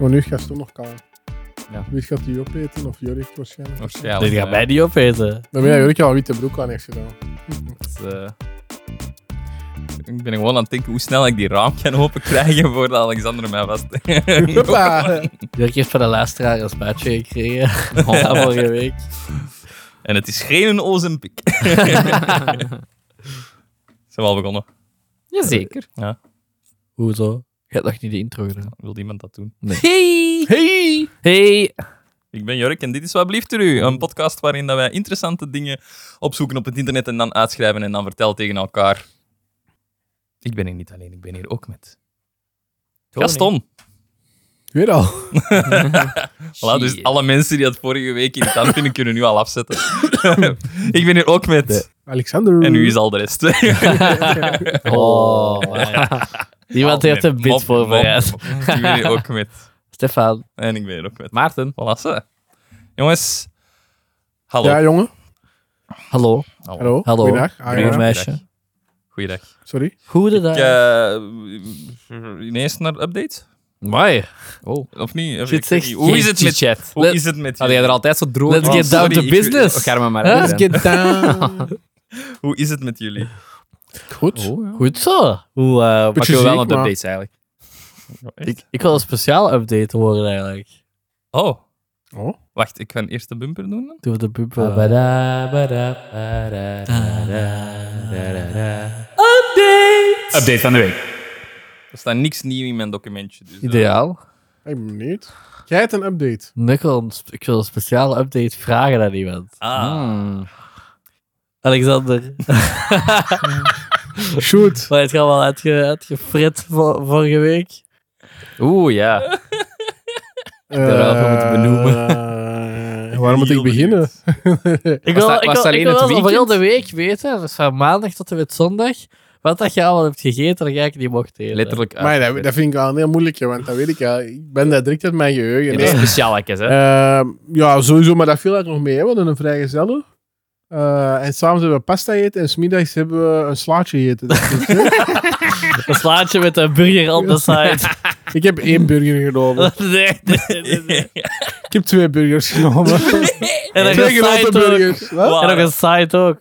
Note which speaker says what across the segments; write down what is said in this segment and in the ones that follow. Speaker 1: Maar nu gaat het nog kaal.
Speaker 2: Ja.
Speaker 1: Wie gaat die opeten? Of Jurk waarschijnlijk.
Speaker 2: Waarschijnlijk.
Speaker 3: Dit gaat
Speaker 2: eh,
Speaker 3: mij niet opeten.
Speaker 1: Dan ben jij Jurk al witte broek aan heeft gedaan.
Speaker 2: het, eh, ik ben gewoon aan het denken hoe snel ik die raam kan openkrijgen voordat Alexander mij vast.
Speaker 1: Hoppa!
Speaker 3: Jurk heeft van de luisteraar een spuitje gekregen. Ja, vorige week.
Speaker 2: en het is geen Ozempic. Zijn we al begonnen?
Speaker 3: Jazeker.
Speaker 2: Ja.
Speaker 3: Hoezo? Je hebt nog niet de intro gedaan.
Speaker 2: Wil iemand dat doen?
Speaker 3: Hey! Hey! Hey!
Speaker 2: Ik ben Jurk en dit is Wat Blieft Er U. Een podcast waarin dat wij interessante dingen opzoeken op het internet en dan uitschrijven en dan vertellen tegen elkaar. Ik ben hier niet alleen, ik ben hier ook met Gaston.
Speaker 1: Weer al.
Speaker 2: Voilà, dus
Speaker 3: Shit.
Speaker 2: alle mensen die dat vorige week irritant vinden, kunnen nu al afzetten. ik ben hier ook met...
Speaker 1: Alexander.
Speaker 2: En nu is al de rest.
Speaker 3: Oh, man. Iemand heeft een bit voorbereid.
Speaker 2: Mop, mop. Ik ben hier ook met.
Speaker 3: Stefan.
Speaker 2: En ik ben hier ook met.
Speaker 3: Maarten.
Speaker 2: Voilà, ze. Jongens. Hallo.
Speaker 1: Ja, jongen.
Speaker 3: Hallo.
Speaker 1: Hallo.
Speaker 3: Hallo.
Speaker 1: Goeiedag. Ah,
Speaker 3: Goeie
Speaker 1: ja.
Speaker 3: meisje.
Speaker 2: Goeiedag.
Speaker 1: Sorry.
Speaker 3: Goedendag.
Speaker 2: Ik, eh, ineens naar update?
Speaker 3: Mooi. Oh.
Speaker 2: Of niet? Of
Speaker 3: Shit,
Speaker 2: ik weet
Speaker 3: zeg,
Speaker 2: niet. Hoe is het met...
Speaker 4: chat?
Speaker 2: Hoe
Speaker 3: Let-
Speaker 2: is het met
Speaker 4: Had jij er
Speaker 2: jullie?
Speaker 4: altijd zo droog
Speaker 3: Let's
Speaker 4: van?
Speaker 3: get down
Speaker 2: sorry,
Speaker 3: to
Speaker 2: ik- oh,
Speaker 3: business.
Speaker 4: Och, ga er maar maar
Speaker 3: Huh?
Speaker 4: uit,
Speaker 1: Let's get down.
Speaker 2: Hoe is het met jullie?
Speaker 1: Goed.
Speaker 4: hè. Oh, ja.
Speaker 3: Goed zo. Hoe, eh,
Speaker 4: Maar ik wil
Speaker 1: ziek,
Speaker 4: wel een
Speaker 1: maar-
Speaker 4: updates eigenlijk.
Speaker 3: ik, ik wil een speciaal update horen eigenlijk.
Speaker 2: Oh,
Speaker 1: Oh.
Speaker 2: wacht. Ik ga eerst de bumper doen. dan.
Speaker 3: Doe de bumper.
Speaker 4: Update van de week.
Speaker 2: Er staat niks nieuw in mijn documentje. Dus eh,
Speaker 3: Ideaal.
Speaker 1: Ik ben benieuwd. Jij hebt een update.
Speaker 3: Nu wil een sp- ik wil een speciale update vragen aan iemand.
Speaker 2: ah,
Speaker 3: Alexander,
Speaker 1: Shoot.
Speaker 3: wat heb je allemaal uitge, uitgefrit vo- vorige week?
Speaker 4: Oeh, ja.
Speaker 3: had ik wel moeten benoemen.
Speaker 1: Eh, waar moet ik
Speaker 2: Heel
Speaker 1: beginnen?
Speaker 3: Ik
Speaker 4: Was
Speaker 3: wil,
Speaker 4: dat-
Speaker 3: ik
Speaker 4: was
Speaker 3: wil,
Speaker 4: dat
Speaker 3: ik
Speaker 4: alleen
Speaker 3: wil
Speaker 4: het
Speaker 3: wel zo voor heel
Speaker 4: weekend?
Speaker 3: de week weten, dus van maandag tot en met zondag, wat dat je allemaal hebt gegeten dat ik niet mocht eten.
Speaker 4: Letterlijk. uit.
Speaker 1: Maar dat, dat vind ik wel een heel moeilijkje, want dat weet ik ja. Ik ben daar direct uit mijn geheugen.
Speaker 4: Dit
Speaker 1: hè.
Speaker 4: is speciaal, hè. hè.
Speaker 1: Ehm, ja, sowieso, maar dat viel eigenlijk nog mee. Hè. We hadden een vrijgezellen. Eh en s'avonds hebben we pasta gegeten en smiddags hebben we een slaatje gegeten. Dat is het, hè.
Speaker 3: Een slaatje met een burger on the side.
Speaker 1: ik heb één burger genomen.
Speaker 3: nee, nee, nee, nee.
Speaker 1: Ik heb twee burgers genomen.
Speaker 3: En nog
Speaker 1: twee
Speaker 3: een
Speaker 1: grote
Speaker 3: side ook.
Speaker 1: burgers. Wat?
Speaker 3: En nog een side ook.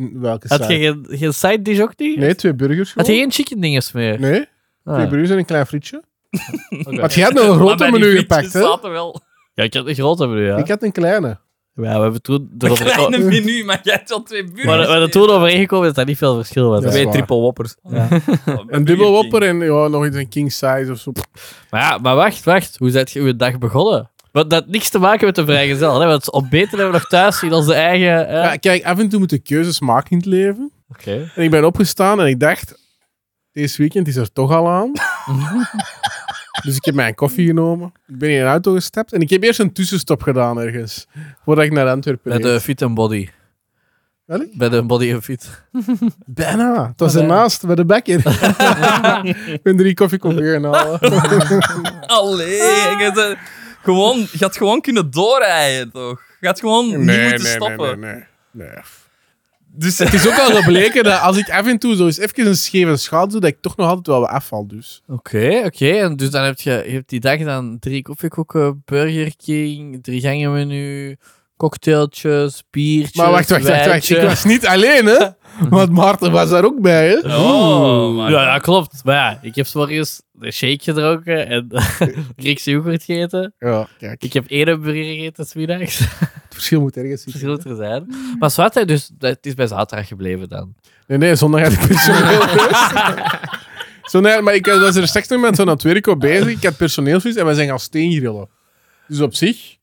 Speaker 1: N- Welke
Speaker 3: Had je
Speaker 1: side?
Speaker 3: geen, geen side dish ook niet?
Speaker 1: Nee, twee burgers
Speaker 3: Had je
Speaker 1: gewoon.
Speaker 3: geen chicken dinges meer?
Speaker 1: Nee,
Speaker 3: Ah.
Speaker 1: twee burgers en een klein frietje.
Speaker 3: Oké.
Speaker 1: Want jij hebt nog een
Speaker 2: maar bij
Speaker 1: grote
Speaker 2: die
Speaker 1: menu
Speaker 2: frietjes
Speaker 1: gepakt, hè?
Speaker 2: zaten wel
Speaker 3: Ja, ik had een grote menu, ja.
Speaker 1: Ik had een kleine.
Speaker 3: Ja, we hebben toen
Speaker 2: een
Speaker 3: erover...
Speaker 2: kleine menu, maar jij hebt al twee burgers.
Speaker 3: we hadden- we hadden toen overeengekomen dat daar niet veel verschil was.
Speaker 1: Ja.
Speaker 3: hè.
Speaker 4: Twee
Speaker 1: waar.
Speaker 4: triple whoppers.
Speaker 2: Oh,
Speaker 1: Een dubbel whopper en ja, nog iets een king size of zo.
Speaker 3: Maar ja, maar wacht, wacht. Hoe zet je uw dag begonnen? Want dat had niks te maken met de vrijgezel. Hè? Want ontbeten hebben we nog thuis in onze eigen... eh,
Speaker 1: Ja, kijk, af en toe moet je keuzes maken in het leven.
Speaker 3: Oké.
Speaker 1: En ik ben opgestaan en ik dacht, deze weekend is er toch al aan. dus ik heb mijn koffie genomen. Ik ben in een auto gestapt en ik heb eerst een tussenstop gedaan ergens. Voordat ik naar Antwerpen
Speaker 3: Bij
Speaker 1: reed.
Speaker 3: de fit en body.
Speaker 1: Welk?
Speaker 3: Bij de body en fit.
Speaker 1: Bijna. Het was
Speaker 3: Ah, bijna.
Speaker 1: ernaast, bij de bekker. ik ben drie koffie komen gaan halen.
Speaker 2: Allee, je hebt, eh, gewoon, je had gewoon kunnen doorijden, toch? Je had gewoon niet moeten stoppen.
Speaker 1: nee, nee, nee.
Speaker 2: Dus
Speaker 1: Het is ook al gebleken dat als ik af en toe zo eens even een scheve schaal doe, dat ik toch nog altijd wel wat afval dus.
Speaker 3: Oké, oké. En dus dan heb je, je hebt die dag dan drie koffiekoeken, Burger King, drie gangen menu, cocktailtjes, biertjes,
Speaker 1: Maar wacht, wacht, wacht, wacht.
Speaker 3: wijntje.
Speaker 1: Ik was niet alleen, hè. Want Maarten was daar ook bij, hè.
Speaker 2: Oh, man.
Speaker 3: Ja, ja, klopt. Maar ja, ik heb 's morgens een shake gedronken en Griekse yoghurt gegeten.
Speaker 1: Ja, kijk.
Speaker 3: Ik heb één burger gegeten smiddags.
Speaker 1: Het verschil moet ergens
Speaker 3: Het
Speaker 1: zitten.
Speaker 3: verschil moet er zijn. Maar zwart, hè, dus het is bij zaterdag gebleven dan.
Speaker 1: Nee, nee, zondag had ik personeelsfeest. zondag, maar ik was er straks nog met zo'n aan het werk op bezig. Ik had personeelsfeest en we zijn gaan steengrillen. Dus op zich,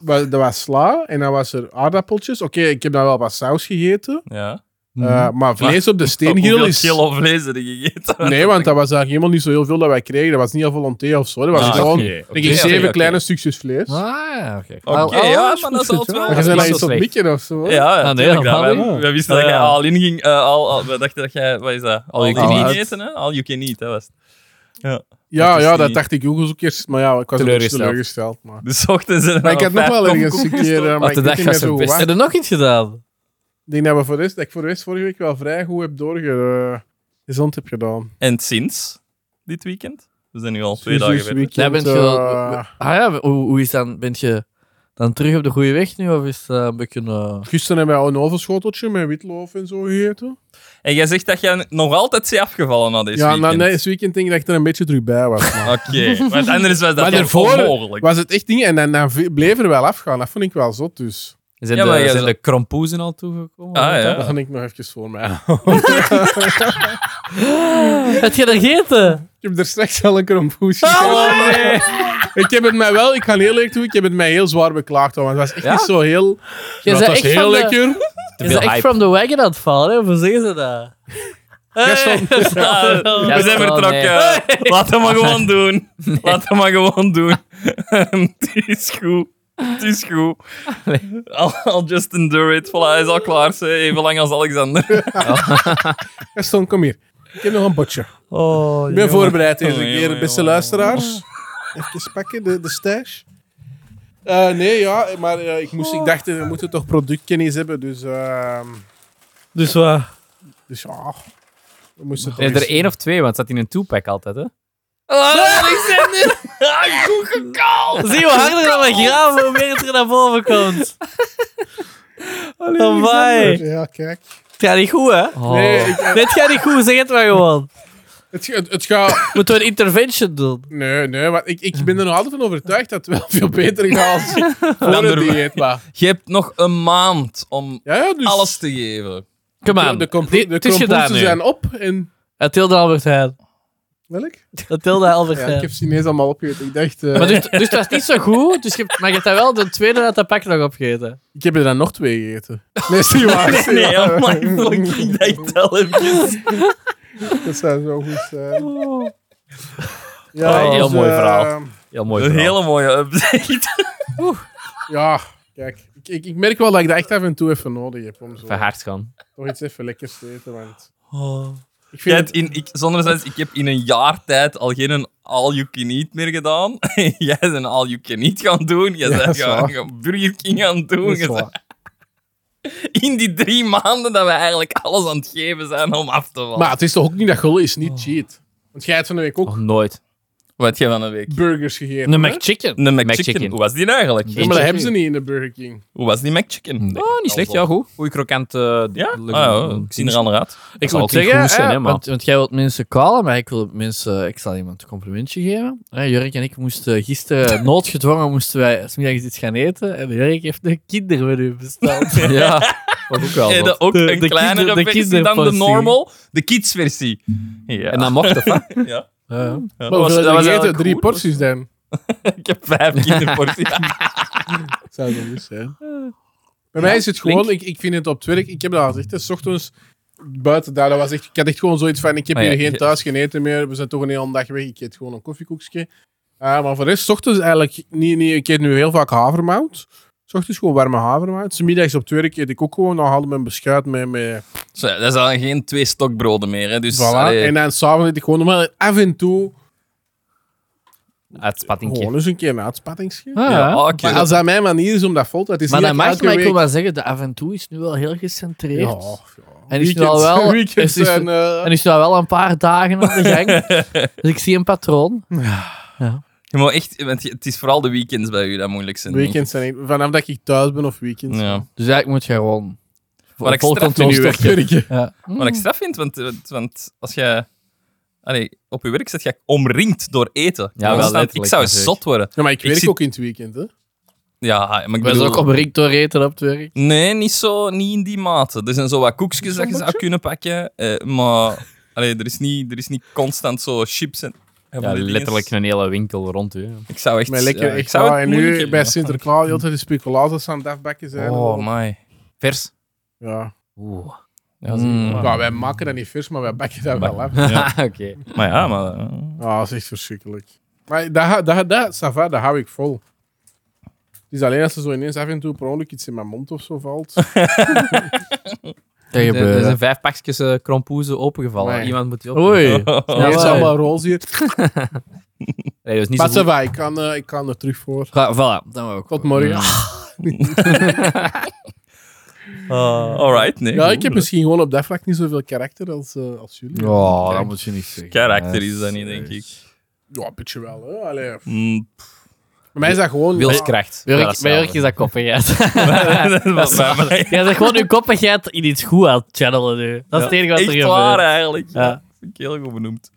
Speaker 1: wa- dat was sla en dan was er aardappeltjes. Oké, ik heb daar wel wat saus gegeten.
Speaker 2: Ja.
Speaker 1: eh, maar vlees op de steengrill
Speaker 2: Mhm. Oh, Hoeveel
Speaker 1: is...
Speaker 2: kilo vlees heb je gegeten?
Speaker 1: Nee, want dat was eigenlijk helemaal niet zo heel veel dat wij kregen. Dat was niet al volonté of zo. Dat was
Speaker 2: Ah,
Speaker 1: gewoon,
Speaker 2: oké,
Speaker 1: denk
Speaker 2: oké,
Speaker 1: ik, zeven
Speaker 2: oké.
Speaker 1: kleine stukjes vlees.
Speaker 3: Ah, ja, oké.
Speaker 2: Oké,
Speaker 3: Wel, oh,
Speaker 2: ja,
Speaker 3: is
Speaker 2: maar
Speaker 3: goed,
Speaker 2: dat is
Speaker 3: goed,
Speaker 2: altijd wel-
Speaker 3: hoor.
Speaker 1: Maar je bent
Speaker 2: dat
Speaker 1: daar
Speaker 2: is
Speaker 1: iets op
Speaker 4: slecht.
Speaker 1: mikken of zo. hè?
Speaker 2: Ja,
Speaker 3: Ah, nee,
Speaker 2: natuurlijk,
Speaker 3: dat
Speaker 2: dat-
Speaker 3: wel,
Speaker 2: wij,
Speaker 1: ja.
Speaker 2: wij wisten dat
Speaker 3: Ja,
Speaker 2: jij
Speaker 3: ja.
Speaker 2: al in ging. eh, al, al- we dachten dat jij, wat is dat? Al you
Speaker 3: All
Speaker 2: can eat
Speaker 3: out.
Speaker 2: eten, hè? Al you can eat, hè? Was het.
Speaker 1: Ja,
Speaker 2: Dat is
Speaker 1: ja, dat
Speaker 2: niet-
Speaker 1: dacht ik ook eens ook eerst. Maar ja, ik was ook
Speaker 4: Teleurgesteld.
Speaker 1: teleurgesteld. Maar,
Speaker 2: Dus 's ochtends en
Speaker 1: maar ik had nog wel ergens een keer... eh, Maar
Speaker 4: Want
Speaker 1: ik
Speaker 4: de
Speaker 1: weet
Speaker 4: dag
Speaker 1: niet meer
Speaker 4: was
Speaker 1: zo
Speaker 4: het
Speaker 1: goed
Speaker 4: beste.
Speaker 1: waar.
Speaker 3: Heb je nog iets gedaan?
Speaker 1: Ik denk dat, we voor de rest, dat ik voor de rest vorige week wel vrij goed eh, heb doorgezond heb gedaan.
Speaker 2: En sinds dit weekend? We zijn nu al twee dagen verder.
Speaker 3: Ja, bent je,
Speaker 1: Dus eh,
Speaker 3: ah ja, hoe, hoe is dan, bent je dan terug op de goede weg nu? Of is het eh, een beetje... eh,
Speaker 1: Gisteren hebben wij al een overschoteltje met witloof en zo gegeten.
Speaker 2: En jij zegt dat jij nog altijd bent afgevallen na deze
Speaker 1: ja,
Speaker 2: weekend.
Speaker 1: na nee, dit weekend denk ik dat ik er een beetje terug bij was. maar-
Speaker 2: Oké, want anders was dat
Speaker 1: Maar
Speaker 2: toch
Speaker 1: daarvoor
Speaker 2: onmogelijk.
Speaker 1: was het echt ding en dan, dan v- bleef er wel afgaan. Dat vond ik wel zot, dus
Speaker 4: Zijn,
Speaker 2: Ja, maar
Speaker 4: de,
Speaker 2: jij
Speaker 4: zijn
Speaker 2: zou-
Speaker 4: de krompoezen al toegekomen?
Speaker 2: Ah, ja.
Speaker 1: dat ga ik nog eventjes voor mij.
Speaker 3: Heb je dat gegeten?
Speaker 1: Ik heb er straks al een krompoes Ik heb het mij wel, ik ga heel eerlijk doen, ik heb het mij heel zwaar beklaagd. hoor, Want het was echt
Speaker 4: Ja?
Speaker 1: niet zo heel...
Speaker 3: Je
Speaker 1: Ja, het
Speaker 3: zei
Speaker 1: was
Speaker 3: echt
Speaker 1: heel
Speaker 3: van de-
Speaker 1: lekker.
Speaker 4: Te
Speaker 3: is
Speaker 4: veel
Speaker 3: dat echt
Speaker 4: hype.
Speaker 3: from the wagon aan het vallen? Hè? Hoe zeggen ze dat?
Speaker 1: Jij stond-
Speaker 2: Ah, we
Speaker 4: dat
Speaker 2: zijn
Speaker 4: wel,
Speaker 2: vertrokken. Laat hem maar gewoon doen. Laat hem maar gewoon doen. Het is goed. Het is goed. I'll, I'll just endure it. Voilà, hij is al klaar. ze. Even lang als Alexander.
Speaker 1: jij stond, kom hier. Ik heb nog een botje.
Speaker 3: Oh,
Speaker 1: Ik ben voorbereid deze
Speaker 2: Jongen,
Speaker 1: keer,
Speaker 2: jongen,
Speaker 1: beste
Speaker 2: jongen,
Speaker 1: luisteraars. Even pakken, de, de stash. Eh, nee, ja, maar eh, ik, moest, ik dacht, eh, we moeten toch productkennis hebben, dus... ehm,
Speaker 3: Dus wat?
Speaker 1: dus ja, we moesten toch
Speaker 4: Zijn er
Speaker 1: eens-
Speaker 4: één of twee, want het zat in een two-pack altijd, hè?
Speaker 3: Zie je hoe harder dat we graven, hoe meer het er naar boven komt. Amai.
Speaker 1: Ja, kijk.
Speaker 3: Het gaat niet goed, hè?
Speaker 4: Oh.
Speaker 1: Nee, ik-
Speaker 3: Nee, het gaat niet goed, zeg het maar gewoon.
Speaker 1: het, ga- het, het gaat...
Speaker 3: Moeten we een intervention doen?
Speaker 1: Nee, nee, maar ik, ik ben er nog altijd van overtuigd dat het wel veel beter gaat als voor het
Speaker 2: doen we-
Speaker 1: dieet. Maar.
Speaker 2: Je hebt nog een maand om
Speaker 1: Ja, ja, dus
Speaker 2: alles te geven.
Speaker 3: Come
Speaker 1: de,
Speaker 3: on.
Speaker 1: de, compo-
Speaker 3: Dit-
Speaker 1: de
Speaker 3: het is gedaan
Speaker 1: composten
Speaker 3: nu.
Speaker 1: zijn op en...
Speaker 3: Mathilde Albert Heijn.
Speaker 1: Welk?
Speaker 3: Mathilde Albert
Speaker 1: Ja,
Speaker 3: Heijn.
Speaker 1: ik heb Chinees allemaal opgegeten. Ik dacht... eh,
Speaker 3: Maar dus, dus het was niet zo goed, dus je hebt, maar je hebt daar wel de tweede uit dat pak nog opgegeten.
Speaker 1: Ik heb er dan nog twee gegeten. Nee, is niet waar. is niet
Speaker 2: Nee,
Speaker 1: waar.
Speaker 2: oh my fucking day, tel eventjes.
Speaker 1: Dat zou zo goed zijn.
Speaker 4: Oh,
Speaker 2: Ah,
Speaker 4: heel mooi
Speaker 1: eh,
Speaker 4: verhaal. Heel mooi
Speaker 2: Een
Speaker 4: verhaal.
Speaker 2: hele mooie update.
Speaker 1: Ja, kijk. Ik, ik, ik merk wel dat ik dat echt af en toe even nodig heb. Om zo
Speaker 4: Even hard gaan.
Speaker 1: toch iets even lekkers te eten. Want ik
Speaker 2: Oh. Jij
Speaker 1: vind
Speaker 2: hebt
Speaker 1: het,
Speaker 2: in, ik, zonder zes, ik heb in een jaar tijd al geen all-you-can-eat meer gedaan. Jij bent een all-you-can-eat gaan doen. Jij
Speaker 1: Ja,
Speaker 2: bent
Speaker 1: dat is
Speaker 2: gaan,
Speaker 1: waar.
Speaker 2: gaan Burger King gaan doen.
Speaker 1: dat
Speaker 2: Je
Speaker 1: is
Speaker 2: bent-
Speaker 1: waar.
Speaker 2: in die drie maanden dat we eigenlijk alles aan het geven zijn om af te vallen.
Speaker 1: Maar het is toch ook niet dat gullen is
Speaker 2: Oh.
Speaker 1: niet cheat. Want jij hebt van de week ook
Speaker 4: Nog nooit.
Speaker 2: Wat heb je van een week?
Speaker 1: burgers gegeten.
Speaker 3: Een
Speaker 1: hè?
Speaker 3: McChicken.
Speaker 2: Een
Speaker 4: McChicken.
Speaker 2: Hoe was die eigenlijk?
Speaker 1: Ja, maar dat hebben ze niet in de Burger King.
Speaker 2: Hoe was die McChicken?
Speaker 4: Oh, niet slecht. Ja, goed. Goeie krokant. eh,
Speaker 2: Ja? Ah,
Speaker 4: le-
Speaker 2: ja, ik zie er aan uit.
Speaker 3: Ik
Speaker 4: zal
Speaker 3: moet
Speaker 4: het niet
Speaker 3: zeggen,
Speaker 4: goed zijn,
Speaker 3: hè,
Speaker 4: hè, man.
Speaker 3: want, want jij wilt mensen callen, maar ik wil mensen... eh, Ik zal iemand een complimentje geven. Hè, Jurk en ik moesten eh, gisteren, noodgedwongen, moesten wij smiddags iets gaan eten. En Jurk heeft een kindermenu besteld.
Speaker 4: Ja, wat ook wel.
Speaker 2: Eh,
Speaker 4: wat.
Speaker 2: dat ook
Speaker 3: de-
Speaker 2: een
Speaker 3: de
Speaker 2: kleinere
Speaker 3: kinder- de
Speaker 2: versie dan de
Speaker 3: kinderversie.
Speaker 2: normal. De kidsversie. Ja.
Speaker 4: En dan mocht het, hè?
Speaker 2: ja.
Speaker 3: Ja.
Speaker 1: Maar
Speaker 2: was-
Speaker 1: hoeveel heb
Speaker 2: dat was dus-
Speaker 1: je gegeten?
Speaker 2: eigenlijk
Speaker 1: Drie
Speaker 2: goed.
Speaker 1: porties dan.
Speaker 2: Ik heb vijf kinderporties.
Speaker 1: Dat zou zo goed zijn.
Speaker 3: Eh.
Speaker 1: Bij mij is het gewoon, ik, ik vind het op het werk, ik heb dat al gezegd, hè, 's ochtends buiten daar, dat was echt, ik had echt gewoon zoiets van, ik heb
Speaker 4: Maar Oh ja,
Speaker 1: hier geen
Speaker 4: je-
Speaker 1: thuis, geen eten meer, we zijn toch een hele dag weg, ik eet gewoon een koffiekoekje. Ah, maar voor de rest, 's ochtends eigenlijk, niet, niet, ik eet nu heel vaak havermout. 's ochtends gewoon warme havermout. 's middags op het werk eet ik ook gewoon, dan haalde mijn beschuit mee. met
Speaker 2: Zo, dat zijn geen twee stokbroden meer. Hè. Dus,
Speaker 1: voilà.
Speaker 2: allee.
Speaker 1: En dan s'avonds eet ik gewoon normaal en af en toe
Speaker 4: Uitspattingje.
Speaker 1: gewoon eens een keer een uitspattingsje.
Speaker 3: Ah,
Speaker 2: ja, Oh, oké.
Speaker 1: Maar als dat mijn manier is om dat vol te het is
Speaker 3: Maar
Speaker 1: niet
Speaker 3: dat
Speaker 1: dat ik
Speaker 3: mag,
Speaker 1: elke
Speaker 3: maar ik wil
Speaker 1: week-
Speaker 3: maar zeggen, de avontuur is nu wel heel
Speaker 1: Ja,
Speaker 3: gecentreerd.
Speaker 1: ja.
Speaker 3: En is nu
Speaker 1: Weekends-
Speaker 3: al wel-
Speaker 1: weekends
Speaker 3: is- is-
Speaker 1: zijn, eh,
Speaker 3: En is nu al wel een paar dagen op de gang. dus ik zie een patroon.
Speaker 2: Je moet echt, want je- het is vooral de weekends bij u dat moeilijk zijn. denk ik.
Speaker 1: Weekends zijn ik- vanaf dat ik thuis ben of weekends.
Speaker 2: Ja.
Speaker 3: Dus eigenlijk moet je gewoon
Speaker 2: Maar ik
Speaker 3: vol
Speaker 2: straf
Speaker 3: controle
Speaker 2: nu
Speaker 1: Continu
Speaker 2: weer.
Speaker 3: stoppen.
Speaker 1: werken.
Speaker 3: Ja.
Speaker 2: Wat ik straf vind, want, want- want als jij allee, op je werk zit, je omringd door eten.
Speaker 4: Ja, wel
Speaker 2: Constant. ik
Speaker 4: letterlijk
Speaker 2: zou
Speaker 4: natuurlijk.
Speaker 2: zot worden.
Speaker 1: Ja, maar ik
Speaker 2: Ik
Speaker 1: werk
Speaker 2: zit-
Speaker 1: ook in het weekend, hè.
Speaker 2: Ja, maar ik
Speaker 3: Ik ben
Speaker 2: bedoel...
Speaker 3: ook omringd door eten op het werk.
Speaker 2: Nee, niet, zo, niet in die mate. Er zijn zo wat koekjes dat je zou kunnen pakken, eh, maar allee, er, is niet, er is niet constant zo chips en... en
Speaker 4: Ja,
Speaker 2: van die dingen.
Speaker 4: letterlijk een hele winkel rond u. hè.
Speaker 2: Ik zou echt...
Speaker 1: Met lekker
Speaker 2: ja, ik
Speaker 1: echt
Speaker 2: zou
Speaker 1: ja,
Speaker 2: het
Speaker 1: En
Speaker 2: moeilijk
Speaker 1: nu
Speaker 2: hebben,
Speaker 1: bij
Speaker 2: ja.
Speaker 1: Sinterklaas heel de speculaties aan het afbakken zijn.
Speaker 2: Oh, my.
Speaker 4: Vers.
Speaker 1: ja.
Speaker 4: Oeh.
Speaker 2: Ja, zeker.
Speaker 3: Mm.
Speaker 1: ja, wij maken dat niet vers, maar wij bakken dat wel af.
Speaker 4: Oké.
Speaker 2: Maar ja, maar... eh,
Speaker 1: Ja, dat is echt verschrikkelijk. Maar dat, dat, dat, dat, ça va, dat hou ik vol. Het is alleen als er zo ineens af en toe per ongeluk iets in mijn mond of zo valt.
Speaker 3: Dat
Speaker 4: Er er zijn
Speaker 3: gebeurt.
Speaker 4: vijf pakjes eh, krompoezen opengevallen.
Speaker 1: Nee.
Speaker 4: Iemand moet die op.
Speaker 3: Oei.
Speaker 1: Ja,
Speaker 3: Ja,
Speaker 1: is
Speaker 3: maar-
Speaker 1: allemaal roze hier.
Speaker 4: Nee, dat is niet
Speaker 1: Maar
Speaker 4: zo
Speaker 1: ça
Speaker 4: goed.
Speaker 1: va, ik kan, eh, ik kan er terug voor.
Speaker 3: Ja, voilà, dan ook.
Speaker 1: Tot morgen.
Speaker 2: Mm. Ah, alright, nee.
Speaker 1: Ja,
Speaker 2: goed.
Speaker 1: ik heb misschien gewoon op dat vlak niet zoveel karakter als, eh, als jullie.
Speaker 3: Oh, dat moet je niet zeggen.
Speaker 2: Karakter is dat niet, denk ik.
Speaker 1: Ja, een beetje wel. Hè? Allee, pff.
Speaker 2: Mm,
Speaker 1: Bij mij is dat gewoon...
Speaker 4: Wilskracht.
Speaker 3: Bij Jurk-
Speaker 4: is
Speaker 3: bij Jurk
Speaker 4: hetzelfde.
Speaker 3: is dat koppigheid.
Speaker 2: dat was bij mij.
Speaker 3: Jij zegt gewoon je koppigheid in iets goed aan het channelen nu. Dat is het enige wat er
Speaker 2: Echt
Speaker 3: gebeurt.
Speaker 2: waar, eigenlijk. Ja.
Speaker 3: Ja.
Speaker 2: Vind ik heel goed benoemd.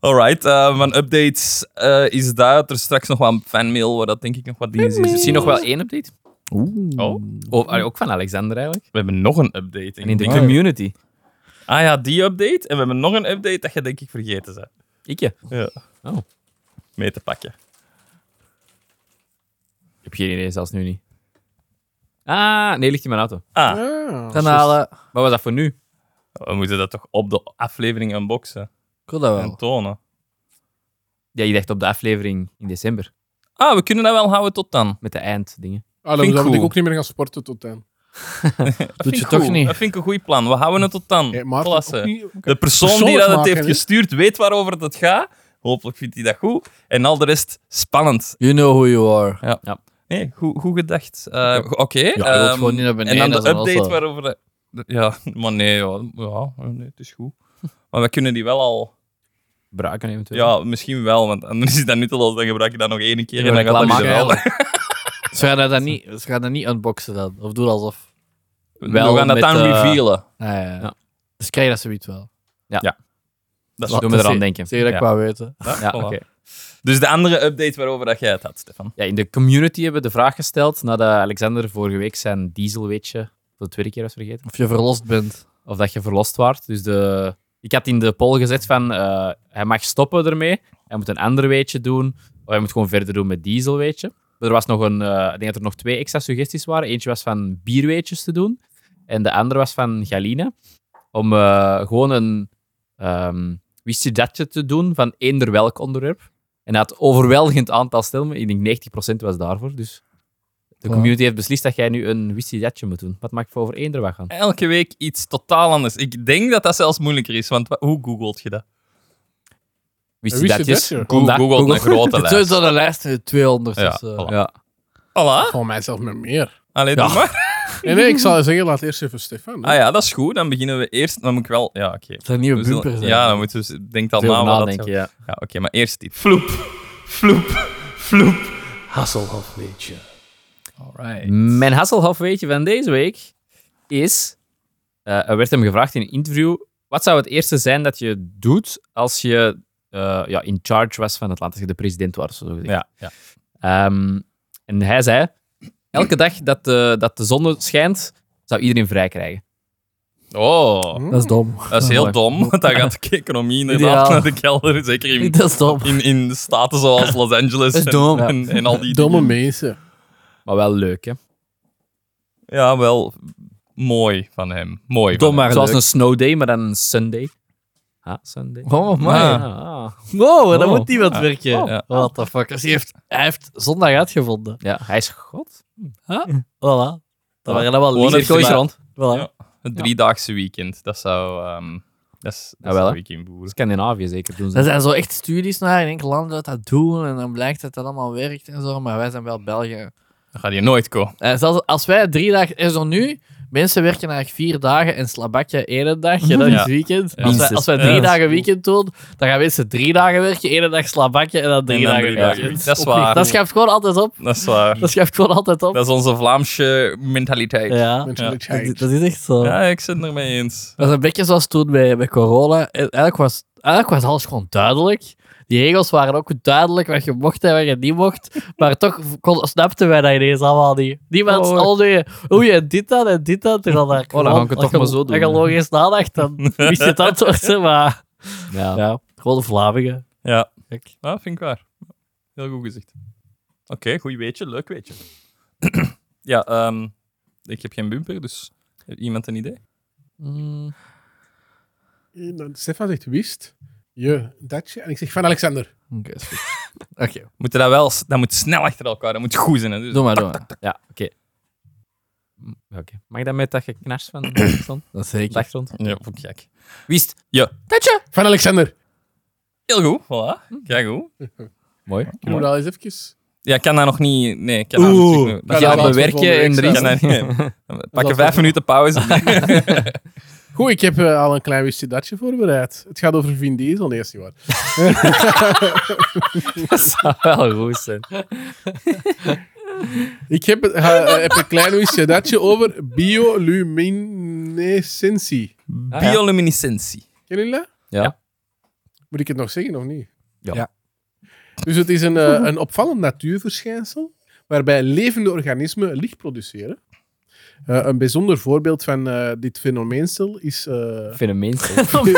Speaker 2: Alright, eh, van updates eh, is dat. Er is straks nog wel een fanmail waar dat denk ik nog wat dingen
Speaker 4: Is er
Speaker 2: is.
Speaker 4: misschien nog wel één update?
Speaker 2: Oh,
Speaker 4: Of, allee, ook van Alexander eigenlijk.
Speaker 2: we hebben nog een update.
Speaker 4: En in de
Speaker 2: denk ik.
Speaker 4: community.
Speaker 2: Ah ja, die update. En we hebben nog een update dat je denk ik vergeten bent
Speaker 4: Ik ja.
Speaker 2: mee te pakken.
Speaker 4: Ik heb geen idee, zelfs nu niet. Ah, nee, ligt in mijn auto.
Speaker 2: Ah,
Speaker 1: Ah.
Speaker 3: Kanalen.
Speaker 4: Wat was dat voor nu?
Speaker 2: we moeten dat toch op de aflevering unboxen
Speaker 3: Ik wil dat
Speaker 2: en
Speaker 3: wel.
Speaker 2: tonen.
Speaker 4: Ja, je dacht op de aflevering in december.
Speaker 2: Ah, we kunnen dat wel houden tot dan.
Speaker 4: Met de einddingen.
Speaker 1: Ah,
Speaker 2: Vind
Speaker 1: dan
Speaker 2: ik
Speaker 1: moet ik
Speaker 2: cool.
Speaker 1: ook niet meer gaan sporten tot dan.
Speaker 2: Dat
Speaker 3: Doet
Speaker 2: vind
Speaker 3: je
Speaker 2: ik
Speaker 3: toch
Speaker 2: goed.
Speaker 3: niet?
Speaker 2: Dat vind ik een goed plan. We houden het tot dan.
Speaker 1: Hey, maar
Speaker 2: Klasse.
Speaker 1: ook niet-
Speaker 2: De persoon
Speaker 1: Persoonlijk
Speaker 2: die dat het
Speaker 1: maken,
Speaker 2: heeft
Speaker 1: hè?
Speaker 2: gestuurd weet waarover het gaat. Hopelijk vindt hij dat goed. En al de rest spannend.
Speaker 3: You know who you are.
Speaker 2: Nee, goed, goed gedacht. Eh, go- Oké.
Speaker 3: je wilt
Speaker 2: ehm,
Speaker 3: gewoon niet naar beneden,
Speaker 2: En dan
Speaker 3: dat
Speaker 2: de
Speaker 3: is dan
Speaker 2: update
Speaker 3: also.
Speaker 2: waarover... de- de- ja, maar nee, ja, ja, nee, het is goed. Maar we kunnen die wel al...
Speaker 4: Braken eventueel.
Speaker 2: Ja, misschien wel, want anders is dat nutteloos. Dan gebruik je dat nog één keer
Speaker 4: Ja,
Speaker 2: en dan gaat dat
Speaker 4: reclame
Speaker 2: niet wel.
Speaker 4: maken.
Speaker 3: Ze gaan dat dan niet, ze gaan dat niet unboxen dan. Of doen alsof.
Speaker 2: We
Speaker 4: Wel
Speaker 2: gaan dat
Speaker 4: met,
Speaker 2: dan
Speaker 4: eh,
Speaker 2: revealen.
Speaker 3: Ah, ja, ja.
Speaker 4: Ja.
Speaker 3: Dus krijg je dat zoiets wel.
Speaker 2: Dat is
Speaker 4: Doe
Speaker 2: wat.
Speaker 4: me
Speaker 3: dat
Speaker 4: eraan
Speaker 3: is-
Speaker 4: denken.
Speaker 3: Zeg je dat
Speaker 4: ja.
Speaker 3: qua weten.
Speaker 4: Ja,
Speaker 2: voilà.
Speaker 4: oké.
Speaker 2: Dus de andere update waarover dat jij het had, Stefan.
Speaker 4: Ja, in de community hebben we de vraag gesteld nadat Alexander vorige week zijn dieselweetje voor de tweede keer was vergeten.
Speaker 3: Of je verlost bent.
Speaker 4: Of dat je verlost waart. Dus de, ik had in de poll gezet van eh, hij mag stoppen ermee. Hij moet een ander weetje doen. Of hij moet gewoon verder doen met dieselweetje. Maar er was nog een, eh, ik denk dat er nog twee extra suggesties waren. Eentje was van bierweetjes te doen. En de andere was van Galina. Om eh, gewoon een ehm wist je datje te doen van eender welk onderwerp. En hij had overweldigend aantal stemmen. Ik denk 90% was daarvoor. Dus de
Speaker 3: Ja.
Speaker 4: community heeft beslist dat jij nu een wist je datje moet doen. Wat mag ik voor over eender wat gaan?
Speaker 2: Elke week iets totaal anders. Ik denk dat dat zelfs moeilijker is, want wa- hoe googelt je dat?
Speaker 4: Wist je
Speaker 1: Wist je
Speaker 4: dat? Yes?
Speaker 1: dat, ja?
Speaker 4: Kon
Speaker 2: Google,
Speaker 4: dat? Google.
Speaker 2: een grote
Speaker 3: Het is
Speaker 2: lijst.
Speaker 3: sowieso een lijst met 200
Speaker 2: Ja,
Speaker 3: of zo.
Speaker 2: voilà.
Speaker 4: Ja.
Speaker 2: Voilà.
Speaker 1: Voor mij zelf met meer.
Speaker 2: Allee,
Speaker 3: Ja.
Speaker 2: doe maar.
Speaker 1: Nee, nee, ik zal zeggen, laat eerst even Stefan. hè.
Speaker 2: Ah ja, dat is goed. Dan beginnen we eerst... Dan moet ik wel... Ja, oké.
Speaker 3: Het zijn nieuwe
Speaker 2: We zullen-
Speaker 3: bumpers. hè.
Speaker 2: Ja, dan moeten we... eens- Denk dan
Speaker 4: Veel
Speaker 2: na wat dat...
Speaker 4: nadenken, ja.
Speaker 2: Ja, oké, maar eerst dit. Vloep. Vloep. Vloep.
Speaker 5: Hasselhoff weetje.
Speaker 2: Alright.
Speaker 4: Mijn Hasselhoff weetje van deze week is... eh, er werd hem gevraagd in een interview... Wat zou het eerste zijn dat je doet als je eh, ja, in charge was van het land? Als je de president was, zo gezegd.
Speaker 2: Ja, ja.
Speaker 4: Ehm, en hij zei... Elke dag dat de, dat de zon schijnt, zou iedereen vrij krijgen.
Speaker 2: Oh,
Speaker 3: Dat is dom.
Speaker 2: dat is heel dom, want dan gaat de economie inderdaad
Speaker 3: Ideaal.
Speaker 2: naar de kelder. Zeker in,
Speaker 3: Dat is dom.
Speaker 2: in, in staten zoals Los Angeles
Speaker 3: Dat is
Speaker 2: en-
Speaker 3: dom.
Speaker 2: En, en al die
Speaker 1: Domme
Speaker 2: dingen.
Speaker 1: mensen.
Speaker 4: Maar wel leuk, hè?
Speaker 2: Ja, wel mooi van hem. Mooi van
Speaker 3: Dom maar
Speaker 4: Zoals
Speaker 3: leuk.
Speaker 4: een snow day, maar dan een sunday. Ah, sunday.
Speaker 3: Oh, man.
Speaker 2: Ah.
Speaker 4: Ah.
Speaker 3: Wow, dan
Speaker 4: Oh.
Speaker 3: moet iemand werken.
Speaker 2: Ja.
Speaker 3: What the fuck. Dus hij, heeft, hij heeft zondag uitgevonden.
Speaker 4: Ja, hij is god.
Speaker 3: Voilà. Dat waren allemaal
Speaker 2: Gewoon
Speaker 3: liedjes.
Speaker 2: een cirkel is
Speaker 3: Voilà.
Speaker 2: Ja. Een driedaagse weekend. Dat zou... ehm dat is,
Speaker 3: Ah,
Speaker 2: dat
Speaker 4: Jawel,
Speaker 2: zou
Speaker 4: hè.
Speaker 2: ik invoeren.
Speaker 4: Scandinavië zeker doen ze.
Speaker 3: Er zijn zo echt studies naar in enkel land dat dat doen en dan blijkt dat dat allemaal werkt en zo, maar wij zijn wel België.
Speaker 2: Dan gaat je nooit komen.
Speaker 3: En zelfs als wij drie dagen, en zo nu, mensen werken eigenlijk vier dagen en slabakje één dag, en dat
Speaker 2: Mhm. Ja.
Speaker 3: is weekend.
Speaker 2: Ja.
Speaker 3: Als, wij, als wij
Speaker 2: Ja,
Speaker 3: drie
Speaker 2: dat is
Speaker 3: dagen weekend doen, dan gaan mensen drie dagen werken, één dag slabakje en dan drie
Speaker 2: En dan
Speaker 3: dagen
Speaker 2: drie
Speaker 3: werken.
Speaker 2: dagen. Dat is
Speaker 3: Oprecht.
Speaker 2: waar.
Speaker 3: Dat schuift gewoon altijd op.
Speaker 2: Dat is waar.
Speaker 3: Dat schuift gewoon altijd op.
Speaker 2: Dat is onze Vlaamse mentaliteit. Ja,
Speaker 3: Ja,
Speaker 1: Mensen
Speaker 2: Ja.
Speaker 1: met
Speaker 3: dat,
Speaker 1: scheid.
Speaker 3: dat is echt zo.
Speaker 2: ik zit het ermee eens.
Speaker 3: Dat is een beetje zoals toen bij, bij corona. En Eigenlijk was, eigenlijk was alles gewoon duidelijk. Die regels waren ook duidelijk wat je mocht en wat je niet mocht. Maar toch kon, snapten wij dat ineens allemaal niet. Niemand oh,
Speaker 4: Oh, hoor.
Speaker 3: al die, oei, en dit dan en dit dan. Terwijl daar
Speaker 4: dan
Speaker 3: gewoon-
Speaker 4: ga ik het
Speaker 3: als
Speaker 4: toch
Speaker 3: je-
Speaker 4: maar zo doen,
Speaker 3: Als je
Speaker 4: hè.
Speaker 3: logisch nadacht, dan wist je het antwoord. hè, Maar
Speaker 4: Ja.
Speaker 3: ja, gewoon de Vlamingen.
Speaker 2: Ja. ja, vind ik waar. Heel goed gezegd. Oké, goed weetje, leuk weetje. ja, ehm, ik heb geen bumper, dus heeft iemand een idee?
Speaker 4: Mm.
Speaker 1: Dan- Eh, nou, Stefan zegt, wist je datje? En ik zeg, van Alexander.
Speaker 3: Oké, is goed. Oké,
Speaker 2: Moet je dat wel, s- dat moet snel achter elkaar, dat moet goed zijn. Hè? Dus
Speaker 3: doe maar, doe maar.
Speaker 4: Ja, oké. M- ja, oké. Mag ik dat met dat geknars van de achtergrond?
Speaker 3: Dat is
Speaker 4: Op de
Speaker 3: zeker.
Speaker 4: achtergrond?
Speaker 2: Ja, vond ik gek.
Speaker 4: Wist.
Speaker 1: Van Alexander.
Speaker 2: Heel goed,
Speaker 1: Hm.
Speaker 2: voilà. Kijk hoe.
Speaker 4: Mooi.
Speaker 1: Kunnen we dat eens even...
Speaker 2: Ja, ik kan dat nog niet. Nee, ik kan dat
Speaker 1: Oeh,
Speaker 2: natuurlijk nog-
Speaker 1: kan
Speaker 2: ja,
Speaker 1: dat laten
Speaker 2: we
Speaker 1: we
Speaker 2: werken
Speaker 1: volgende
Speaker 2: in
Speaker 1: week
Speaker 2: de
Speaker 1: zetten.
Speaker 2: Pakken vijf minuten pauze.
Speaker 1: Goed, ik heb eh, al een klein wistje datje voorbereid. Het gaat over Vin Diesel, eerst niet waar.
Speaker 4: Dat zou wel goed zijn.
Speaker 1: Ik heb, eh, eh, heb een klein wistje datje over bioluminescentie.
Speaker 4: Ah, ja.
Speaker 2: Bioluminescentie.
Speaker 1: Kennen jullie dat?
Speaker 2: Ja.
Speaker 4: Ja.
Speaker 1: Moet ik het nog zeggen of niet?
Speaker 2: Ja.
Speaker 4: Ja.
Speaker 1: Dus het is een, eh, een opvallend natuurverschijnsel waarbij levende organismen licht produceren. Eh, een bijzonder voorbeeld van eh, dit fenomeenstel is... eh,
Speaker 4: Fenomeen.
Speaker 3: Oh,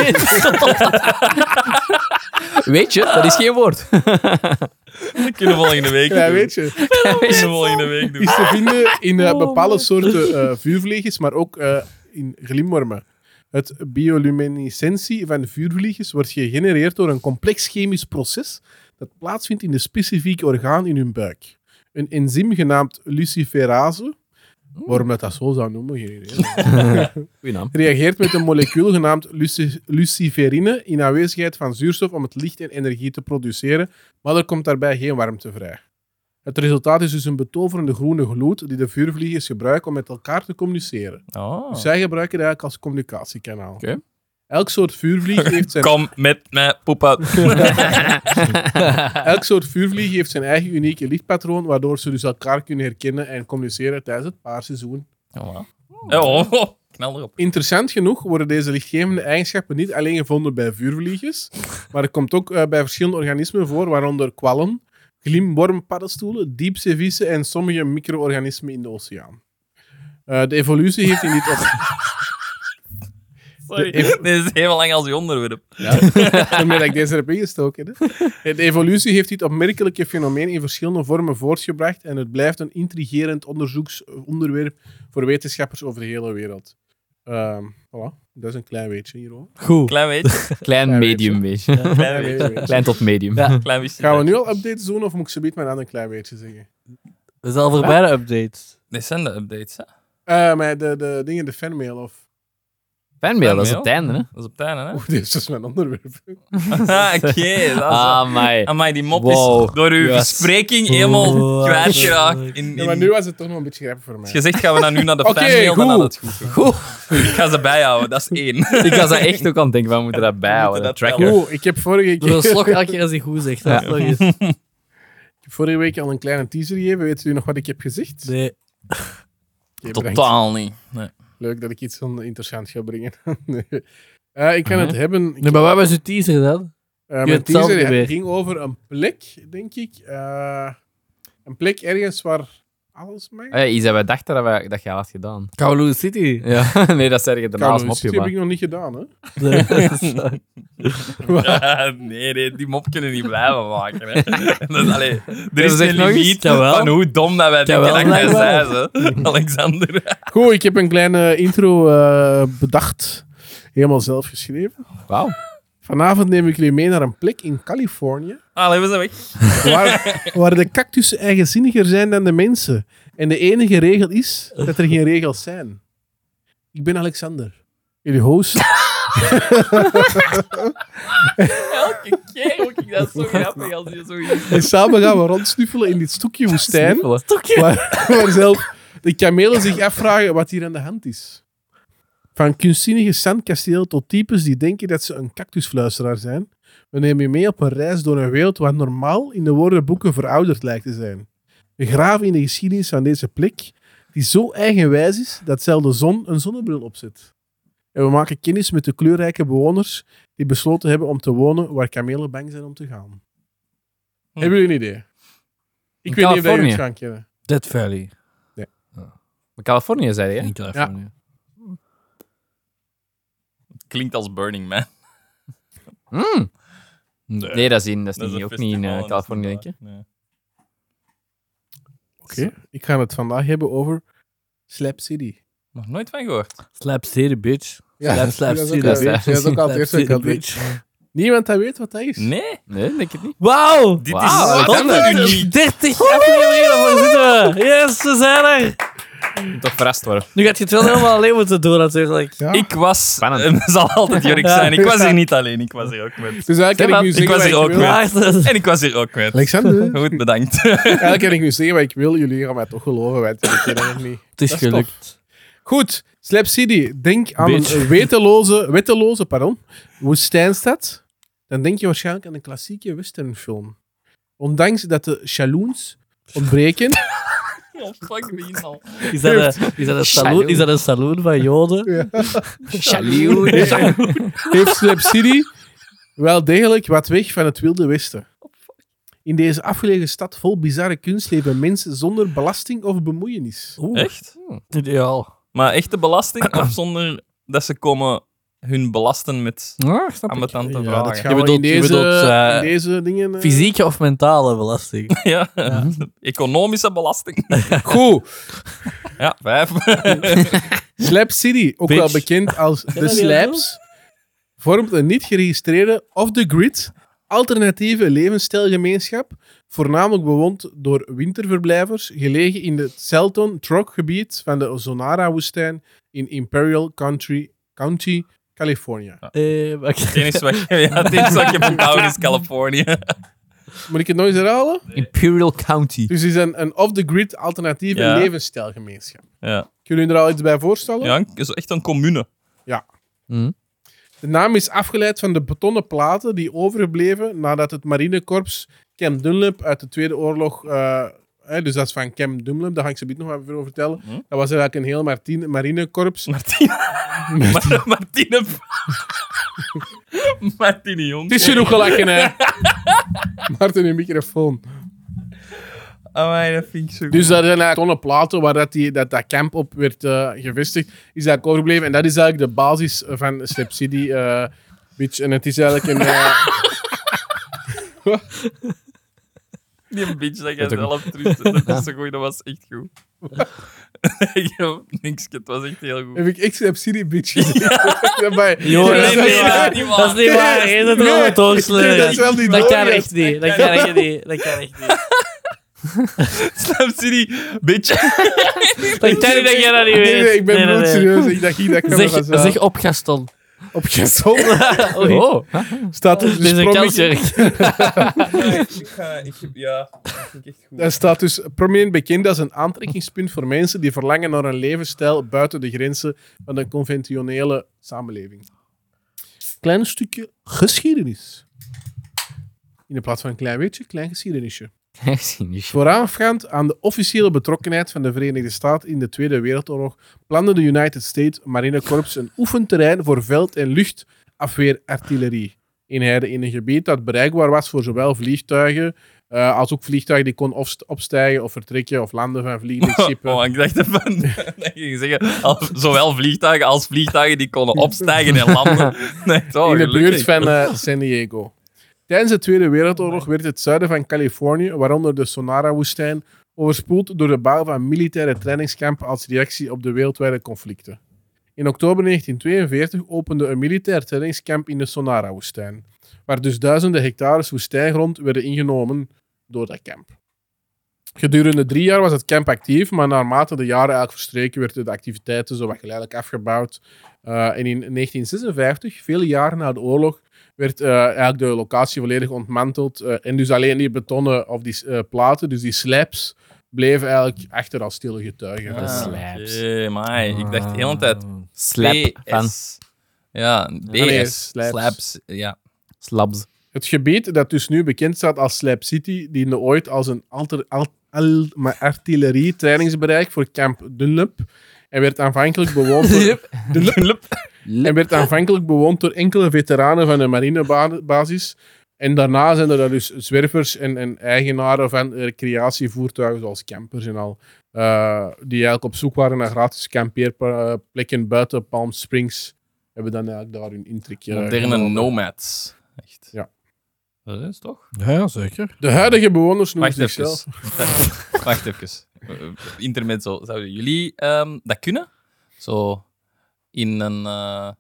Speaker 2: Weet je, dat is geen woord. Dat kunnen we volgende week
Speaker 1: ja,
Speaker 2: doen.
Speaker 1: weet je.
Speaker 2: Dat kunnen we volgende week doen.
Speaker 1: is te vinden in eh, bepaalde soorten eh, vuurvliegers, maar ook eh, in glimwormen. Het bioluminescentie van vuurvliegers wordt gegenereerd door een complex chemisch proces dat plaatsvindt in de specifieke orgaan in hun buik. Een enzym genaamd luciferase, waarom dat, dat zo zou noemen, geen idee.
Speaker 4: Goeie naam.
Speaker 1: reageert met een molecuul genaamd luci- luciferine in aanwezigheid van zuurstof om het licht en energie te produceren, maar er komt daarbij geen warmte vrij. Het resultaat is dus een betoverende groene gloed die de vuurvliegers gebruiken om met elkaar te communiceren.
Speaker 2: Oh.
Speaker 1: Dus zij gebruiken het eigenlijk als communicatiekanaal.
Speaker 4: Oké.
Speaker 1: Elk soort vuurvlieg heeft zijn
Speaker 2: Kom met mij, poep uit.
Speaker 1: Elk soort vuurvlieg heeft zijn eigen unieke lichtpatroon, waardoor ze dus elkaar kunnen herkennen en communiceren tijdens het paarseizoen.
Speaker 2: Oh, oh, oh. knal erop.
Speaker 1: Interessant genoeg worden deze lichtgevende eigenschappen niet alleen gevonden bij vuurvliegers, maar het komt ook eh, bij verschillende organismen voor, waaronder kwallen, glimwormpaddenstoelen, diepzeevissen en sommige micro-organismen in de oceaan. Eh, de evolutie heeft in dit op...
Speaker 2: Sorry. Dit is heel lang als je onderwerp.
Speaker 1: Daarmee dat ik deze heb ingestoken. Hè? Eh, De evolutie heeft dit opmerkelijke fenomeen in verschillende vormen voortgebracht en het blijft een intrigerend onderzoeksonderwerp voor wetenschappers over de hele wereld. Ehm, voilà, dat is een klein weetje hierover.
Speaker 3: Goed.
Speaker 2: Klein beetje.
Speaker 4: Klein, medium beetje.
Speaker 2: Klein beetje.
Speaker 4: Klein tot medium.
Speaker 3: Ja.
Speaker 2: Klein beetje.
Speaker 1: Gaan we nu al updates doen of moet ik ze maar aan een klein beetje zeggen?
Speaker 3: Dat is al voorbij de updates.
Speaker 2: Dit zijn de updates, hè?
Speaker 1: Eh, maar de, de dingen, de fanmail of.
Speaker 4: Fanmail, dat is het einde, hè?
Speaker 2: Dat is op het einde, hè?
Speaker 1: Oeh, dit is dus mijn onderwerp.
Speaker 2: Ah, Oké, dat is...
Speaker 4: Ah, my.
Speaker 2: Amai, die mop is
Speaker 4: Wow.
Speaker 2: door uw
Speaker 4: Yes.
Speaker 2: verspreking helemaal
Speaker 3: Wow.
Speaker 2: kwijtgeraakt. In, in...
Speaker 1: Ja, maar nu was het toch nog een beetje grappig voor
Speaker 2: Als
Speaker 1: mij.
Speaker 2: je zegt, gaan we dan nu naar de
Speaker 1: Oké,
Speaker 2: fanmail,
Speaker 1: goed.
Speaker 2: dan had het goed. gekomen. Ik ga ze bijhouden, dat is één.
Speaker 4: Ik was daar echt ook aan het denken, we moeten dat bijhouden.
Speaker 2: dat
Speaker 4: dat tracker.
Speaker 2: wel.
Speaker 1: Oeh, ik heb vorige
Speaker 3: Door een
Speaker 1: keer.
Speaker 3: slok elke keer als hij goed zegt. Dat is nog eens.
Speaker 1: Ik heb vorige week al een kleine teaser gegeven. Weet u nog wat ik heb gezegd?
Speaker 3: Nee.
Speaker 1: Oké, bedankt.
Speaker 2: Totaal niet. Nee.
Speaker 1: Leuk dat ik iets van interessant ga brengen. nee. Eh, ik kan het hebben. Ik-
Speaker 3: Mhm. Nee, maar waar was uw teaser dan?
Speaker 1: eh,
Speaker 3: je
Speaker 1: mijn
Speaker 3: het zelf
Speaker 1: teaser
Speaker 3: niet
Speaker 1: ja,
Speaker 3: weer.
Speaker 1: ging over een plek, denk ik. Eh, een plek ergens waar alles
Speaker 3: Ah
Speaker 1: mee.
Speaker 4: Hey, Oh Isa, wij dachten dat, wij, dat jij dat had gedaan.
Speaker 3: Kowloon City.
Speaker 4: Ja, nee, dat zei je daarna als
Speaker 1: Koude
Speaker 4: mopje,
Speaker 1: City heb
Speaker 4: maar...
Speaker 1: ik nog niet gedaan, hè?
Speaker 3: Nee.
Speaker 2: Ja, nee, nee, die mop kunnen we niet blijven maken. Hè. Dat is, allee, er
Speaker 4: Dat
Speaker 2: is
Speaker 4: is
Speaker 2: geen
Speaker 4: echt nog eens.
Speaker 2: limiet
Speaker 3: Jawel.
Speaker 2: van hoe dom dat wij denken
Speaker 3: Jawel,
Speaker 2: dat jij
Speaker 3: blijkbaar.
Speaker 2: zei, ze. Alexander.
Speaker 1: Goed, ik heb een kleine intro eh, bedacht. Helemaal zelf geschreven.
Speaker 4: Wauw.
Speaker 1: Vanavond neem ik jullie mee naar een plek in Californië.
Speaker 2: Allee, we zijn weg.
Speaker 1: Waar, waar de cactussen eigenzinniger zijn dan de mensen. En de enige regel is dat er geen regels zijn. Ik ben Alexander, jullie host.
Speaker 2: Elke keer ook ik dat zo grappig als je zo...
Speaker 1: En samen gaan we rondsnuffelen in dit stukje woestijn.
Speaker 4: Snuffelen.
Speaker 1: Waar, waar zelf de kamelen zich afvragen wat hier aan de hand is. Van kunstzinnige zandkasteel tot types die denken dat ze een cactusfluisteraar zijn. We nemen je mee op een reis door een wereld wat normaal in de woordenboeken verouderd lijkt te zijn. We graven in de geschiedenis van deze plek, die zo eigenwijs is dat zelfs de zon een zonnebril opzet. En we maken kennis met de kleurrijke bewoners die besloten hebben om te wonen waar kamelen bang zijn om te gaan.
Speaker 2: Hm.
Speaker 1: Hebben jullie een idee? Ik
Speaker 4: In
Speaker 1: weet niet of dat jullie
Speaker 4: Californië.
Speaker 1: het gaan kennen.
Speaker 3: Dead Valley.
Speaker 4: Maar Californië, zei je, hè?
Speaker 3: In Californië.
Speaker 2: Klinkt als Burning Man.
Speaker 4: Mm. Nee, dat is, in, dat is,
Speaker 2: Dat
Speaker 4: niet,
Speaker 2: een
Speaker 4: ook niet in eh,
Speaker 2: festival,
Speaker 4: Californië,
Speaker 2: dat
Speaker 4: denk
Speaker 2: is
Speaker 4: je.
Speaker 2: niet waar. Nee.
Speaker 1: Oké, ik ga het vandaag hebben over Slap City.
Speaker 2: Nog nooit van gehoord.
Speaker 3: Slap City, bitch. Slap, slap
Speaker 1: dat is
Speaker 3: City,
Speaker 1: ook al-
Speaker 4: hè.
Speaker 3: bitch.
Speaker 1: Dat is ook al het
Speaker 3: Slap
Speaker 1: eerste dat ik
Speaker 3: City,
Speaker 1: had.
Speaker 3: bitch.
Speaker 1: Niemand dat weet wat dat is.
Speaker 2: Nee,
Speaker 4: Nee, denk ik niet.
Speaker 3: Wauw!
Speaker 2: dit
Speaker 4: Wauw,
Speaker 2: is
Speaker 4: Ah, dat
Speaker 2: wat
Speaker 4: is
Speaker 2: een uniek.
Speaker 3: 30 afleveringen daarvoor zitten we. Yes, we zijn er.
Speaker 4: Je moet toch verrast worden.
Speaker 3: Nu gaat je het wel helemaal alleen moeten doen, natuurlijk.
Speaker 1: Ja.
Speaker 2: Ik was...
Speaker 4: Spannend.
Speaker 2: Het zal altijd Jorik
Speaker 3: Ja.
Speaker 2: zijn. Ik was hier niet alleen, ik was hier ook met.
Speaker 1: Dus eigenlijk kan ik nu
Speaker 2: Ik
Speaker 1: zeggen
Speaker 2: was
Speaker 1: wat
Speaker 2: hier
Speaker 1: ik
Speaker 2: ook
Speaker 1: wil.
Speaker 2: mee.
Speaker 3: Maar dat is-
Speaker 2: En ik was hier ook met.
Speaker 1: Alexander.
Speaker 2: Goed, bedankt.
Speaker 1: eigenlijk kan ik nu zeggen wat ik wil. Jullie gaan mij toch geloven, want ik ken het niet.
Speaker 3: Het is
Speaker 1: Dat is
Speaker 3: gelukt.
Speaker 1: Goed, Slap City, denk aan
Speaker 2: Beetje.
Speaker 1: een weteloze, wetteloze pardon, woestijnstad. Dan denk je waarschijnlijk aan een klassieke westernfilm. Ondanks dat de saloons ontbreken.
Speaker 2: Oh, fuck me al.
Speaker 3: Is dat, een, is, dat een saloon, is dat een saloon van Joden?
Speaker 1: heeft Slap City wel degelijk wat weg van het wilde westen. In deze afgelegen stad vol bizarre kunst leven mensen zonder belasting of bemoeienis.
Speaker 3: Oeh,
Speaker 2: Echt?
Speaker 3: ideaal.
Speaker 2: Maar echte belasting of zonder dat ze komen hun belasten met
Speaker 4: Ja, snap ik.
Speaker 2: ambetante
Speaker 1: Ja,
Speaker 2: vragen?
Speaker 1: dat
Speaker 3: Je
Speaker 1: gaan we in
Speaker 3: bedoelt- je
Speaker 1: deze,
Speaker 3: bedoelt, eh,
Speaker 1: in deze dingen... eh,
Speaker 3: Fysieke of mentale belasting?
Speaker 2: Ja, economische belasting.
Speaker 1: Goed.
Speaker 2: Ja, vijf.
Speaker 1: Slap City, ook
Speaker 2: Bitch.
Speaker 1: wel bekend als
Speaker 3: dat
Speaker 1: de
Speaker 3: niet
Speaker 1: Slaps, vormt een niet geregistreerde off-the-grid alternatieve levensstijlgemeenschap, voornamelijk bewoond door winterverblijvers, gelegen in het Selton Troc gebied van de Sonara-woestijn in Imperial Country, County, California.
Speaker 3: Eh, maar
Speaker 2: Het enige wat je, ja, het enige wat je moet houden is Californië.
Speaker 1: Moet ik het nog eens herhalen?
Speaker 4: Imperial County.
Speaker 1: Dus het is een, een off-the-grid alternatieve
Speaker 2: Ja.
Speaker 1: levensstijlgemeenschap.
Speaker 2: Ja,
Speaker 1: Kunnen jullie er al iets bij voorstellen?
Speaker 2: ja het is echt een commune.
Speaker 1: De naam is afgeleid van de betonnen platen die overgebleven nadat het marinekorps Camp Dunlop uit de Tweede Oorlog... eh, hè, dus dat is van Camp Dunlop, daar ga ik ze nog even over vertellen.
Speaker 2: Hm?
Speaker 1: Dat was eigenlijk een heel Martine, marinekorps.
Speaker 2: Martine. Martine. Martine, Martine jong.
Speaker 1: Het is genoeg gelachen, hè? Martin, je microfoon.
Speaker 2: Amai, dat vind ik zo goed.
Speaker 1: Dus daar zijn eigenlijk tonnen platen waar dat, die, dat, dat camp op werd eh, gevestigd, is eigenlijk overgebleven. En dat is eigenlijk de basis van Slap City, eh, bitch. En het is eigenlijk een... eh,
Speaker 2: Die bitch dat jij
Speaker 4: Dat ook-
Speaker 2: zelf terug... Dat is zo goed, dat was echt goed. Ik heb niks, het was echt heel goed.
Speaker 1: heb ik echt Slap City, bitch gezegd? Daarbij-
Speaker 3: Jongen,
Speaker 1: Ja,
Speaker 2: nee,
Speaker 1: dat is
Speaker 2: nee,
Speaker 1: waar.
Speaker 2: dat is niet waar.
Speaker 3: Dat is niet waar. Je zit
Speaker 1: Nee,
Speaker 3: erom het doorsluiten.
Speaker 1: dat is wel niet
Speaker 3: Dat kan
Speaker 1: nodig.
Speaker 3: echt niet. Dat kan echt niet. Dat kan echt niet.
Speaker 2: Slap City, bitch.
Speaker 3: Dat kan niet dat jij dat niet weet.
Speaker 1: Nee, nee, ik ben
Speaker 3: Nee, nee, nee.
Speaker 1: bloedserieus. Ik dacht, ik dacht dat
Speaker 3: Zeg,
Speaker 1: was wel.
Speaker 3: zeg op Gaston.
Speaker 1: op je zon
Speaker 3: Oei.
Speaker 4: Oh,
Speaker 1: staat dus
Speaker 3: Dit is een
Speaker 1: prominent,
Speaker 3: kansjurk.
Speaker 2: ik ga... Ik, ja, dat vind ik echt goed.
Speaker 1: dat staat dus prominent bekend als een aantrekkingspunt voor mensen die verlangen naar een levensstijl buiten de grenzen van de conventionele samenleving. Klein stukje geschiedenis. In de plaats van een klein weetje, klein geschiedenisje. Voorafgaand aan de officiële betrokkenheid van de Verenigde Staten in de Tweede Wereldoorlog plande de United States Marine Corps een oefenterrein voor veld- en luchtafweerartillerie in Heide in een gebied dat bereikbaar was voor zowel vliegtuigen eh, als ook vliegtuigen die kon opst- opstijgen of vertrekken of landen van vliegende
Speaker 2: Oh,
Speaker 1: schepen.
Speaker 2: ik dacht ervan dat je ging zeggen, al- zowel vliegtuigen als vliegtuigen die konden opstijgen en landen. Nee, toch,
Speaker 1: in de
Speaker 2: gelukkig.
Speaker 1: buurt van eh, San Diego. Tijdens de Tweede Wereldoorlog werd het zuiden van Californië, waaronder de Sonora-woestijn, overspoeld door de bouw van militaire trainingskampen als reactie op de wereldwijde conflicten. In oktober 1942 opende een militair trainingskamp in de Sonara-woestijn, waar dus duizenden hectares woestijngrond werden ingenomen door dat kamp. Gedurende drie jaar was het kamp actief, maar naarmate de jaren eigenlijk verstreken werden de activiteiten zo wat geleidelijk afgebouwd uh, en in 1956, vele jaren na de oorlog, werd eh, eigenlijk de locatie volledig ontmanteld. eh, en dus alleen die betonnen of die eh, platen, dus die slabs, bleven eigenlijk achter als stille getuigen.
Speaker 2: Ah,
Speaker 1: Dus-
Speaker 4: slaps.
Speaker 2: oké, amai, ik dacht de hele tijd
Speaker 4: Slap van
Speaker 2: PS. Ja, BS.
Speaker 1: nee, slaps.
Speaker 2: slaps. Ja.
Speaker 4: slabs.
Speaker 1: Het gebied dat dus nu bekend staat als Slap City, diende ooit als een alter, al, al- maar artillerietrainingsbereik voor Camp Dunlop. En werd aanvankelijk bewoond door, en werd aanvankelijk bewoond door enkele veteranen van de marinebasis. En daarna zijn er daar dus zwervers en, en eigenaren van recreatievoertuigen, zoals campers en al, eh, die eigenlijk op zoek waren naar gratis kampeerplekken buiten Palm Springs, hebben dan eigenlijk daar hun intrekje.
Speaker 2: Moderne
Speaker 1: genomen.
Speaker 2: nomads. Echt.
Speaker 1: Ja.
Speaker 2: Dat is toch?
Speaker 3: Ja, zeker.
Speaker 1: De huidige bewoners noemen
Speaker 2: Wacht even.
Speaker 1: zichzelf...
Speaker 2: Wacht even. Eh, Intermezzo. Zouden jullie ehm, dat kunnen? Zo in een, eh,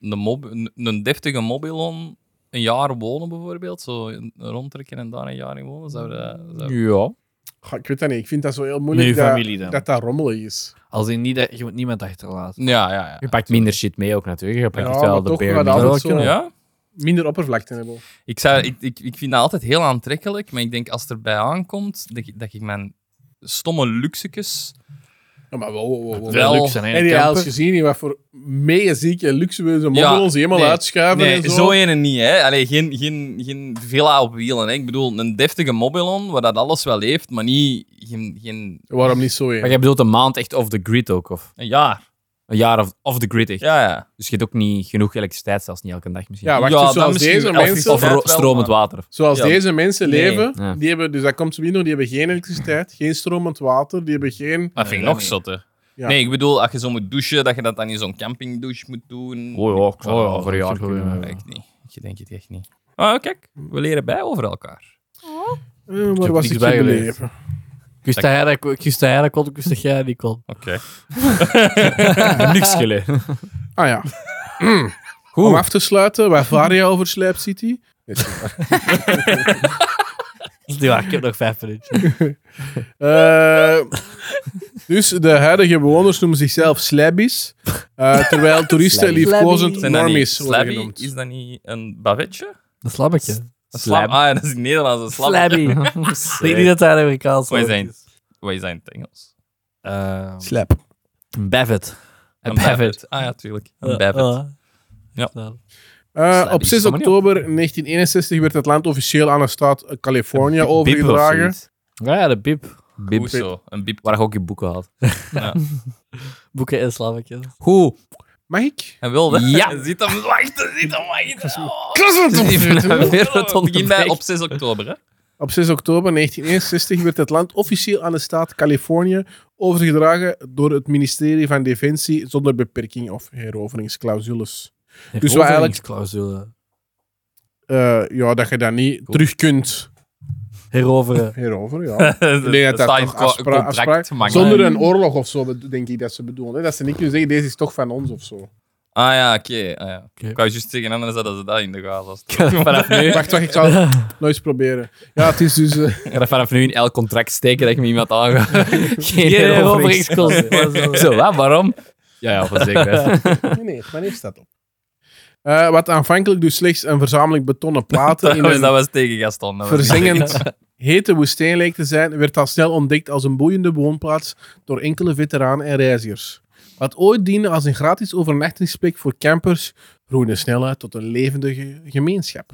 Speaker 2: een, mob een, een deftige mobilon een jaar wonen bijvoorbeeld? Zo een- rondtrekken en daar een jaar in wonen? Zou dat, zou-
Speaker 4: Ja.
Speaker 1: Goh, ik weet dat niet, ik vind dat zo heel moeilijk
Speaker 3: Nu
Speaker 1: dat,
Speaker 3: familie dan.
Speaker 1: dat dat rommelig is.
Speaker 3: Als in niet, dat- je moet niemand achterlaten.
Speaker 2: Ja, ja, ja.
Speaker 4: Je pakt minder shit mee ook natuurlijk. Je pakt
Speaker 1: Ja,
Speaker 4: echt wel
Speaker 1: maar
Speaker 4: de
Speaker 1: toch
Speaker 4: bare
Speaker 1: gaat
Speaker 4: minimum.
Speaker 1: altijd
Speaker 3: Ja,
Speaker 1: zo
Speaker 2: Ja?
Speaker 1: minder oppervlakte hebben.
Speaker 2: Ik, zou, ik, ik, ik vind dat altijd heel aantrekkelijk, maar ik denk als het erbij aankomt, dat ik, dat ik mijn stomme luxekes
Speaker 1: Ja, maar wel, wel, wel, wel.
Speaker 3: Wel luxe zijn, hè,
Speaker 1: En je had
Speaker 3: kampen.
Speaker 1: eens gezien in wat voor mega zieke luxueuze moddel ons helemaal
Speaker 2: nee.
Speaker 1: uitschuiven
Speaker 2: Nee,
Speaker 1: en
Speaker 2: zo ene niet, hè. Allee, geen, geen, geen villa op wielen, hè. Ik bedoel, een deftige mobilon waar dat alles wel heeft, maar niet... Geen, geen...
Speaker 1: Waarom niet zo
Speaker 4: Maar
Speaker 1: één?
Speaker 4: jij bedoelt een maand echt off the grid ook, of
Speaker 2: Een jaar.
Speaker 4: een jaar off, off the grid echt.
Speaker 2: Ja, ja.
Speaker 4: Dus je hebt ook niet genoeg elektriciteit, zelfs niet elke dag misschien.
Speaker 1: Ja, wacht,
Speaker 2: Ja,
Speaker 1: dus
Speaker 2: dan
Speaker 1: zoals
Speaker 2: misschien
Speaker 1: deze
Speaker 2: wel.
Speaker 1: mensen...
Speaker 4: of ro-
Speaker 2: wel,
Speaker 4: stromend
Speaker 2: maar-
Speaker 4: water.
Speaker 1: Zoals
Speaker 2: Ja.
Speaker 1: deze mensen
Speaker 2: Nee.
Speaker 1: leven,
Speaker 4: Ja.
Speaker 1: die hebben, dus dat komt zo binnen, die hebben geen elektriciteit, geen stromend water, die hebben geen...
Speaker 2: Dat vind ik
Speaker 1: Nee,
Speaker 2: nog
Speaker 1: nee.
Speaker 2: zotter.
Speaker 1: Ja.
Speaker 2: Nee, ik bedoel, als je zo moet douchen, dat je dat dan in zo'n campingdouche moet doen.
Speaker 4: ja, ik zou
Speaker 2: Oh ja,
Speaker 4: wel voor een jaar
Speaker 3: dat
Speaker 4: eh,
Speaker 3: is
Speaker 4: kunnen.
Speaker 3: goed, ja.
Speaker 2: Ik niet. Ik denk het echt niet. Oh, kijk. We leren bij over elkaar.
Speaker 1: Eh, waar
Speaker 3: heb
Speaker 1: was
Speaker 3: niks
Speaker 1: ik
Speaker 3: bij geleerd.
Speaker 1: gebleven?
Speaker 3: Ik wist dat jij dat- ik wist dat jij dat kon, ik wist dat jij dat niet kon.
Speaker 2: Oké.
Speaker 4: Niks geleden.
Speaker 1: Ah ja. Goed. Om af te sluiten, waar Varia over Slap City.
Speaker 3: Dat is niet waar, ik heb nog vijf minuutjes.
Speaker 1: Eh, dus de huidige bewoners noemen zichzelf Slabbies, eh, terwijl toeristen
Speaker 4: Slabbies.
Speaker 1: liefkozend
Speaker 2: Zijn dat niet
Speaker 1: normies worden
Speaker 2: slabby?
Speaker 1: genoemd.
Speaker 2: Is dat niet een bavetje?
Speaker 3: Dat slabbetje.
Speaker 2: Een slab. Ah, ja, dat is in het Nederlands een slab.
Speaker 3: Slabby. Ik denk niet dat dat een Amerikaans
Speaker 2: Wij
Speaker 3: woord
Speaker 2: zijn,
Speaker 3: is.
Speaker 2: wij zijn het Engels.
Speaker 3: Eh,
Speaker 1: Slap.
Speaker 3: Een Bevet.
Speaker 2: Een
Speaker 3: Bevet.
Speaker 2: bavet. Ah ja, tuurlijk. Een bavet.
Speaker 3: Ja.
Speaker 2: Ja.
Speaker 1: Eh, op
Speaker 4: Slabbies,
Speaker 1: 6
Speaker 4: kom maar niet
Speaker 1: oktober 1961 werd het land officieel aan de staat Californië overgedragen.
Speaker 3: Ja, ja, de bib.
Speaker 2: Goed zo. Een biep.
Speaker 4: Waar je ook je boeken had.
Speaker 3: Boeken en slabbetjes.
Speaker 4: Goed.
Speaker 1: Mag ik?
Speaker 2: En wilde.
Speaker 4: Ja.
Speaker 2: Zit hem wachten, zit hem wachten. Oh.
Speaker 4: Even weer het
Speaker 2: Het begint bij
Speaker 4: onderbreken.
Speaker 2: op 6 oktober, hè?
Speaker 1: Op 6 oktober 1961 werd het land officieel aan de staat Californië overgedragen door het ministerie van Defensie zonder beperking of heroveringsclausules. Dus we eigenlijk-
Speaker 3: Heroveringsclausule.
Speaker 1: Eh, ja, dat je dat niet terug kunt
Speaker 3: Heroveren.
Speaker 1: heroveren, ja. Nee, dat
Speaker 2: Dat staat in
Speaker 1: toch
Speaker 2: het co-
Speaker 1: afspra-
Speaker 2: contract.
Speaker 1: afspraak-
Speaker 2: maar-
Speaker 1: Zonder een Hmm. oorlog of zo, be- denk ik dat ze bedoelen. Hè? Dat ze niet kunnen zeggen, deze is toch van ons of zo.
Speaker 2: Ah ja, oké. Ah, ja.
Speaker 3: Oké.
Speaker 2: Ik wou juist tegen anderen zeggen dat ze dat in de gaten was.
Speaker 4: Vanaf nu,
Speaker 1: Wacht, wacht, ik zal het nog eens proberen. Ja, het is dus... eh,
Speaker 4: ga dat vanaf nu in elk contract steken dat je met iemand aangaat. Geen
Speaker 3: Geen
Speaker 4: heroverings-
Speaker 3: heroveringsclausule.
Speaker 4: Zo, wat? Waarom? Ja, ja, van zekerheid.
Speaker 1: nee, nee, wanneer staat op? Eh, wat aanvankelijk dus slechts een verzameling betonnen platen
Speaker 2: Dat
Speaker 1: in
Speaker 4: Dus
Speaker 2: was, dat
Speaker 1: een
Speaker 2: was tegen Gaston. dat was
Speaker 1: verzengend hete woestijn leek te zijn, werd al snel ontdekt als een boeiende woonplaats door enkele veteranen en reizigers. Wat ooit diende als een gratis overnachtingsplek voor campers, groeide snel uit tot een levendige gemeenschap.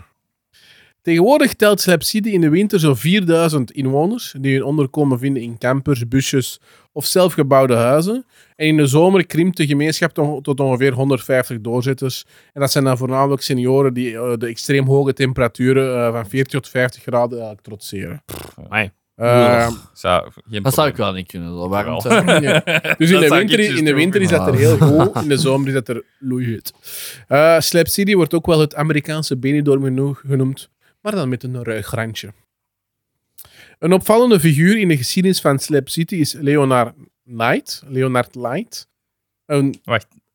Speaker 1: Tegenwoordig telt Slap City in de winter zo'n 4000 inwoners, die hun onderkomen vinden in campers, busjes of zelfgebouwde huizen. En in de zomer krimpt de gemeenschap to- tot ongeveer 150 doorzitters. En dat zijn dan voornamelijk senioren die eh, de extreem hoge temperaturen eh, van 40 tot 50 graden eigenlijk trotseren.
Speaker 4: Amai.
Speaker 1: Eh,
Speaker 2: Zou, geen
Speaker 3: Dat zou ik
Speaker 2: probleem.
Speaker 3: wel niet kunnen. Zo. Waarom
Speaker 2: Jawel.
Speaker 3: zou-
Speaker 1: ja. Dus in
Speaker 2: Dat
Speaker 1: de,
Speaker 2: zou
Speaker 1: winter,
Speaker 2: ik dus
Speaker 1: in de
Speaker 2: doen.
Speaker 1: winter is dat er heel goed, in de zomer is dat er loeihut. Eh Slap City wordt ook wel het Amerikaanse Benidorm geno- genoemd, maar dan met een ruig randje. Een opvallende figuur in de geschiedenis van Slap City is Leonard Knight. Leonard Light. Een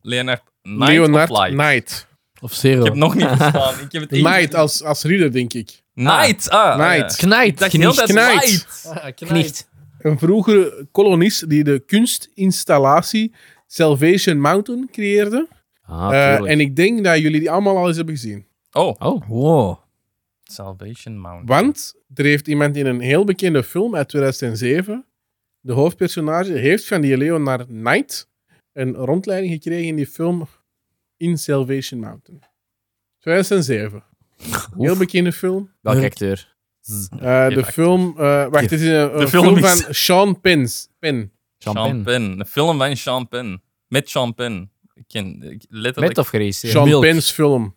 Speaker 2: Leonard Knight
Speaker 1: Leonard
Speaker 2: of Light?
Speaker 1: Knight.
Speaker 3: Of
Speaker 2: Ik
Speaker 3: zero.
Speaker 2: heb nog niet verstaan. Ik heb het echt-
Speaker 1: Knight als, als ridder, denk ik.
Speaker 2: Knight. Ah,
Speaker 1: Knight.
Speaker 2: Knight. Dat je heel tijd
Speaker 1: Knight.
Speaker 2: Light.
Speaker 3: Knicht.
Speaker 1: Een vroegere kolonist die de kunstinstallatie Salvation Mountain creëerde.
Speaker 4: Ah,
Speaker 1: Eh,
Speaker 4: tuurlijk.
Speaker 1: en ik denk dat jullie die allemaal al eens hebben gezien.
Speaker 2: Oh.
Speaker 4: Oh,
Speaker 3: Wow.
Speaker 2: Salvation Mountain.
Speaker 1: Want er heeft iemand in een heel bekende film uit 2007, de hoofdpersonage, heeft van die Leonard Knight een rondleiding gekregen in die film In Salvation Mountain. 2007. Heel bekende film.
Speaker 4: welke acteur?
Speaker 1: Eh, de
Speaker 2: acteur.
Speaker 1: film... eh, wacht, het is een, een
Speaker 2: film
Speaker 1: film
Speaker 2: is-
Speaker 1: van Sean Penn's, Penn.
Speaker 2: Sean
Speaker 4: Champagne.
Speaker 2: Penn. Een film van Sean Penn. Met Sean Penn. Ik ken ik- letterlijk...
Speaker 4: Met of geregistreerd?
Speaker 1: Sean
Speaker 4: Milk.
Speaker 1: Penn's film.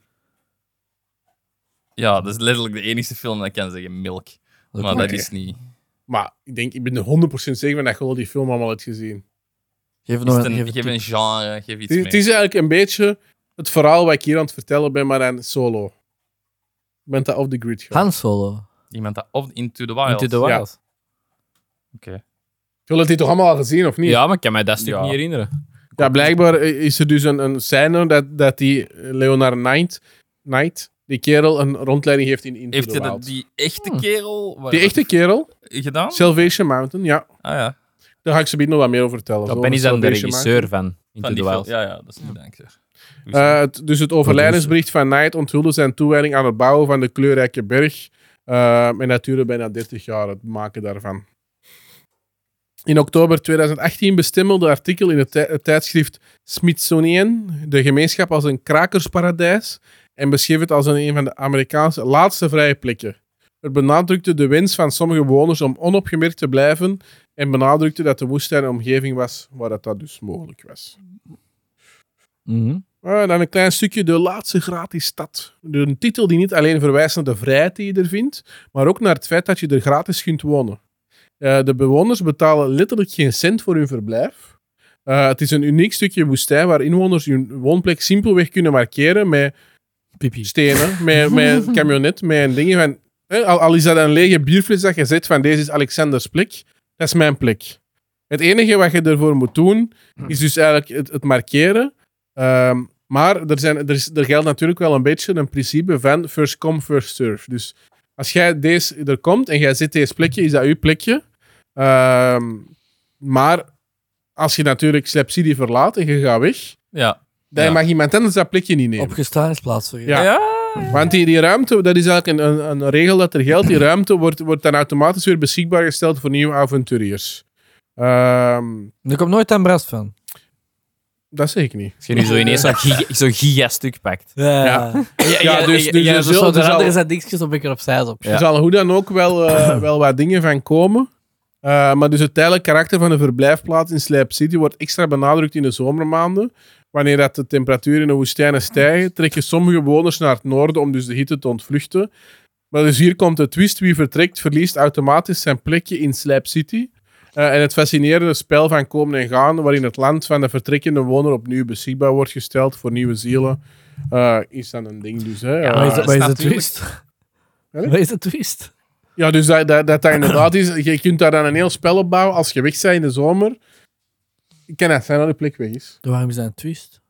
Speaker 2: Ja, dat is letterlijk de enige film dat ik kan zeggen. Milk.
Speaker 3: Dat
Speaker 2: maar dat
Speaker 1: oké.
Speaker 2: is niet...
Speaker 1: Maar ik denk, ik ben er 100% zeker van dat je wel die film allemaal hebt gezien.
Speaker 3: Geef
Speaker 2: Is
Speaker 3: nog
Speaker 2: het
Speaker 3: een,
Speaker 2: een,
Speaker 3: geef
Speaker 2: geef
Speaker 3: een
Speaker 2: een genre, geef
Speaker 1: Het
Speaker 2: iets
Speaker 1: is,
Speaker 2: mee.
Speaker 1: het is eigenlijk een beetje het verhaal wat ik hier aan het vertellen ben, maar dan solo. Je bent dat off the grid
Speaker 3: tip.
Speaker 1: gaan.
Speaker 3: Han Solo.
Speaker 2: Iemand dat... Of Into the Wild.
Speaker 4: Into the
Speaker 1: Ja.
Speaker 4: Wild.
Speaker 2: Oké.
Speaker 1: Jullie hebben dit toch allemaal al gezien, of niet?
Speaker 4: Ja, maar ik kan mij dat stuk
Speaker 2: Ja.
Speaker 4: niet herinneren.
Speaker 1: Ja, blijkbaar is er dus een, een scène dat, dat die Leonard Knight, Knight, die kerel, een rondleiding heeft in Into
Speaker 2: Heeft
Speaker 1: the
Speaker 2: hij
Speaker 1: Wild.
Speaker 2: dat die Oh. echte kerel... waar-
Speaker 1: Die echte kerel,
Speaker 2: Gedaan?
Speaker 1: Salvation Mountain, ja.
Speaker 2: Ah ja.
Speaker 1: Daar ga ik ze binnen nog wat meer over vertellen.
Speaker 4: Dat
Speaker 1: Zo,
Speaker 4: ben ik dan de
Speaker 1: Salvation Mountain.
Speaker 4: regisseur van Into
Speaker 2: Van
Speaker 4: the
Speaker 2: die
Speaker 4: Wild.
Speaker 2: film. Ja, ja, dat is niet dank zeg.
Speaker 1: Eh, het- dus het overlijdensbericht van Knight onthulde zijn toewijding aan het bouwen van de kleurrijke berg. Eh, en dat duurde bijna 30 jaar, het maken daarvan. In oktober 2018 bestempelde artikel in het, tij- het tijdschrift Smithsonian de gemeenschap als een krakersparadijs en beschreef het als een, een van de Amerikaanse laatste vrije plekken. Het benadrukte de wens van sommige bewoners om onopgemerkt te blijven en benadrukte dat de woestijn een omgeving was waar dat, dat dus mogelijk was.
Speaker 3: Mhm.
Speaker 1: Ah, dan een klein stukje De Laatste Gratis Stad. Een titel die niet alleen verwijst naar de vrijheid die je er vindt, maar ook naar het feit dat je er gratis kunt wonen. Eh, de bewoners betalen letterlijk geen cent voor hun verblijf. Eh, het is een uniek stukje woestijn waar inwoners hun woonplek simpelweg kunnen markeren met
Speaker 3: Pipi.
Speaker 1: stenen, met, met een camionet, met een ding van... hè, al, al is dat een lege bierfles dat je zet van deze is Alexanders plek, dat is mijn plek. Het enige wat je ervoor moet doen, is dus eigenlijk het, het markeren. Ehm, maar er, zijn, er, is, er geldt natuurlijk wel een beetje een principe van first come, first serve. Dus als jij deze er komt en jij zit deze plekje, is dat uw plekje. Ehm, maar als je natuurlijk Slapsidie verlaat en je gaat weg,
Speaker 2: Ja.
Speaker 1: dan
Speaker 2: Ja.
Speaker 1: mag iemand anders dat plekje niet nemen.
Speaker 3: Opgestaan is plaats voor je.
Speaker 1: Ja. Want die, die ruimte, dat is eigenlijk een, een, een regel dat er geldt. Die ruimte wordt, wordt dan automatisch weer beschikbaar gesteld voor nieuwe avonturiers. Ehm,
Speaker 3: Er komt nooit aan brast van.
Speaker 1: dat zeg ik niet.
Speaker 4: Als je nu zo ineens zo'n giga, zo'n gigastuk pakt.
Speaker 3: Ja.
Speaker 1: Ja.
Speaker 4: Ja,
Speaker 1: ja, dus- dus er
Speaker 3: er
Speaker 1: zullen-
Speaker 3: zal-
Speaker 1: er
Speaker 3: er
Speaker 1: zal-
Speaker 3: is dat dingetjes op een keer opzij op.
Speaker 1: Er zal hoe dan ook wel, eh, wel wat dingen van komen. Eh, maar dus het tijdelijk karakter van de verblijfplaats in Slijp City wordt extra benadrukt in de zomermaanden. Wanneer dat de temperaturen in de woestijnen stijgen, trekken sommige bewoners naar het noorden om dus de hitte te ontvluchten. Maar dus hier komt de twist. Wie vertrekt, verliest automatisch zijn plekje in Slijp City. Eh, en het fascinerende spel van komen en gaan, waarin het land van de vertrekkende woner opnieuw beschikbaar wordt gesteld voor nieuwe zielen, eh, is dan een ding dus. Hè.
Speaker 3: Waar
Speaker 1: Eh,
Speaker 3: is,
Speaker 2: dat
Speaker 3: waar is
Speaker 2: is
Speaker 3: de
Speaker 2: natuurlijk-
Speaker 3: twist?
Speaker 1: Welk?
Speaker 3: Waar is de twist?
Speaker 1: Ja, dus dat, dat, dat dat inderdaad is. Je kunt daar dan een heel spel op bouwen. Als je weg bent in de zomer, kan dat zijn dat de plek weg is.
Speaker 3: Waarom is dat een twist?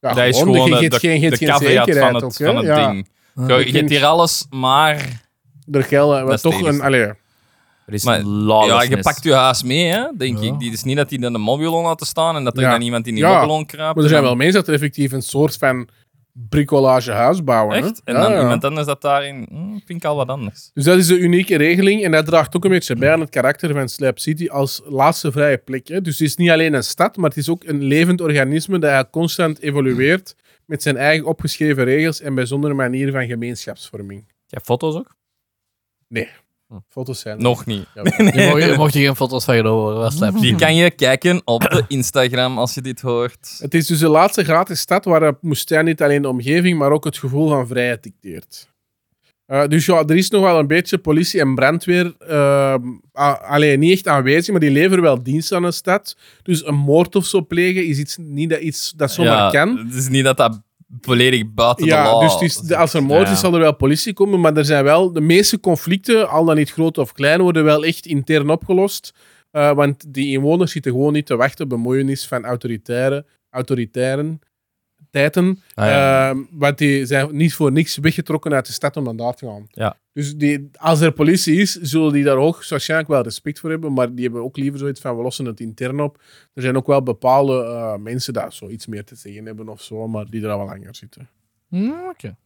Speaker 1: Ja,
Speaker 2: dat is
Speaker 1: je
Speaker 2: gewoon eh,
Speaker 1: geeft
Speaker 2: de,
Speaker 1: geen- geeft
Speaker 2: de
Speaker 1: geen
Speaker 2: caveat
Speaker 1: zekerheid
Speaker 2: van het,
Speaker 1: ook, hè.
Speaker 2: van het
Speaker 1: Ja.
Speaker 2: ding.
Speaker 3: Ah.
Speaker 2: Zo,
Speaker 1: je
Speaker 2: je hebt
Speaker 1: kunt-
Speaker 2: hier alles, maar...
Speaker 1: Er gelden
Speaker 2: Dat
Speaker 1: maar
Speaker 2: is
Speaker 1: toch
Speaker 2: typisch.
Speaker 1: een... Allee,
Speaker 4: Er is
Speaker 2: Maar- Ja,
Speaker 4: lawlessness.
Speaker 2: je pakt je haas mee, hè, denk
Speaker 3: Ja.
Speaker 2: ik. Het is niet dat hij dan de mobilon laten staan en dat er
Speaker 1: Ja.
Speaker 2: dan iemand in die
Speaker 1: Ja.
Speaker 2: mobilon kraapt.
Speaker 1: maar er zijn
Speaker 2: en
Speaker 1: wel
Speaker 2: dan-
Speaker 1: mensen dat er effectief een soort van bricolage huis bouwen. hè.
Speaker 2: Echt? En
Speaker 1: Ja,
Speaker 2: dan
Speaker 1: ja.
Speaker 2: iemand anders dat daarin... Hm, vind ik al wat anders.
Speaker 1: Dus dat is de unieke regeling en dat draagt ook een beetje bij aan het karakter van Slap City als laatste vrije plek. Hè. Dus het is niet alleen een stad, maar het is ook een levend organisme dat eigenlijk constant evolueert met zijn eigen opgeschreven regels en bijzondere manieren van gemeenschapsvorming.
Speaker 4: Je hebt foto's ook?
Speaker 1: Foto's zijn.
Speaker 2: Nog niet.
Speaker 1: Ja, maar-
Speaker 3: Je mocht, je mocht hier geen foto's van genomen worden. Dat is slecht.
Speaker 2: Die kan je kijken op de Instagram als je dit hoort.
Speaker 1: Het is dus de laatste gratis stad waar de woestijn niet alleen de omgeving, maar ook het gevoel van vrijheid dicteert. Eh, dus ja, er is nog wel een beetje politie en brandweer. ehm, a- alleen niet echt aanwezig, maar die leveren wel dienst aan een stad. Dus een moord of zo plegen is iets, niet dat, iets dat zomaar
Speaker 2: Ja,
Speaker 1: kan.
Speaker 2: Het is niet dat dat volledig buiten de
Speaker 1: Ja,
Speaker 2: law
Speaker 1: dus het is- de- als er moord
Speaker 4: Ja.
Speaker 1: is, zal er wel politie komen. Maar er zijn wel de meeste conflicten, al dan niet groot of klein, worden wel echt intern opgelost. Eh, want die inwoners zitten gewoon niet te wachten op bemoeienis van autoritaire, autoritairen tijden.
Speaker 2: Ah, ja.
Speaker 1: Ehm, want die zijn niet voor niks weggetrokken uit de stad om naar daar te gaan.
Speaker 2: Ja.
Speaker 1: Dus die, als er politie is, zullen die daar ook waarschijnlijk wel respect voor hebben. Maar die hebben ook liever zoiets van, we lossen het intern op. Er zijn ook wel bepaalde eh, mensen die zoiets meer te zeggen hebben of zo, maar die er al wel langer zitten.
Speaker 3: Hm, Oké.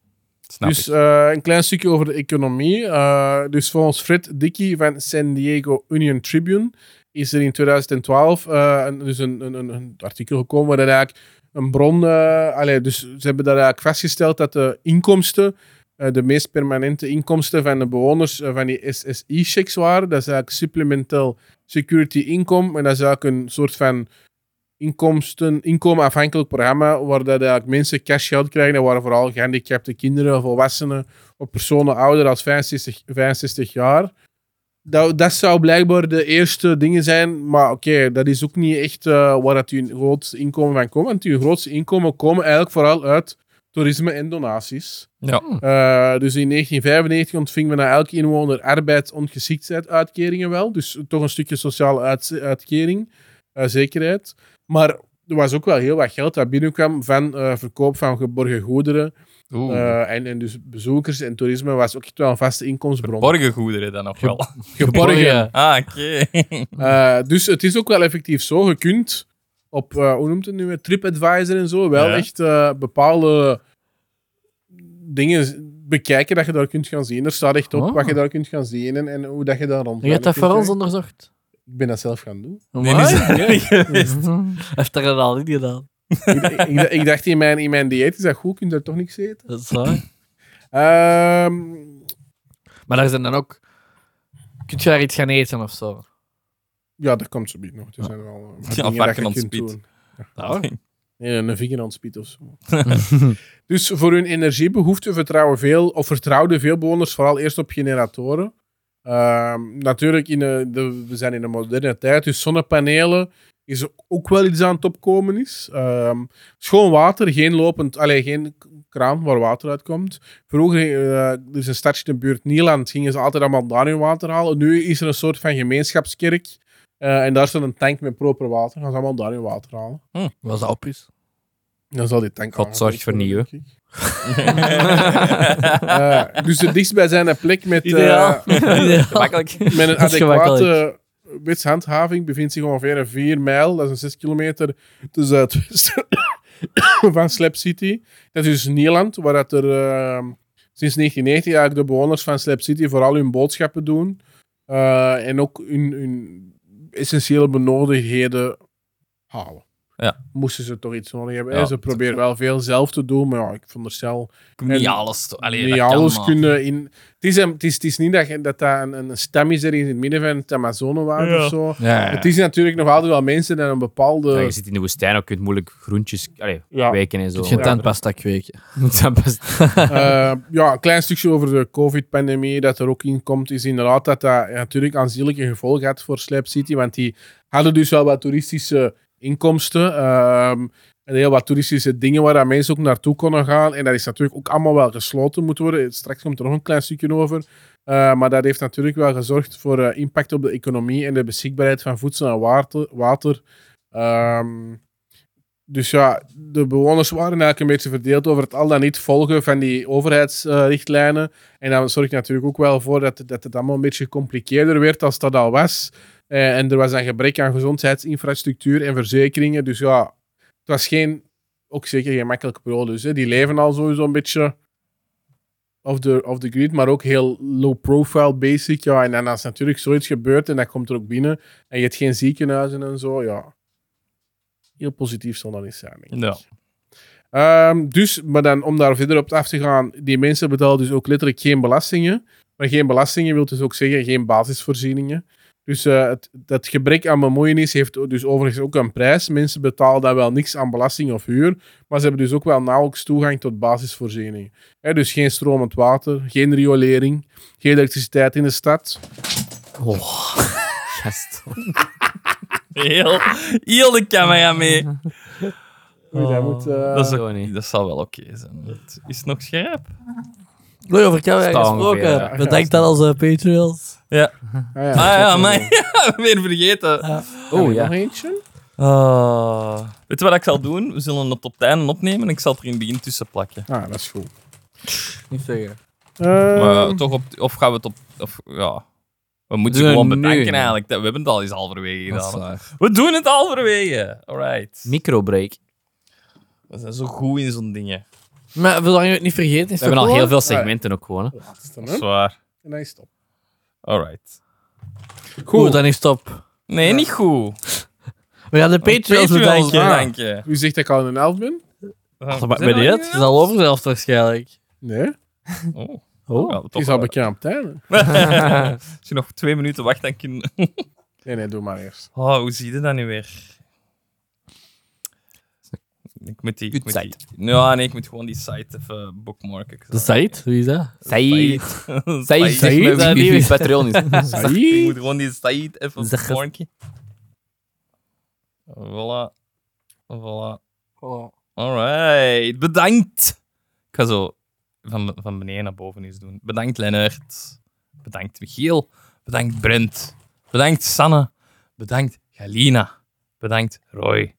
Speaker 2: Snap
Speaker 1: Dus
Speaker 2: ik.
Speaker 1: eh, een klein stukje over de economie. Eh, dus volgens Fred Dickey van San Diego Union Tribune is er in 2012 eh, een, dus een, een, een, een artikel gekomen waar dat eigenlijk een bron... eh, allee, dus ze hebben daar eigenlijk vastgesteld dat de inkomsten, eh, de meest permanente inkomsten van de bewoners eh, van die SSI-checks waren. Dat is eigenlijk supplemental security income. En dat is eigenlijk een soort van inkomsten, inkomenafhankelijk programma, waar dat eigenlijk mensen cash geld krijgen. Dat waren vooral gehandicapte kinderen, volwassenen, of personen ouder dan 65, 65 jaar. Dat, dat zou blijkbaar de eerste dingen zijn, maar oké, dat is ook niet echt eh, waar dat je grootste inkomen van komt. Want je grootste inkomen komen eigenlijk vooral uit toerisme en donaties.
Speaker 2: Ja.
Speaker 1: Eh, dus in 1995 ontvingen we naar elke inwoner arbeids- uitkeringen wel. Dus toch een stukje sociale uitz- uitkering, eh, zekerheid. Maar er was ook wel heel wat geld dat binnenkwam van eh, verkoop van geborgen goederen.
Speaker 2: Oeh.
Speaker 1: eh, en, en dus bezoekers en toerisme was ook echt wel een vaste inkomstenbron.
Speaker 2: Borgengoederen dan nog wel.
Speaker 1: Geborgen.
Speaker 2: Ah, oké.
Speaker 1: Eh, dus het is ook wel effectief zo. Je kunt op, eh, hoe noemt het nu, weer, TripAdvisor en zo, wel
Speaker 2: Ja.
Speaker 1: echt eh, bepaalde dingen bekijken dat je daar kunt gaan zien. Er staat echt op
Speaker 3: Oh.
Speaker 1: wat je daar kunt gaan zien en, en hoe dat je daar rond
Speaker 3: Je hebt dat voor ons onderzocht.
Speaker 1: Ik ben dat zelf gaan doen.
Speaker 2: Nee, die is er niet geweest.
Speaker 3: Heeft er dat al niet gedaan.
Speaker 1: ik, ik, ik dacht, in mijn, in mijn dieet is dat goed, kun je daar toch niks eten?
Speaker 3: Dat is waar.
Speaker 1: Ehm,
Speaker 3: Maar daar zijn dan ook... Kun je daar iets gaan eten of zo?
Speaker 1: ja, dat komt zo niet nog. Er zijn wel eh, wat
Speaker 2: Ja,
Speaker 1: dingen
Speaker 2: varken
Speaker 1: dat je
Speaker 2: aan
Speaker 1: kunt
Speaker 2: speed.
Speaker 1: doen.
Speaker 3: Nou,
Speaker 1: Nee, een vinger aan het spiet of zo. dus voor hun energiebehoeften vertrouwen veel, of vertrouwden veel bewoners vooral eerst op generatoren. Ehm, natuurlijk, in de, de- we zijn in een moderne tijd, dus zonnepanelen is ook wel iets aan het opkomen is. Ehm, schoon water, geen lopend, allee, geen k- kraan waar water uitkomt. Vroeger, eh, er is een stadje in de buurt Nieland, gingen ze altijd allemaal daar hun water halen. Nu is er een soort van gemeenschapskerk eh, en daar staat een tank met proper water. Gaan ze allemaal daar hun water halen.
Speaker 3: was dat op is.
Speaker 1: Dan zal die tank
Speaker 4: God
Speaker 1: aangevuld
Speaker 4: zorgt voor
Speaker 1: worden,
Speaker 4: nieuwe.
Speaker 1: denk ik. Eh, dus de dichtstbijzijnde plek met, eh,
Speaker 3: Ideaal. Ideaal.
Speaker 4: Makkelijk.
Speaker 1: met een
Speaker 3: Dat is gemakkelijk.
Speaker 1: adequate wetshandhaving bevindt zich ongeveer een 4 mijl, dat is een 6 kilometer, ten zuidwesten van Slap City. Dat is dus Nederland, waar dat er eh, sinds 1990 eigenlijk de bewoners van Slap City vooral hun boodschappen doen eh, en ook hun, hun essentiële benodigdheden halen.
Speaker 2: Ja.
Speaker 1: Moesten ze toch iets nodig hebben.
Speaker 2: Ja,
Speaker 1: hè? ze proberen wel veel zelf te doen, maar ja, ik vond er zelf
Speaker 2: Ik moet Niet
Speaker 1: En-
Speaker 2: alles. to- Allee,
Speaker 1: niet
Speaker 2: dat kan,
Speaker 1: alles
Speaker 2: maar-
Speaker 1: kunnen in... Het is, een- het is, het is niet dat, je- dat dat een, een stam is er in het midden van het Amazonewoud
Speaker 2: Ja.
Speaker 1: of zo.
Speaker 4: Ja,
Speaker 1: Het is natuurlijk nog altijd wel mensen en een bepaalde...
Speaker 4: je zit in de woestijn, ook kun je moeilijk groentjes allee,
Speaker 1: ja.
Speaker 4: kweken en zo.
Speaker 3: Kun je
Speaker 1: Ja.
Speaker 3: tandpasta kweken?
Speaker 4: Dat is best-
Speaker 1: Eh, ja, een klein stukje over de COVID-pandemie dat er ook in komt, is inderdaad dat dat natuurlijk aanzienlijke gevolgen had voor Slap City, want die hadden dus wel wat toeristische inkomsten ehm, en heel wat toeristische dingen waar dat mensen ook naartoe konden gaan. En dat is natuurlijk ook allemaal wel gesloten moeten worden. Straks komt er nog een klein stukje over. Eh, maar dat heeft natuurlijk wel gezorgd voor eh, impact op de economie en de beschikbaarheid van voedsel en water. water. Ehm, dus ja, de bewoners waren eigenlijk een beetje verdeeld over het al dan niet volgen van die overheidsrichtlijnen. En dat zorgt natuurlijk ook wel voor dat, dat het allemaal een beetje compliceerder werd als dat al was. Eh, en er was een gebrek aan gezondheidsinfrastructuur en verzekeringen. Dus ja, het was geen, ook zeker geen makkelijke periode. Dus hè, die leven al sowieso een beetje off the, off the grid, maar ook heel low profile, basic. Ja, en dan als natuurlijk zoiets gebeurt en dat komt er ook binnen en je hebt geen ziekenhuizen en zo, ja. Heel positief zal dat niet zijn. denk ik.
Speaker 2: Ja.
Speaker 1: Ehm, dus, maar dan om daar verder op af te gaan, die mensen betalen dus ook letterlijk geen belastingen. Maar geen belastingen wil dus ook zeggen geen basisvoorzieningen. Dus eh, het, dat gebrek aan bemoeienis heeft dus overigens ook een prijs. Mensen betalen dan wel niks aan belasting of huur, maar ze hebben dus ook wel nauwelijks toegang tot basisvoorzieningen. Hè, dus geen stromend water, geen riolering, geen elektriciteit in de stad.
Speaker 4: Oh, gast.
Speaker 2: Heel, heel de camera mee.
Speaker 1: Oei, dat moet, eh,
Speaker 2: Oh. dat, is
Speaker 4: zo Ah, niet.
Speaker 2: ook, dat zal wel oké zijn. Het is nog scherp.
Speaker 3: Leuk over camera
Speaker 4: Staal
Speaker 3: gesproken.
Speaker 4: ongeveer, ja.
Speaker 3: Bedankt aan onze eh, Patreons.
Speaker 2: Ja.
Speaker 1: ah ja,
Speaker 2: Ah ja,
Speaker 1: dat-
Speaker 2: maar weer vergeten.
Speaker 4: Oh
Speaker 1: Nog
Speaker 4: ja.
Speaker 1: eentje?
Speaker 2: Ah. Weet je wat ik zal doen? We zullen het op het einde opnemen en ik zal het er in het begin tussen plakken.
Speaker 1: Ah, dat is goed.
Speaker 3: Niet zeggen.
Speaker 2: Maar
Speaker 1: Ehm,
Speaker 2: toch op, of gaan we het op... Of, ja. We moeten
Speaker 4: Doen we
Speaker 2: gewoon
Speaker 4: nu,
Speaker 2: bedanken
Speaker 4: ja.
Speaker 2: eigenlijk. dat- We hebben het al eens halverwege
Speaker 4: Dat is
Speaker 2: gedaan.
Speaker 4: waar.
Speaker 2: We doen het halverwege. Alright.
Speaker 4: Microbreak.
Speaker 2: We zijn zo goed in zo'n dingen.
Speaker 3: Maar zolang je het niet vergeet, is
Speaker 4: We hebben al heel veel segmenten ook gewoon. hè.
Speaker 1: laatste,
Speaker 2: Dat
Speaker 1: hè?
Speaker 2: is waar.
Speaker 1: En dan is het op.
Speaker 2: Hm? Alright.
Speaker 1: Goed.
Speaker 3: Goed, dan is het op.
Speaker 2: Nee, niet goed.
Speaker 3: We gaan de Patreons bedanken.
Speaker 2: bedanken.
Speaker 1: U zegt dat ik al een elf ben?
Speaker 3: Dat maakt mij niet uit. Het is al over zelfs waarschijnlijk.
Speaker 1: Nee.
Speaker 2: Oh.
Speaker 3: Oh.
Speaker 2: Ja,
Speaker 1: Het
Speaker 2: toch
Speaker 1: is al
Speaker 2: wel.
Speaker 1: bekend op tijd. hè?
Speaker 2: Als je nog twee minuten wacht, dan kun je...
Speaker 1: Nee, nee, doe maar eerst.
Speaker 2: Oh, hoe zie je dat nu weer? Ik moet die... Ik moet
Speaker 4: Goed
Speaker 2: die... Ja, nee, ik moet gewoon die site even bookmarken. Ik zal-
Speaker 3: De site? Wie is dat?
Speaker 4: Saïd.
Speaker 2: Site.
Speaker 4: Saïd.
Speaker 2: Site.
Speaker 4: Zeg maar
Speaker 3: Saïd.
Speaker 4: wie wie Patreon is.
Speaker 2: Ik
Speaker 1: Saïd.
Speaker 2: moet gewoon die site even
Speaker 4: Zeg het.
Speaker 2: bookmarken. Voilà. Voilà. Alright. Bedankt. Ik ga zo van, van beneden naar boven eens doen. Bedankt Lennart. Bedankt Michiel. Bedankt Brent. Bedankt Sanne. Bedankt Galina. Bedankt Roy.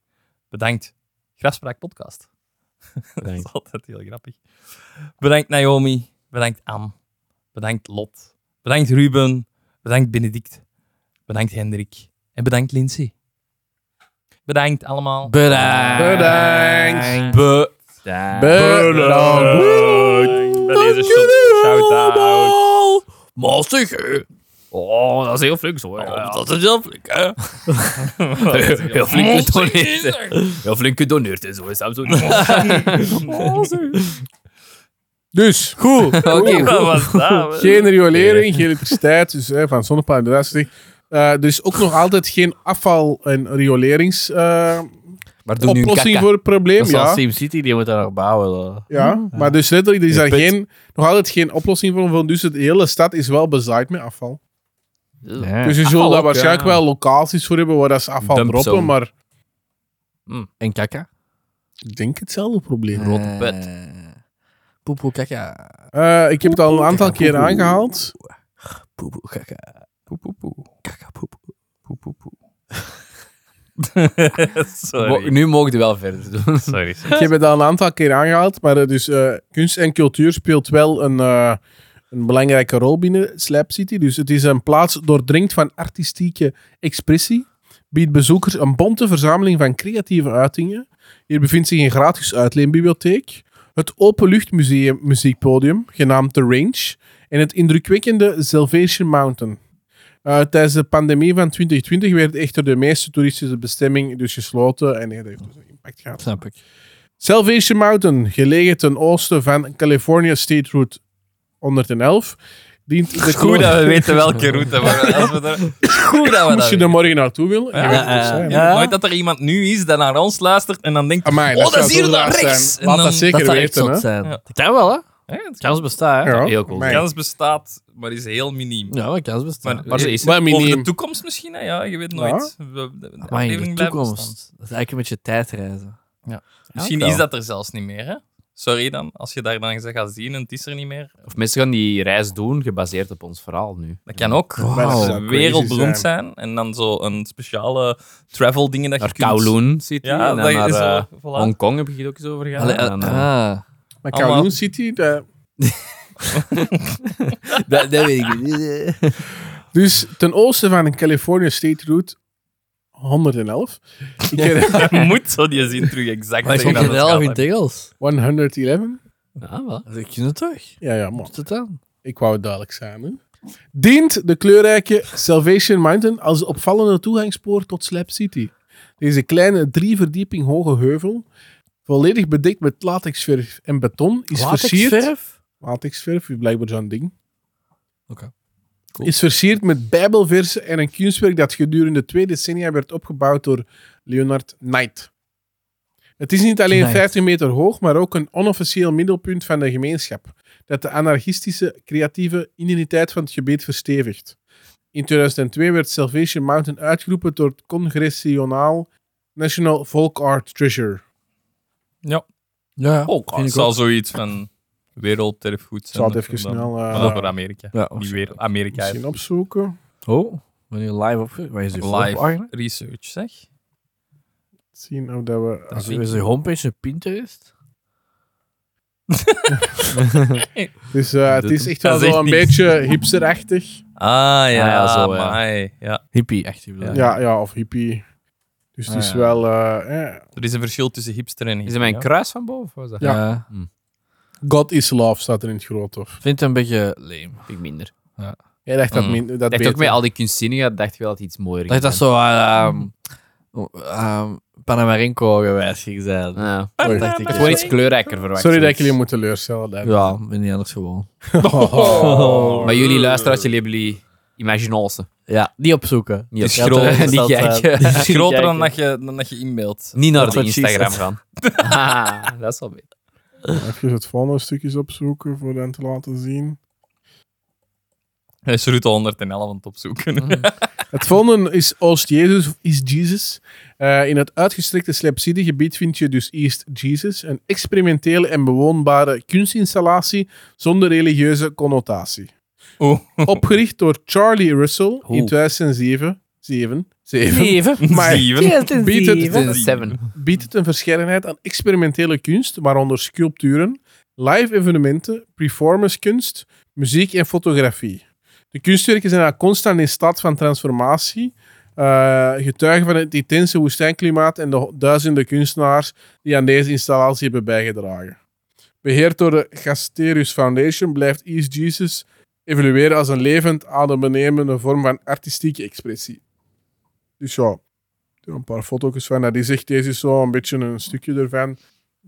Speaker 2: Bedankt Grafspraak Podcast. Dat is altijd heel grappig. Bedankt Naomi. Bedankt Anne. Bedankt Lot. Bedankt Ruben. Bedankt Benedict. Bedankt Hendrik. En bedankt Lindsay. Bedankt allemaal.
Speaker 3: Bedankt.
Speaker 1: Bedankt.
Speaker 2: Be-
Speaker 1: Bedankt.
Speaker 2: Bij deze shout-out.
Speaker 3: Mastig.
Speaker 4: Oh, dat is heel flink zo. hè. Ja, ja.
Speaker 2: dat is heel flink, hè? Oh, Dat is heel
Speaker 4: Heel flink
Speaker 2: flink.
Speaker 4: gedoneerd. hè. Heel flink gedoneerd en zo. Is dat zo?
Speaker 1: Dus, goed. Oeh.
Speaker 2: Wat was dat?
Speaker 1: Geen riolering, geen elektriciteit, dus hè, van zonnepanelen inderdaad. zeg. Eh, er is ook nog altijd geen afval- en rioleringsoplossing eh,
Speaker 4: Maar doe nu een
Speaker 1: voor het probleem.
Speaker 3: Dat is
Speaker 1: Ja,
Speaker 3: als SimCity, die moet daar nog bouwen. hè.
Speaker 1: ja. Maar dus letterlijk, er is
Speaker 3: Je
Speaker 1: daar
Speaker 3: put.
Speaker 1: geen, nog altijd geen oplossing voor gevonden. Dus de hele stad is wel bezaaid met afval.
Speaker 3: Ja.
Speaker 1: Dus je
Speaker 4: Afval
Speaker 1: zult daar
Speaker 4: ook,
Speaker 1: waarschijnlijk
Speaker 4: ja.
Speaker 1: wel locaties voor hebben waar dat ze afval
Speaker 4: Dumpzone.
Speaker 1: droppen, maar
Speaker 3: En kaka.
Speaker 1: ik denk hetzelfde probleem.
Speaker 3: Rotte
Speaker 4: pet.
Speaker 3: Eh, Poepoe kaka.
Speaker 1: Eh, ik heb het al een aantal keer aangehaald.
Speaker 3: Poepoe kaka.
Speaker 2: Poe, poe, poe.
Speaker 3: Kaka poepoe.
Speaker 2: Poe, poe, poe.
Speaker 4: Mo-
Speaker 2: Sorry.
Speaker 4: Nu mogen we wel verder doen.
Speaker 2: Sorry.
Speaker 1: Ik heb het al een aantal keer aangehaald, maar eh, dus, eh, kunst en cultuur speelt wel een, eh, een belangrijke rol binnen Slap City. Dus het is een plaats doordringd van artistieke expressie. Biedt bezoekers een bonte verzameling van creatieve uitingen. Hier bevindt zich een gratis uitleenbibliotheek. Het openluchtmuseum muziekpodium, genaamd The Range. En het indrukwekkende Salvation Mountain. Eh, tijdens de pandemie van 2020 werd echter de meeste toeristische bestemming dus gesloten. En nee, dat heeft dus een impact gehad.
Speaker 3: Snap ik.
Speaker 1: Salvation Mountain, gelegen ten oosten van California State Route 111, dient de
Speaker 2: Goed dat we weten welke route. Maar als we daar... Goed dat
Speaker 1: Als
Speaker 2: we dat
Speaker 1: je
Speaker 2: weten.
Speaker 1: er morgen naartoe wil. je weet het dus, hè.
Speaker 2: Je moet Nooit dat er iemand nu is dat naar ons luistert en dan denkt...
Speaker 1: Amai,
Speaker 2: oh, dat
Speaker 1: zou
Speaker 2: is hier
Speaker 1: zo
Speaker 2: naar
Speaker 1: raar
Speaker 2: rechts.
Speaker 1: zijn. Laat dat
Speaker 2: en
Speaker 1: zeker
Speaker 3: Dat zou echt
Speaker 1: weten.
Speaker 3: zot
Speaker 1: Hè?
Speaker 3: zijn.
Speaker 2: Ja.
Speaker 3: Dat kan wel, hè?
Speaker 2: dan... Ja, het-
Speaker 3: Kans bestaat, hè?
Speaker 1: Ja,
Speaker 4: Heel cool.
Speaker 1: amai.
Speaker 2: kans bestaat, maar is heel miniem.
Speaker 3: Ja, maar kans bestaat.
Speaker 2: Maar, eh,
Speaker 4: Maar ze is-
Speaker 1: Maar
Speaker 2: over de
Speaker 1: miniem.
Speaker 2: toekomst misschien, hè? ja, je weet nooit. We- de- de
Speaker 3: Maar in de
Speaker 2: aflevering blijft
Speaker 3: toekomst.
Speaker 2: bestaan.
Speaker 3: Dat is eigenlijk een beetje tijdreizen.
Speaker 2: Misschien
Speaker 3: wel.
Speaker 2: is dat er zelfs niet meer, hè? Sorry dan, als je daar dan eens gaat zien en het is er niet meer.
Speaker 4: Of mensen gaan die reis doen gebaseerd op ons verhaal nu.
Speaker 2: Dat kan ook.
Speaker 1: Maar dat
Speaker 3: Wauw.
Speaker 1: zou crazy
Speaker 2: Wereldberoemd
Speaker 1: zijn.
Speaker 2: zijn. en dan zo een speciale travel dingen dat
Speaker 4: Naar
Speaker 2: je kunt...
Speaker 4: Kowloon City
Speaker 2: Ja,
Speaker 4: en
Speaker 2: dat
Speaker 4: dan
Speaker 2: je
Speaker 4: naar
Speaker 2: zo-
Speaker 4: eh,
Speaker 2: voilà.
Speaker 4: Hongkong heb je het ook eens over gehad.
Speaker 3: Allee,
Speaker 4: En
Speaker 3: eh,
Speaker 4: dan, eh,
Speaker 3: ah.
Speaker 1: Maar
Speaker 2: Allemaal.
Speaker 1: Kowloon City... daar-
Speaker 3: dat, dat weet ik niet.
Speaker 1: Dus ten oosten van California State Route 111. Ik ken-
Speaker 2: Je moet zo die zin terug exact
Speaker 3: Maar ik
Speaker 2: zeggen
Speaker 3: vond
Speaker 2: dat
Speaker 3: het
Speaker 2: het
Speaker 3: wel
Speaker 2: gaat,
Speaker 3: in
Speaker 2: hè.
Speaker 3: het Engels.
Speaker 1: 111?
Speaker 4: ja, wel.
Speaker 3: Dat kun je toch?
Speaker 1: Ja, ja, man.
Speaker 3: Wat is het dan?
Speaker 1: Ik wou het duidelijk zijn. Hè? Dient de kleurrijke Salvation Mountain als opvallende toegangspoor tot Slap City. Deze kleine drie verdieping hoge heuvel, volledig bedekt met latexverf en beton, is versierd...
Speaker 3: Latexverf?
Speaker 1: Latexverf? is blijkbaar zo'n ding.
Speaker 3: Oké.
Speaker 1: Cool. Is versierd met bijbelversen en een kunstwerk dat gedurende twee decennia werd opgebouwd door Leonard Knight. Het is niet alleen
Speaker 3: Knight.
Speaker 1: 50 meter hoog, maar ook een onofficieel middelpunt van de gemeenschap, dat de anarchistische creatieve identiteit van het gebied verstevigt. In 2002 werd Salvation Mountain uitgeroepen door het Congressionaal National Folk Art Treasure.
Speaker 3: Ja,
Speaker 4: Ook
Speaker 2: Het
Speaker 3: vind ik
Speaker 2: Oh, zal
Speaker 3: ook.
Speaker 2: zoiets van werelderfgoed
Speaker 1: Ik zal
Speaker 2: zijn.
Speaker 1: het even snel eh,
Speaker 2: Maar over Amerika.
Speaker 3: Ja,
Speaker 2: Die wereld, Amerika heeft
Speaker 1: misschien opzoeken.
Speaker 3: Oh, wanneer live op... Waar is die
Speaker 2: live
Speaker 3: Waar
Speaker 2: research, zeg.
Speaker 1: Zien of dat we...
Speaker 3: is die homepage een Pinterest?
Speaker 1: Dus eh, het is echt wel
Speaker 2: Dat is
Speaker 1: zo
Speaker 2: echt
Speaker 1: een
Speaker 2: niks.
Speaker 1: beetje hipsterachtig.
Speaker 2: Ah ja,
Speaker 4: ja, zo, ja.
Speaker 2: amai. ja.
Speaker 3: Hippie, echt. ik bedoel.
Speaker 1: Ja, ja, of hippie. Dus het
Speaker 3: Ah,
Speaker 1: is
Speaker 3: ja.
Speaker 1: wel... eh, eh,
Speaker 2: Er is een verschil tussen hipster en
Speaker 4: Is
Speaker 2: hippie.
Speaker 4: er mijn
Speaker 2: ja.
Speaker 4: kruis van boven? Of was dat?
Speaker 1: Ja.
Speaker 3: Ja.
Speaker 1: God is love staat er in het groot, of?
Speaker 3: Vind het een beetje leem.
Speaker 4: Vind ik minder. Ik
Speaker 1: Jij dacht dat,
Speaker 2: Mm.
Speaker 1: min, dat
Speaker 4: dacht
Speaker 1: beter.
Speaker 4: ook met al die kunstzinnige, dacht ik wel dat het iets mooier
Speaker 3: Dat is dat zo ehm ehm Panamarenko gewijs ging zijn.
Speaker 4: Ja. Het
Speaker 1: Oei.
Speaker 3: dacht ik.
Speaker 4: is gewoon iets kleurrijker verwacht.
Speaker 1: Sorry dat ik
Speaker 4: zoiets.
Speaker 1: jullie moet teleurstellen. daar.
Speaker 3: Ja, ben niet anders gewoon.
Speaker 1: Oh.
Speaker 4: Maar jullie luisteren als jullie hebben jullie imaginalse.
Speaker 3: Ja, die opzoeken.
Speaker 4: Niet
Speaker 2: is
Speaker 4: op-
Speaker 2: groot.
Speaker 4: Ja,
Speaker 3: Dat,
Speaker 4: Niet
Speaker 3: eh,
Speaker 4: kijken.
Speaker 2: Het is groter dan
Speaker 3: Kijken.
Speaker 2: dat je, dan dat je inbeeldt.
Speaker 4: Niet naar
Speaker 3: Dat
Speaker 4: de
Speaker 3: wat she
Speaker 4: Instagram
Speaker 3: said.
Speaker 4: van. Ah, dat is wel beter.
Speaker 1: Even het volgende stukjes opzoeken voor hen te laten zien.
Speaker 2: Hij is route 111 aan het opzoeken.
Speaker 3: Mhm.
Speaker 1: Het volgende is Oost Jezus, of East Jesus. Eh, in het uitgestrekte Slapside gebied vind je dus East Jesus, een experimentele en bewoonbare kunstinstallatie zonder religieuze connotatie.
Speaker 2: Oeh.
Speaker 1: Opgericht door Charlie Russell in
Speaker 4: Oeh.
Speaker 1: 2007. Zeven. Zeven.
Speaker 3: Even.
Speaker 1: Maar
Speaker 2: Zeven.
Speaker 1: biedt het-
Speaker 4: Het is een seven. Oh
Speaker 1: biedt het een verscheidenheid aan experimentele kunst, waaronder sculpturen, live evenementen, performancekunst, muziek en fotografie. De kunstwerken zijn daar constant in staat van transformatie, eh, getuigen van het intense woestijnklimaat en de ho- duizenden kunstenaars die aan deze installatie hebben bijgedragen. Beheerd door de Gasterius Foundation blijft East Jesus evolueren als een levend, adembenemende vorm van artistieke expressie. Dus ja, er een paar foto's van. Dat is echt, deze is zo een beetje een stukje ervan.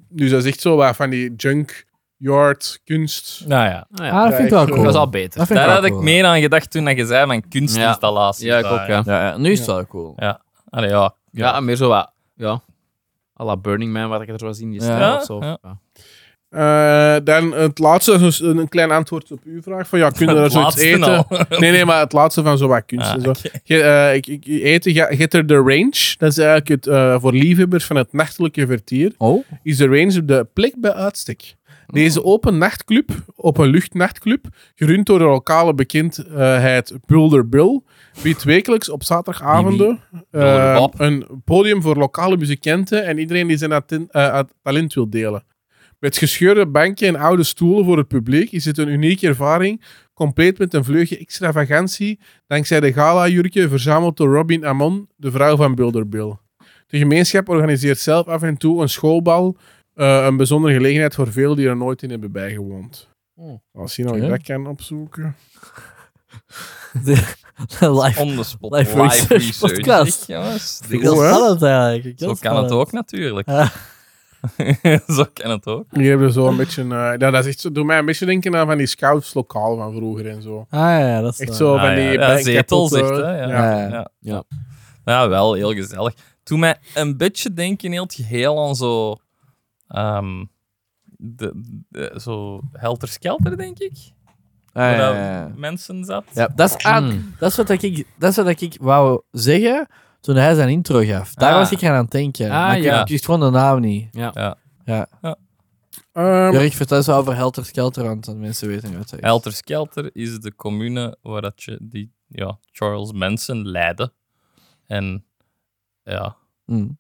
Speaker 1: Dus dat is echt zo wat van die junkyard kunst.
Speaker 2: Nou ja.
Speaker 4: Ah,
Speaker 3: Ah,
Speaker 4: ja.
Speaker 3: dat vind ik wel cool.
Speaker 4: Dat is al
Speaker 3: Dat
Speaker 4: beter.
Speaker 3: vind ik
Speaker 2: Daar
Speaker 3: wel
Speaker 2: had ik
Speaker 3: cool.
Speaker 2: meer aan gedacht toen dat je zei van kunstinstallaties.
Speaker 4: Ja, ik ook, ja.
Speaker 3: Ja, ja, nu is het wel cool.
Speaker 2: Allee, ja.
Speaker 4: Ja, meer zo wat. Ja. A la Burning Man, wat ik er zo zie in die
Speaker 3: Ja.
Speaker 4: stijl of zo.
Speaker 2: Ja.
Speaker 4: Ja.
Speaker 1: Eh, dan het laatste, dus een, een klein antwoord op uw vraag. Van, ja, kunnen we daar
Speaker 2: Het
Speaker 1: zoiets
Speaker 2: laatste nou.
Speaker 1: eten?
Speaker 2: al.
Speaker 1: Nee, nee, maar het laatste van zo wat kunst.
Speaker 2: Ah,
Speaker 1: en zo. Je, eh, ik, ik, eten, je, je hebt er de range. Dat is eigenlijk het, eh, voor liefhebbers van het nachtelijke vertier.
Speaker 3: Oh,
Speaker 1: is de Range de plek bij uitstek. Deze open nachtclub, op een luchtnachtclub, gerund door de lokale bekendheid Bulder Bill, biedt wekelijks op zaterdagavonden
Speaker 4: Bulder
Speaker 1: eh,
Speaker 4: Bob.
Speaker 1: een podium voor lokale muzikanten en iedereen die zijn aten- eh, at- talent wil delen. Met gescheurde banken en oude stoelen voor het publiek is het een unieke ervaring, compleet met een vleugje extravagantie, dankzij de gala-jurken verzameld door Robin Amon, de vrouw van Bulder Bill. De gemeenschap organiseert zelf af en toe een schoolbal, eh, een bijzondere gelegenheid voor velen die er nooit in hebben bijgewoond.
Speaker 3: Oh.
Speaker 1: Als je nou
Speaker 3: Oké.
Speaker 1: dat kan opzoeken.
Speaker 3: de live.
Speaker 2: On the spot. Live,
Speaker 3: Live research
Speaker 2: research.
Speaker 3: podcast.
Speaker 2: zeg, jongens. Dit
Speaker 3: Vind ik
Speaker 2: is-
Speaker 3: heel
Speaker 1: Cool, Oh, hè?
Speaker 3: spannend eigenlijk. Ik vind
Speaker 2: Zo
Speaker 3: het
Speaker 2: kan het
Speaker 3: spannend.
Speaker 2: ook natuurlijk.
Speaker 3: Ja.
Speaker 2: zo kan het ook.
Speaker 1: Hier hebben we zo
Speaker 3: Ah.
Speaker 1: een beetje. eh dat, dat is echt zo, doet mij een beetje denken aan van die scouts lokaal van vroeger en zo.
Speaker 3: Ah ja, dat is
Speaker 1: Echt
Speaker 3: waar.
Speaker 1: zo van
Speaker 2: Ah,
Speaker 1: die.
Speaker 2: ja,
Speaker 1: bij-
Speaker 2: zetels, echt,
Speaker 1: kapotte-
Speaker 2: hè? Ja.
Speaker 1: ja.
Speaker 3: Ja.
Speaker 2: Ja.
Speaker 4: Ja.
Speaker 2: Ja, wel, heel gezellig. Toen mij een beetje denken heel het geheel aan zo... ehm, de, de- zo Helter Skelter, denk ik.
Speaker 3: Ah, ja,
Speaker 2: Waar dat
Speaker 3: ja, ja.
Speaker 2: mensen zat.
Speaker 3: Ja, dat is, aan, dat is wat ik, dat is wat ik wou zeggen toen hij zijn intro gaf. Daar
Speaker 2: Ah.
Speaker 3: was ik aan aan het denken.
Speaker 4: Ah,
Speaker 3: maar ik,
Speaker 4: ja.
Speaker 3: ik wist gewoon de naam niet.
Speaker 1: Ehm,
Speaker 3: Jurk, vertel eens over Helter Skelter, want dan mensen weten niet wat dat is.
Speaker 2: Helter Skelter is de commune waar dat je die, ja, Charles Manson leidde. En ja,
Speaker 3: Mm.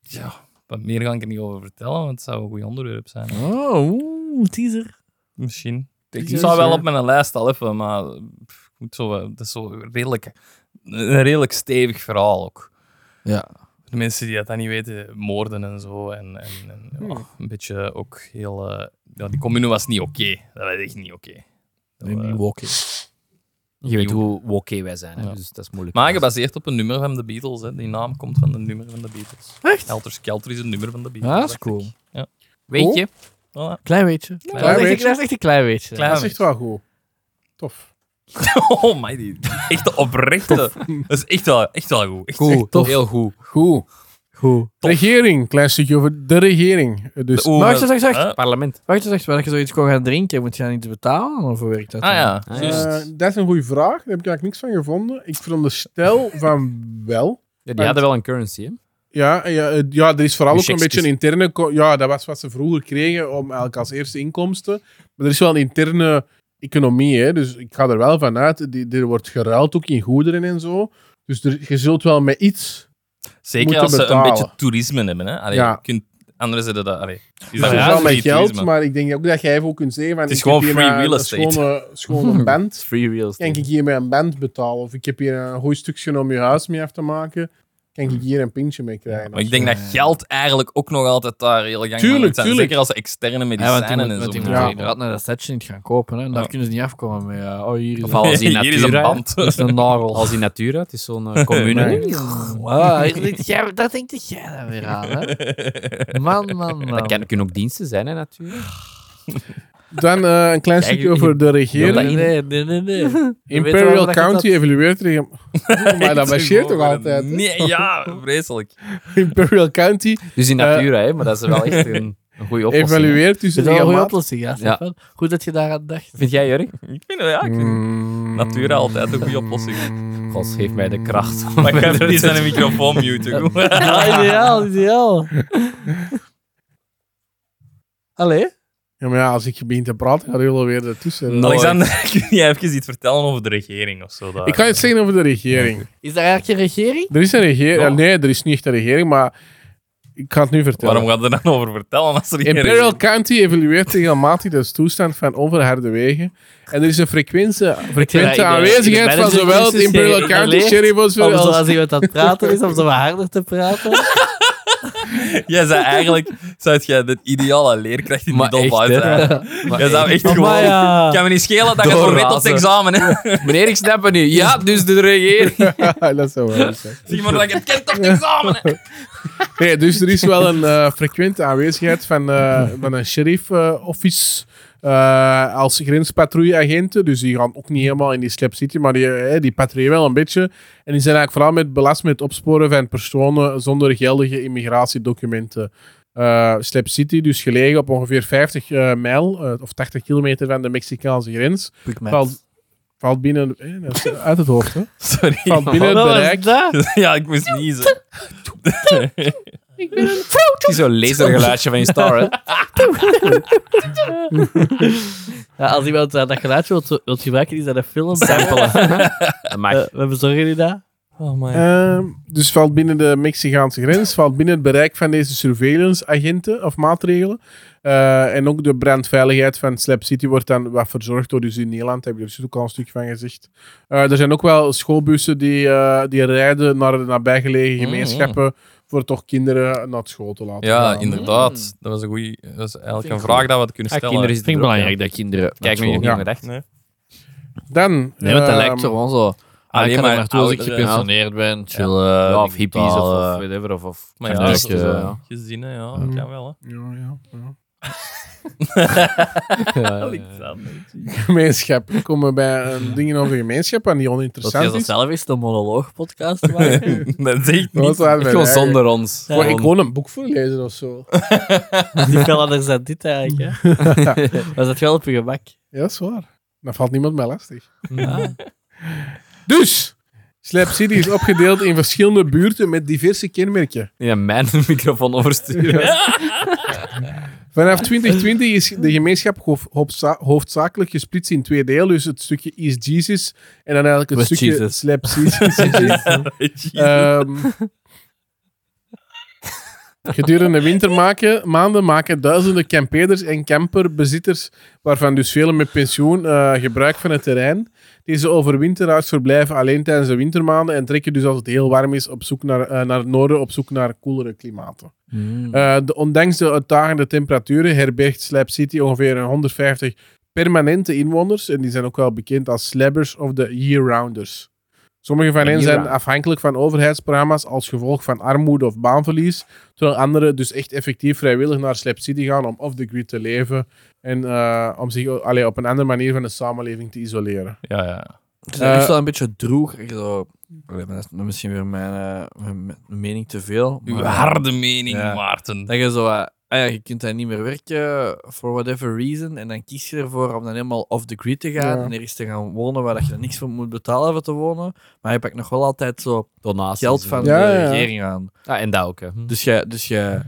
Speaker 2: ja, wat meer ga ik er niet over vertellen, want het zou een goed onderwerp zijn.
Speaker 3: Oh, oeh, teaser.
Speaker 2: Misschien. Ik
Speaker 1: Jezus,
Speaker 2: zou wel
Speaker 1: ja.
Speaker 2: op mijn lijst al even, maar pff, ik moet zo, eh, dat is zo redelijk, een redelijk stevig verhaal ook.
Speaker 3: Ja.
Speaker 2: De mensen die dat dan niet weten, moorden en zo. En, en, en ja,
Speaker 1: Hmm.
Speaker 2: een beetje ook heel... eh, ja, die commune was niet oké. Dat was echt niet oké. Dat wa-
Speaker 4: Je weet hoe woké wij zijn, hè,
Speaker 2: Ja.
Speaker 4: dus dat is moeilijk.
Speaker 2: Maar gebaseerd op een nummer van de Beatles. Hè. Die naam komt van een nummer van de Beatles.
Speaker 3: Echt?
Speaker 2: Helter Skelter is een nummer van de Beatles.
Speaker 3: Ja, dat is
Speaker 2: dacht
Speaker 3: cool.
Speaker 2: ik. Ja.
Speaker 4: Weet je?
Speaker 2: Voilà.
Speaker 3: Klein beetje.
Speaker 2: Klein
Speaker 3: dat, is echt,
Speaker 1: beetje.
Speaker 3: dat is echt een klein beetje.
Speaker 2: Klein-
Speaker 1: dat is echt wel goed. Tof.
Speaker 2: Oh my, die echte oprechte. Dat is echt wel, echt wel goed. Echt,
Speaker 3: Cool,
Speaker 2: echt tof.
Speaker 3: heel
Speaker 2: goed.
Speaker 1: Goed.
Speaker 3: Goed.
Speaker 2: Tof.
Speaker 1: Regering, klein stukje over de regering. Dus
Speaker 2: De oe-
Speaker 3: Maar wat je zegt, zegt-
Speaker 2: Huh?
Speaker 4: Parlement.
Speaker 3: Wacht eens, als je zoiets kon gaan drinken, moet je dan iets betalen? Of hoe werkt dat?
Speaker 2: Ah
Speaker 3: dan?
Speaker 2: ja,
Speaker 4: Ah,
Speaker 2: juist.
Speaker 1: eh, dat is een goede vraag. Daar heb ik eigenlijk niks van gevonden. Ik veronderstel van wel.
Speaker 4: Ja, die
Speaker 1: Want-
Speaker 4: hadden wel een currency, hè?
Speaker 1: Ja, ja, eh, ja, er is vooral
Speaker 4: Die
Speaker 1: ook een
Speaker 4: checks
Speaker 1: beetje een interne... co- Ja, dat was wat ze vroeger kregen om eigenlijk als eerste inkomsten. Maar er is wel een interne economie, hè, dus ik ga er wel van uit. Die, er wordt geruild ook in goederen en zo. Dus er, je zult wel met iets...
Speaker 2: Zeker
Speaker 1: moeten
Speaker 2: als ze een
Speaker 1: betalen.
Speaker 2: beetje toerisme hebben. Hè. Allee,
Speaker 1: Ja.
Speaker 2: je kunt, anderen zeiden dat. Allee, is
Speaker 1: Het
Speaker 2: dat
Speaker 1: is
Speaker 2: raar,
Speaker 1: wel met
Speaker 2: free
Speaker 1: geld,
Speaker 2: toerisme?
Speaker 1: maar ik denk ook dat jij even ook kunt zeggen... Van,
Speaker 2: Het is
Speaker 1: ik
Speaker 2: gewoon
Speaker 1: heb hier
Speaker 2: free
Speaker 1: maar
Speaker 2: real
Speaker 1: een
Speaker 2: estate.
Speaker 1: Schone, schone band.
Speaker 4: Free real
Speaker 1: Kan ik hier met een band betalen? Of ik heb hier een goed stukje om je huis mee af te maken. Kan ik hier een pintje mee krijgen?
Speaker 2: Maar ik denk dat geld eigenlijk ook nog altijd daar heel gang
Speaker 1: Tuurlijk,
Speaker 2: van zijn.
Speaker 1: tuurlijk.
Speaker 2: Zeker als ze externe
Speaker 3: Ja, want die
Speaker 2: medicijnen
Speaker 3: moet, want die
Speaker 2: en
Speaker 3: moet
Speaker 2: zo.
Speaker 1: Ja.
Speaker 3: inderdaad naar dat setje niet gaan kopen. Hè. En daar
Speaker 2: Ja.
Speaker 3: kunnen ze niet afkomen mee. eh, oh, hier is
Speaker 4: Of
Speaker 3: een-
Speaker 4: als in
Speaker 2: Hier is een
Speaker 4: natura,
Speaker 2: band.
Speaker 3: Dat is een narel.
Speaker 4: Als in Natura, het is zo'n eh, commune.
Speaker 3: Ah, hier zit jij- dat denkt jij dan weer aan, hè? Man, man, man.
Speaker 4: Dat kan, kunnen ook diensten zijn, hè, natuurlijk.
Speaker 1: Dan eh, een klein
Speaker 4: Kijk,
Speaker 1: stukje over de regering.
Speaker 3: Nee, nee, nee, nee. nee. We weten wel
Speaker 1: Imperial
Speaker 3: dat je
Speaker 1: County evalueert tegen. maar dat marcheert toch altijd? hè?
Speaker 2: Nee, ja, vreselijk.
Speaker 1: Imperial County
Speaker 4: Dus in
Speaker 1: Eh.
Speaker 4: Natura, hè, maar dat is wel echt een, een goede oplossing. hè.
Speaker 1: evalueert dus
Speaker 3: Dat is wel een goede
Speaker 1: regelmatig.
Speaker 3: oplossing, ja, Stefan. Goed dat je daaraan dacht.
Speaker 4: Vind jij, Jurk?
Speaker 2: Ik vind het ja, ik vind Natura altijd een goede
Speaker 4: Mm.
Speaker 2: oplossing.
Speaker 4: God, geef mij de kracht. om
Speaker 2: Maar ik ga
Speaker 4: verder
Speaker 2: er niet
Speaker 4: te-
Speaker 2: zijn microfoon muten. goed?
Speaker 3: Ah, ideaal, ideaal. Allee?
Speaker 1: Ja, maar ja, als ik begin te praten, gaat jullie weer ertussen.
Speaker 4: Nooit.
Speaker 2: Alexander, kun jij even iets vertellen over de regering of zo? daar?
Speaker 1: Ik ga iets zeggen over de regering.
Speaker 3: Is dat eigenlijk een regering?
Speaker 1: Er is een regering.
Speaker 2: Ja.
Speaker 1: Nee, er is niet echt een regering, maar ik ga het nu vertellen.
Speaker 2: Waarom gaat er dan over vertellen als er geen
Speaker 1: Imperial
Speaker 2: regering-
Speaker 1: County evalueert regelmatig de toestand van onverharde wegen. En er is een frequente, frequente
Speaker 3: Ja, ik-
Speaker 1: aanwezigheid
Speaker 3: ik-
Speaker 1: van
Speaker 3: ik-
Speaker 4: dus
Speaker 1: zowel het
Speaker 3: ik-
Speaker 1: Imperial
Speaker 3: ik-
Speaker 1: County
Speaker 3: ik-
Speaker 1: Sheriff als
Speaker 3: Om
Speaker 1: als
Speaker 3: zoals iemand aan het praten is, om zo wat harder te praten.
Speaker 2: Jij zei eigenlijk, zou jij de ideale leerkracht in
Speaker 4: Maar
Speaker 2: de
Speaker 4: echt,
Speaker 2: dolp uit
Speaker 4: hè.
Speaker 2: zijn. Jij zou echt
Speaker 4: Maar
Speaker 2: gewoon...
Speaker 4: ja.
Speaker 2: Kan me niet schelen dat je zo
Speaker 4: Doorrazen.
Speaker 2: weet op het examen. Hè.
Speaker 4: Meneer, ik snap het nu. Ja, dus de regering.
Speaker 1: dat zou wel eens zijn.
Speaker 2: Zie maar dat je het kent op het examen. hè.
Speaker 1: Nee, dus er is wel een eh, frequente aanwezigheid van, eh, van een sheriff-office eh, als grenspatrouilleagenten. Dus die gaan ook niet helemaal in die slep zitten, maar die, eh, die patrouilleren wel een beetje. En die zijn eigenlijk vooral met belast met het opsporen van personen zonder geldige immigratiedocumenten. Eh Slap City, dus gelegen op ongeveer 50 eh, mijl eh, of 80 kilometer van de Mexicaanse grens, valt, valt binnen. eh, dat is uit het hoofd, hè?
Speaker 2: Sorry.
Speaker 1: Valt binnen
Speaker 3: Oh,
Speaker 1: het bereik.
Speaker 2: Ja, ik moest niezen.
Speaker 4: Het is zo'n lasergeluidje van je star, hè.
Speaker 3: Ja, als iemand eh, dat geluidje wilt, wilt gebruiken, is dat een film.
Speaker 4: Samplen. Dat mag.
Speaker 3: Eh, we bezorgen jullie dat.
Speaker 2: Oh my.
Speaker 1: Ehm, dus valt binnen de Mexicaanse grens, valt binnen het bereik van deze surveillance-agenten of maatregelen. Eh, en ook de brandveiligheid van Slap City wordt dan wat verzorgd door dus in Nederland, heb je er dus ook al een stuk van gezegd. Eh, er zijn ook wel schoolbussen die, eh, die rijden naar de nabijgelegen
Speaker 2: Mm,
Speaker 1: gemeenschappen voor toch kinderen naar school te laten
Speaker 2: Ja,
Speaker 1: gaan.
Speaker 2: inderdaad. Dat was een goeie... Dat is eigenlijk een vraag dat we hadden kunnen
Speaker 4: Ja,
Speaker 2: stellen.
Speaker 4: kinderen zitten er ook, ja.
Speaker 3: dat kinderen...
Speaker 4: Kijk, nu je
Speaker 1: Ja.
Speaker 4: niet gedacht.
Speaker 2: Nee.
Speaker 1: Dan...
Speaker 3: Nee, want dat
Speaker 1: ehm,
Speaker 3: lijkt gewoon zo... Ah, ik
Speaker 2: Alleen
Speaker 3: kan er
Speaker 2: maar
Speaker 3: naartoe als ik
Speaker 2: ouderen, ja.
Speaker 3: gepensioneerd ben, chillen.
Speaker 4: Ja,
Speaker 3: digitaal,
Speaker 4: eh, of hippies of, of
Speaker 3: eh,
Speaker 4: whatever. Of, of
Speaker 2: Maar
Speaker 4: kan
Speaker 2: ja, dat is
Speaker 3: leuk,
Speaker 2: dus,
Speaker 3: eh,
Speaker 2: eh, gezinnen, ja. Dat kan wel,
Speaker 1: Ja, ja, ja.
Speaker 2: hè.
Speaker 1: Gemeenschap. Komen we bij een dingen over gemeenschap en die
Speaker 3: Dat jij
Speaker 1: oninteressant
Speaker 3: zo
Speaker 1: is.
Speaker 3: zelf is, een monoloog-podcast te maken.
Speaker 2: Dat zegt
Speaker 1: Dat was
Speaker 2: niet.
Speaker 1: waar mijn
Speaker 4: Gewoon
Speaker 1: eigen-
Speaker 4: zonder ons.
Speaker 1: Gewoon, Ik gewoon een boek voorlezen of zo.
Speaker 3: Die fel anders dan dit eigenlijk, hè. Was dat wel op je gemak?
Speaker 1: Ja, dat is waar. Dat valt niemand mij lastig.
Speaker 3: Ja.
Speaker 1: Dus, Slap City is opgedeeld in verschillende buurten met diverse kenmerken.
Speaker 4: Ja, mijn microfoon oversturen.
Speaker 1: Vanaf 2020 is de gemeenschap hof- hoofdza- hoofdzakelijk gesplitst in twee delen. Dus het stukje East Jesus en dan eigenlijk het
Speaker 3: West
Speaker 1: stukje
Speaker 3: Jesus.
Speaker 1: Slap City. Ehm, gedurende wintermaken, maanden maken duizenden campeerders en camperbezitters, waarvan dus velen met pensioen, eh, gebruik van het terrein. Deze overwinteraars verblijven alleen tijdens de wintermaanden en trekken dus als het heel warm is op zoek naar, eh, naar het noorden op zoek naar koelere klimaten. Eh, de, ondanks de uitdagende temperaturen herbergt Slap City ongeveer 150 permanente inwoners en die zijn ook wel bekend als slabbers of de year-rounders. Sommige van hen zijn
Speaker 4: Year-round.
Speaker 1: afhankelijk van overheidsprogramma's als gevolg van armoede of baanverlies, terwijl anderen dus echt effectief vrijwillig naar Slap City gaan om off the grid te leven en eh, om zich eh, allee, op een andere manier van de samenleving te isoleren.
Speaker 2: Ja, ja.
Speaker 3: Het is echt
Speaker 1: Eh,
Speaker 3: wel een beetje droeg. echt Zo. Allee, maar dat is misschien weer mijn, eh, mijn- mijn mening te veel.
Speaker 2: Uw
Speaker 3: maar-
Speaker 2: harde mening,
Speaker 3: Ja.
Speaker 2: Maarten.
Speaker 3: Dat je zo, eh, ah ja, je kunt daar niet meer werken, for whatever reason. En dan kies je ervoor om dan helemaal off the grid te gaan
Speaker 1: Ja.
Speaker 3: en ergens te gaan wonen waar dat je er niks voor moet betalen voor te wonen. Maar je pakt nog wel altijd zo
Speaker 4: Donaties.
Speaker 3: geld van
Speaker 1: Ja,
Speaker 3: de
Speaker 1: ja, ja.
Speaker 3: regering aan.
Speaker 4: Ja, en dat ook, hè. Dus
Speaker 3: Dus je, dus je,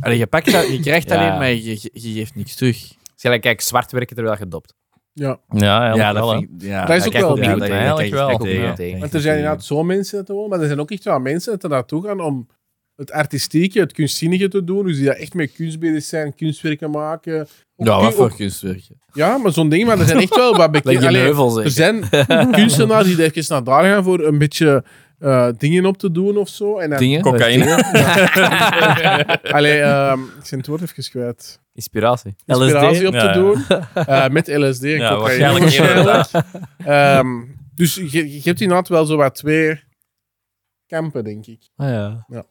Speaker 3: allee, je, pakt dat, je krijgt
Speaker 4: Ja.
Speaker 3: alleen, maar je, je, je geeft niks terug.
Speaker 4: het is gelijk, kijk, zwart werken terwijl je dopt.
Speaker 1: Ja.
Speaker 2: Ja, eigenlijk
Speaker 3: ja,
Speaker 2: wel,
Speaker 3: dat
Speaker 2: hè.
Speaker 3: vind ik- ja,
Speaker 1: Dat is ook
Speaker 3: kijk
Speaker 1: wel
Speaker 3: ik
Speaker 1: een
Speaker 3: niet
Speaker 1: ding.
Speaker 3: goed,
Speaker 2: Eigenlijk
Speaker 3: daar kijk
Speaker 2: wel.
Speaker 3: ik niet
Speaker 2: Ja.
Speaker 4: tegen.
Speaker 1: Want er zijn inderdaad zo mensen te wonen, maar er zijn ook echt wel mensen die naartoe gaan om het artistieke, het kunstzinnige te doen. Dus die daar echt mee kunst bezig zijn, kunstwerken maken. Ook
Speaker 3: Ja, wat
Speaker 1: kun-
Speaker 3: voor
Speaker 1: ook-
Speaker 3: kunstwerken?
Speaker 1: ja, maar zo'n ding, maar er zijn echt wel wat
Speaker 3: Leg
Speaker 1: bekend.
Speaker 3: je
Speaker 1: Allee,
Speaker 3: heuvel, zeg.
Speaker 1: er zijn kunstenaars die er even naar daar gaan voor een beetje eh, dingen op te doen of zo. En dan,
Speaker 3: Dingen?
Speaker 2: Cocaïne.
Speaker 1: Allee, ehm, ik ben het woord even kwijt.
Speaker 4: Inspiratie.
Speaker 1: Inspiratie op te
Speaker 2: Ja, ja.
Speaker 1: doen. eh, met LSD en
Speaker 2: Ja,
Speaker 1: cocaïne
Speaker 2: waarschijnlijk inderdaad.
Speaker 1: Ehm, dus je, je hebt inderdaad wel zo wat twee kampen, denk ik.
Speaker 3: Ah, ja.
Speaker 1: Ja.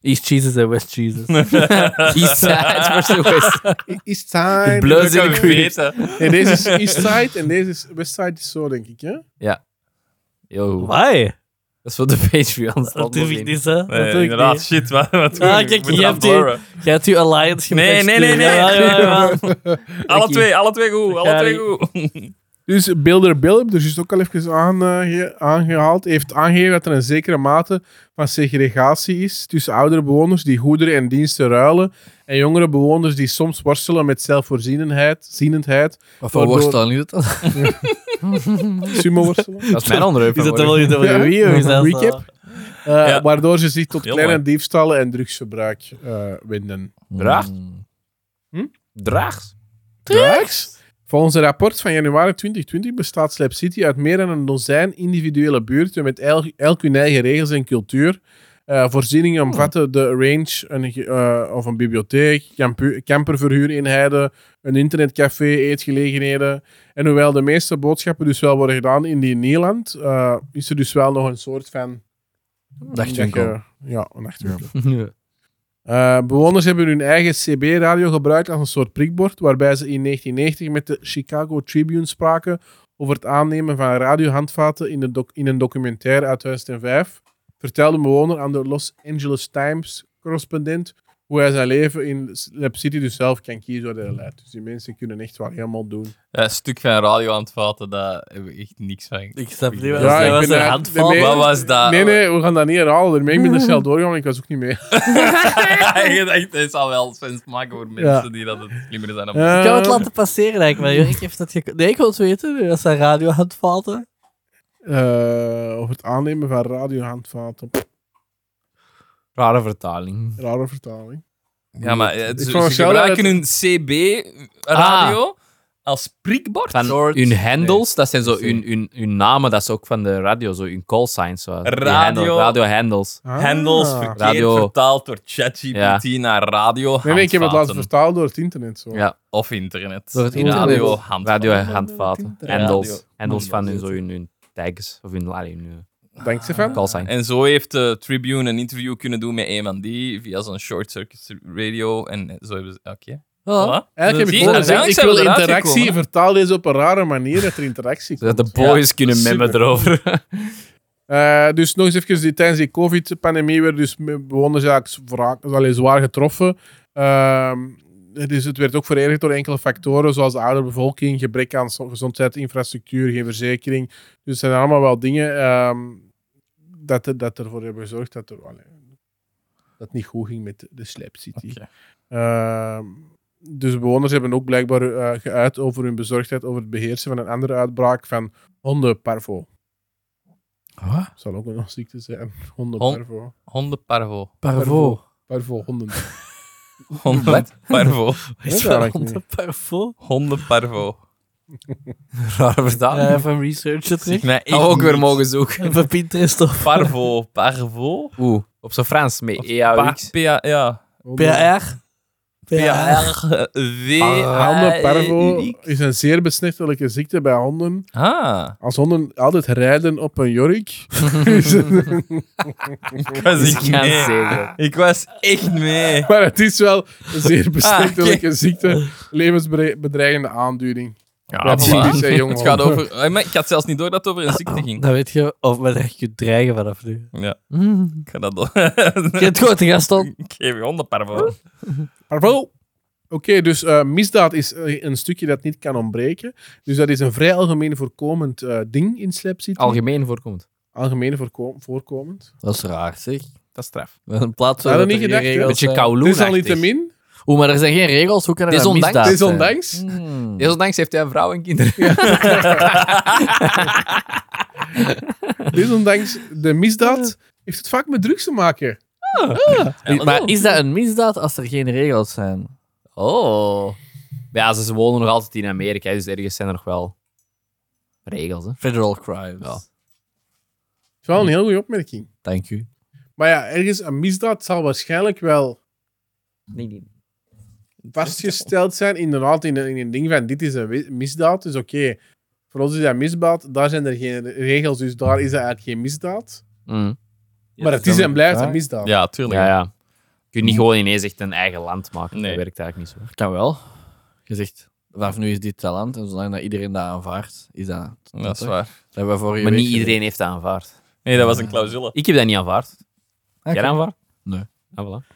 Speaker 3: East Jesus en West Jesus.
Speaker 4: Eastside versus West.
Speaker 1: East Side.
Speaker 4: bleu- Bleu-
Speaker 2: Dat kan ik weten.
Speaker 1: Nee, deze is Eastside en deze is Westside is zo, denk ik. Hè?
Speaker 4: Yo, dat
Speaker 3: Why?
Speaker 4: is voor de Patreons.
Speaker 3: Dat durf ik niet, hè? Dat
Speaker 2: Nee,
Speaker 3: doe ik
Speaker 2: inderdaad.
Speaker 3: niet.
Speaker 2: Shit, wat, wat
Speaker 3: Ah,
Speaker 2: doen we?
Speaker 3: kijk,
Speaker 2: Moet
Speaker 3: je
Speaker 2: dat
Speaker 3: hebt die-
Speaker 2: horen.
Speaker 3: Jij hebt uw alliance
Speaker 2: Nee, nee, nee, nee.
Speaker 3: Ja, ja, ja.
Speaker 2: Alle
Speaker 3: Kijk,
Speaker 2: twee, alle twee goed. Alle
Speaker 3: ga
Speaker 2: twee
Speaker 3: die-
Speaker 2: goed.
Speaker 1: Dus Builder Bill, heb ik er juist ook al even aan, eh, ge- aangehaald, heeft aangegeven dat er een zekere mate van segregatie is tussen oudere bewoners die goederen en diensten ruilen en jongere bewoners die soms worstelen met zelfvoorzienendheid, zienendheid,
Speaker 3: Wat
Speaker 1: voor worst
Speaker 3: dan niet? Is
Speaker 1: sumo worstelen.
Speaker 4: Dat is mijn onderwerp.
Speaker 3: dat dan wel je WWE E of is dat
Speaker 1: Recap.
Speaker 3: zo?
Speaker 1: Eh,
Speaker 2: Ja.
Speaker 1: Waardoor ze zich tot
Speaker 2: Heel
Speaker 1: kleine
Speaker 2: mooi.
Speaker 1: diefstallen en drugsverbruik eh wenden.
Speaker 4: Draagt?
Speaker 1: Hm?
Speaker 4: Draagt?
Speaker 1: Drugs? Volgens een rapport van januari 2020 bestaat Slap City uit meer dan een dozijn individuele buurten met el- elk hun eigen regels en cultuur. Eh, voorzieningen omvatten de range een, ge- eh, of een bibliotheek, campu- camperverhuureenheden, een internetcafé, eetgelegenheden. En hoewel de meeste boodschappen dus wel worden gedaan in die Nederland, eh, is er dus wel nog een soort van...
Speaker 3: Nachtwinkel.
Speaker 1: Dat je- Ja, een nachtwinkel. Eh, bewoners hebben hun eigen CB-radio gebruikt als een soort prikbord, waarbij ze in 1990 met de Chicago Tribune spraken over het aannemen van radiohandvaten in, de doc- in een documentaire uit 2005. Vertelde een bewoner aan de Los Angeles Times-correspondent hoe hij zijn leven in Slap City dus zelf kan kiezen waar hij leidt. Dus die mensen kunnen echt wel helemaal doen.
Speaker 2: Een stuk van radio aan het vaten, daar hebben we echt niks van.
Speaker 3: Ik snap niet
Speaker 2: Ja,
Speaker 3: wat
Speaker 2: ik
Speaker 3: ja,
Speaker 1: ben
Speaker 3: een
Speaker 1: uit-
Speaker 3: handval.
Speaker 1: nee,
Speaker 3: was.
Speaker 2: Wat was dat?
Speaker 1: Nee, nee, we gaan dat niet herhalen. Daarmee ben ik ben er snel doorgegaan, want ik was ook niet mee.
Speaker 2: Je dacht, dit zal wel sens maken voor mensen die dat het slimmer zijn. dan-
Speaker 1: Eh,
Speaker 3: Ik kan het laten passeren, denk ik. Maar Jurk heeft dat gek... Nee, ik wil het weten. Dat zijn radio aan het vaten.
Speaker 1: eh, over het aannemen van radiohandvaten. Pff,
Speaker 4: Rare vertaling.
Speaker 1: Rare vertaling.
Speaker 2: Ja, maar eh,
Speaker 1: Ik
Speaker 2: ze,
Speaker 1: vond
Speaker 2: ze
Speaker 1: het zo
Speaker 2: gebruiken hun CB-radio als prikbord.
Speaker 4: Van
Speaker 2: Ah. Soort-
Speaker 4: hun handles, dat zijn zo
Speaker 2: Sorry.
Speaker 4: hun, hun, hun namen, dat is ook van de radio, zo hun call signs. Zo. Die
Speaker 2: Radio.
Speaker 4: handle- radio handles.
Speaker 1: Ah.
Speaker 2: Handles verkeerd
Speaker 4: Radio.
Speaker 2: vertaald door ChatGPT naar radio.
Speaker 1: Nee, nee, ik heb het laten
Speaker 2: handvaten.
Speaker 1: vertalen door het internet. Zo.
Speaker 4: Ja,
Speaker 2: Of internet.
Speaker 3: Door het internet.
Speaker 2: Radio handvaten.
Speaker 4: radio handvaten.
Speaker 2: Radio.
Speaker 4: Handles. Handles
Speaker 2: Ja,
Speaker 4: van
Speaker 2: dat
Speaker 4: hun,
Speaker 2: is
Speaker 4: zo hun, hun tags of hun, allee, hun eh,
Speaker 1: Denkt ze van?
Speaker 4: call sign.
Speaker 2: En zo heeft de Tribune een interview kunnen doen met een van die via zo'n short circuit radio. En zo hebben ze. Oké.
Speaker 3: Oh.
Speaker 2: Voilà.
Speaker 1: Eigenlijk heb
Speaker 2: Zie
Speaker 1: ik
Speaker 2: je,
Speaker 1: gewoon gezegd,
Speaker 2: uiteindelijk
Speaker 1: ik
Speaker 2: zijn we
Speaker 1: wil
Speaker 2: eruit
Speaker 1: interactie,
Speaker 2: gekomen, hè?
Speaker 1: vertaal deze op een rare manier, dat er interactie komt.
Speaker 4: Zodat de boys kunnen
Speaker 1: super.
Speaker 4: memmen erover.
Speaker 1: Eh, dus nog eens even, die, tijdens die covid-pandemie werden dus me- bewoners eigenlijk zwaar, allee, zwaar getroffen. Ehm, dus het werd ook verergerd door enkele factoren, zoals de oudere bevolking, gebrek aan zo- gezondheid, infrastructuur, geen verzekering. Dus het zijn allemaal wel dingen ehm, dat, er, dat ervoor hebben gezorgd dat, er, allee, dat het niet goed ging met de- de Slap City.
Speaker 2: Oké.
Speaker 1: Ehm, dus bewoners hebben ook blijkbaar eh, geuit over hun bezorgdheid over het beheersen van een andere uitbraak van hondenparvo.
Speaker 4: Huh?
Speaker 1: Zal ook een ziekte zijn. Hondenparvo.
Speaker 2: Hondenparvo.
Speaker 1: Parvo. Parvo, honden.
Speaker 2: Hondenparvo.
Speaker 3: Is
Speaker 1: Weet
Speaker 3: dat
Speaker 1: eigenlijk
Speaker 3: hond-
Speaker 1: niet.
Speaker 3: Parvo?
Speaker 2: Hondenparvo.
Speaker 4: Rare vertaling.
Speaker 3: Eh, Van research het
Speaker 2: Zeg
Speaker 3: terug.
Speaker 2: mij echt
Speaker 4: Gaan we ook weer
Speaker 2: niks.
Speaker 4: mogen zoeken.
Speaker 3: Van Pinterest of
Speaker 2: Parvo. Parvo.
Speaker 4: Oeh, op zijn Frans, met E
Speaker 2: Pa-
Speaker 4: EAUX.
Speaker 2: PA, ja.
Speaker 3: PR. PR.
Speaker 2: W. eh,
Speaker 1: Hondenparvo is een zeer besmettelijke ziekte bij honden.
Speaker 2: Ah.
Speaker 1: Als honden altijd rijden op een jork. is het-
Speaker 2: Ik was
Speaker 4: Dus
Speaker 2: echt
Speaker 4: ik ga het
Speaker 2: mee.
Speaker 4: zeggen.
Speaker 2: Ik was echt mee.
Speaker 1: maar het is wel een
Speaker 2: Ah,
Speaker 1: zeer besmettelijke ziekte. Levensbedreigende aanduiding.
Speaker 2: Ja,
Speaker 1: typisch, hè, jongen.
Speaker 2: Het gaat over... Eh, maar Ik had zelfs niet door dat het over een ziekte ging.
Speaker 3: Dan weet je of men echt kunt dreigen vanaf nu.
Speaker 2: Ja,
Speaker 3: Mm.
Speaker 2: ik ga dat door.
Speaker 3: Je hebt het goed, Gaston.
Speaker 2: Ik geef je hondenparvo.
Speaker 1: Parvo! Oké, dus eh, misdaad is eh, een stukje dat niet kan ontbreken. Dus dat is een vrij algemeen voorkomend eh, ding in Slap City.
Speaker 4: Algemeen voorkomt.
Speaker 1: Algemeen voorko- voorkomend.
Speaker 3: Dat is raar, zeg.
Speaker 4: Dat is straf.
Speaker 3: Een plaats
Speaker 1: Hadden
Speaker 3: waar
Speaker 1: niet
Speaker 3: er geen
Speaker 1: gedacht, hè?
Speaker 3: regels
Speaker 4: Beetje
Speaker 3: zijn.
Speaker 1: Het
Speaker 4: kouloen
Speaker 1: is al niet te min.
Speaker 3: Oeh, maar er zijn geen regels. Hoe
Speaker 1: eh,
Speaker 3: kan er een
Speaker 4: Desondanks-
Speaker 2: eh.
Speaker 3: misdaad zijn?
Speaker 1: Desondanks.
Speaker 3: Hmm.
Speaker 4: Desondanks heeft hij een vrouw en kinderen.
Speaker 1: Desondanks Dus de misdaad heeft het vaak met drugs te maken.
Speaker 2: Ja,
Speaker 3: Maar is dat een misdaad als er geen regels zijn?
Speaker 4: Oh. Ja, ze ze wonen nog altijd in Amerika, dus ergens zijn er nog wel regels. Hè?
Speaker 3: Federal crimes.
Speaker 4: Ja.
Speaker 1: Het is wel een heel goede opmerking.
Speaker 3: Dank u.
Speaker 1: Maar ja, ergens een misdaad zal waarschijnlijk wel
Speaker 4: Nee, nee.
Speaker 1: vastgesteld zijn. Inderdaad, in een, in een ding van dit is een wi- misdaad. Dus oké, voor ons is dat misdaad. Daar zijn er geen regels, dus daar is dat eigenlijk geen misdaad.
Speaker 4: Mm.
Speaker 1: maar het is en blijft een misdaad.
Speaker 2: Ja, tuurlijk.
Speaker 4: Ja, ja. Je kunt niet gewoon ineens echt een eigen land maken.
Speaker 2: Nee.
Speaker 4: Dat werkt eigenlijk niet zo.
Speaker 3: Kan wel. Gezegd, vanaf nu is dit talent. En zolang dat iedereen dat aanvaardt, is dat...
Speaker 2: Dat is waar.
Speaker 3: Dat hebben we vorige
Speaker 4: Maar
Speaker 3: week
Speaker 4: niet iedereen heeft dat aanvaard.
Speaker 2: Nee, dat was een clausule.
Speaker 4: Ik heb dat niet aanvaard.
Speaker 3: gezien.
Speaker 4: Jij dat aanvaard?
Speaker 3: Nee.
Speaker 4: Ah, voilà.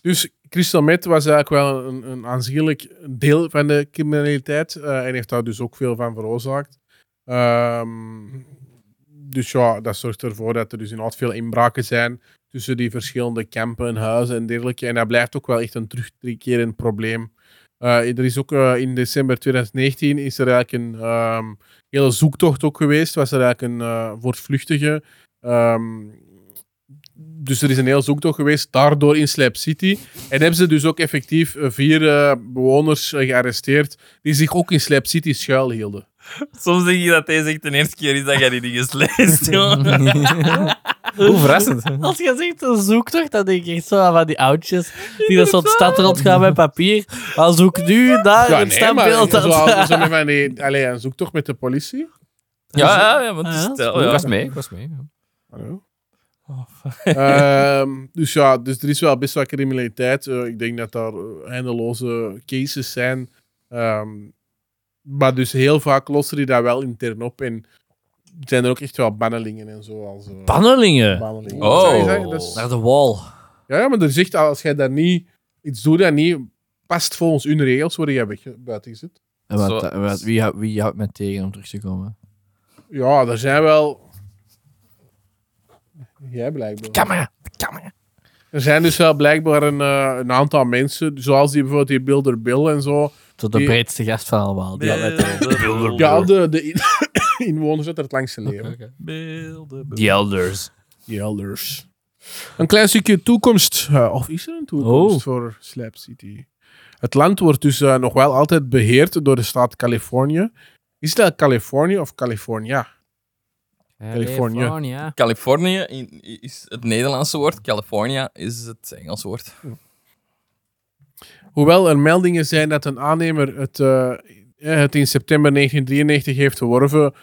Speaker 1: Dus crystal meth was eigenlijk wel een, een aanzienlijk deel van de criminaliteit eh, en heeft daar dus ook veel van veroorzaakt. Ehm, dus ja, dat zorgt ervoor dat er dus inderdaad veel inbraken zijn tussen die verschillende campen en huizen en dergelijke. En dat blijft ook wel echt een terugkerend probleem. Eh, er is ook eh, in december 2019 is er eigenlijk een ehm, hele zoektocht ook geweest. Was er eigenlijk een eh voortvluchtige. ehm, dus er is een hele zoektocht geweest, daardoor in Slap City. En hebben ze dus ook effectief eh, vier eh, bewoners eh, gearresteerd die zich ook in Slap City schuilhielden.
Speaker 2: Soms denk je dat deze echt de eerste keer is dat jij die dingen leest, joh.
Speaker 4: Hoe verrassend.
Speaker 3: Als je zegt een zoektocht, dan denk ik echt zo aan van die oudjes die dat soort stad rondgaan met papier. Maar zoek nu daar
Speaker 1: Ja,
Speaker 3: Ah, een
Speaker 1: nee, maar
Speaker 3: standbeeld.
Speaker 1: zo,
Speaker 3: aan.
Speaker 1: zo met van die, allee, een zoektocht met de politie.
Speaker 2: Ja, ja, ja, want
Speaker 3: Ah,
Speaker 2: het is-
Speaker 3: dat is
Speaker 2: oh,
Speaker 4: ik
Speaker 2: ja.
Speaker 4: was mee, ik was mee. ja.
Speaker 1: Hallo. Ehm, dus ja, dus er is wel best wel criminaliteit. Eh, ik denk dat daar eh, eindeloze cases zijn. Ehm, maar dus heel vaak lossen die dat wel intern op. En zijn er ook echt wel bannelingen en zo. Als, eh,
Speaker 3: Pannelingen.
Speaker 1: bannelingen.
Speaker 2: Oh.
Speaker 1: Zou je zeggen, dat is-
Speaker 3: Naar de wall.
Speaker 1: ja, ja, maar er zegt al, als jij daar niet iets doet dat niet past volgens hun regels, word jij weg, buiten gezet.
Speaker 3: En
Speaker 2: Zo.
Speaker 3: wat, wat, wie, hou- wie houdt mij tegen om terug te komen?
Speaker 1: Ja, er zijn wel. Jij blijkbaar.
Speaker 3: Camera!
Speaker 1: Er zijn dus wel blijkbaar een, eh, een aantal mensen, zoals die bijvoorbeeld die Builder Bill en zo.
Speaker 3: Tot de
Speaker 1: Die-
Speaker 3: breedste gast van allemaal. Die houdt mij tegen.
Speaker 1: Ja, de, de in- inwoners uit het langste leven.
Speaker 2: Beelden,
Speaker 4: The Elders.
Speaker 1: Die elders. Een klein stukje toekomst. eh, of is er een toekomst
Speaker 3: Oh.
Speaker 1: voor Slap City? Het land wordt dus eh, nog wel altijd beheerd door de staat Californië. Is dat Californië of California? Californië.
Speaker 4: California.
Speaker 2: Californië in- is het Nederlandse woord, California is het Engels woord.
Speaker 1: Hoewel er meldingen zijn dat een aannemer het, eh, eh, het in september 1993 heeft verworven,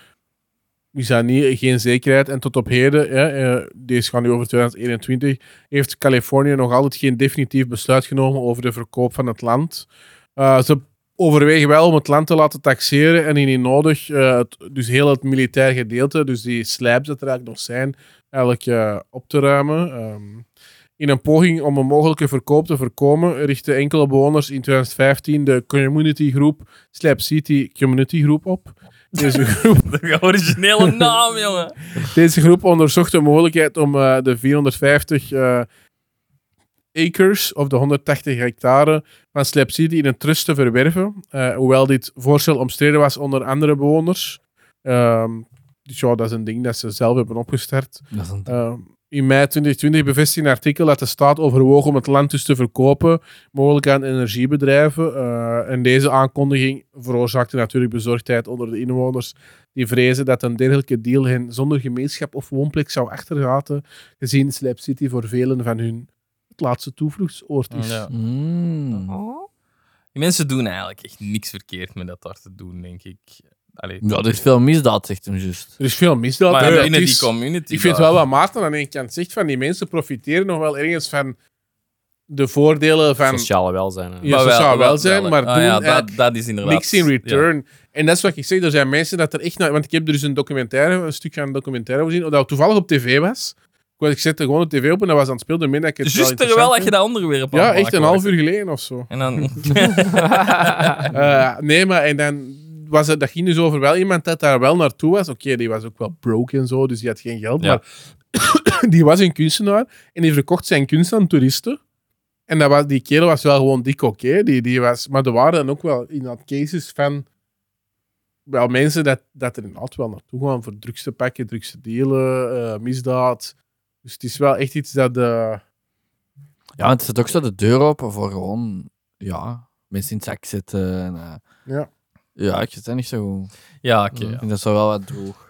Speaker 1: is dat niet, geen zekerheid. En tot op heden, eh, eh, deze gaan nu over 2021, heeft Californië nog altijd geen definitief besluit genomen over de verkoop van het land. Eh, ze overwegen wel om het land te laten taxeren en indien nodig, eh, het, dus heel het militair gedeelte, dus die slijps dat er eigenlijk nog zijn, eigenlijk eh, op te ruimen. Ehm, in een poging om een mogelijke verkoop te voorkomen, richtten enkele bewoners in 2015 de community groep Slap City Community Groep op. Deze groep,
Speaker 2: De originele naam, jongen.
Speaker 1: deze groep onderzocht de mogelijkheid om eh, de 450 eh, acres of de 180 hectare van Slap City in een trust te verwerven. eh, hoewel dit voorstel omstreden was onder andere bewoners. Ehm, dus ja, dat is een ding dat ze zelf hebben opgestart.
Speaker 3: Dat is een-
Speaker 1: Uh, in mei 2020 bevestigt een artikel dat de staat overwoog om het land dus te verkopen, mogelijk aan energiebedrijven. Uh, en deze aankondiging veroorzaakte natuurlijk bezorgdheid onder de inwoners, die vrezen dat een dergelijke deal hen zonder gemeenschap of woonplek zou achterlaten, gezien Slap City voor velen van hun het laatste toevluchtsoord is.
Speaker 2: Ja.
Speaker 3: Mm.
Speaker 2: Die mensen doen eigenlijk echt niks verkeerd met dat daar te doen, denk ik. Allee,
Speaker 3: Ja, er is veel misdaad, zegt hem juist.
Speaker 1: Er is veel misdaad.
Speaker 2: maar
Speaker 1: hè, dat
Speaker 2: binnen die
Speaker 1: is-
Speaker 2: community.
Speaker 1: Ik vind
Speaker 2: daar-
Speaker 1: wel wat Maarten aan één kant zegt, van die mensen profiteren nog wel ergens van de voordelen van...
Speaker 4: Sociale welzijn. hè.
Speaker 1: Ja. ze zou wel zijn, maar
Speaker 2: ah,
Speaker 1: doen
Speaker 2: ja, dat,
Speaker 1: eigenlijk
Speaker 2: dat is inderdaad...
Speaker 1: niks in
Speaker 2: Ja.
Speaker 1: return. En dat is wat ik zeg. Er zijn mensen dat er echt naar. Want ik heb er dus een documentaire, een stuk van een documentaire over gezien, dat toevallig op tv was. Ik was- Ik zette gewoon de tv op en dat was aan het spelen. door midden dat ik het
Speaker 2: Juist
Speaker 1: wel
Speaker 2: terwijl dat je
Speaker 1: interessant
Speaker 2: dat onderwerp
Speaker 1: vond. Ja,
Speaker 2: aanmaakt,
Speaker 1: echt een
Speaker 2: hoor.
Speaker 1: half uur geleden of zo.
Speaker 2: En dan...
Speaker 1: Eh, nee, maar en dan was het, dat ging dus over wel iemand dat daar wel naartoe was. Oké, die was ook wel broke en zo, dus die had geen geld.
Speaker 2: Ja.
Speaker 1: Maar die was een kunstenaar en die verkocht zijn kunst aan toeristen. En dat was, die kerel was wel gewoon dik oké. Die, die was, maar er waren dan ook wel inderdaad cases van wel mensen dat, dat er inderdaad wel naartoe gaan voor drugs te pakken, drugs te delen, eh, misdaad. Dus het is wel echt iets dat... eh,
Speaker 3: Ja, want het zit ook zo de deur open voor gewoon, ja, mensen in het zak zitten. En, eh,
Speaker 1: Ja.
Speaker 3: Ja, ik zit daar niet zo goed.
Speaker 2: ja, oké.
Speaker 3: Ik
Speaker 2: ja.
Speaker 3: vind dat zo wel wat droog.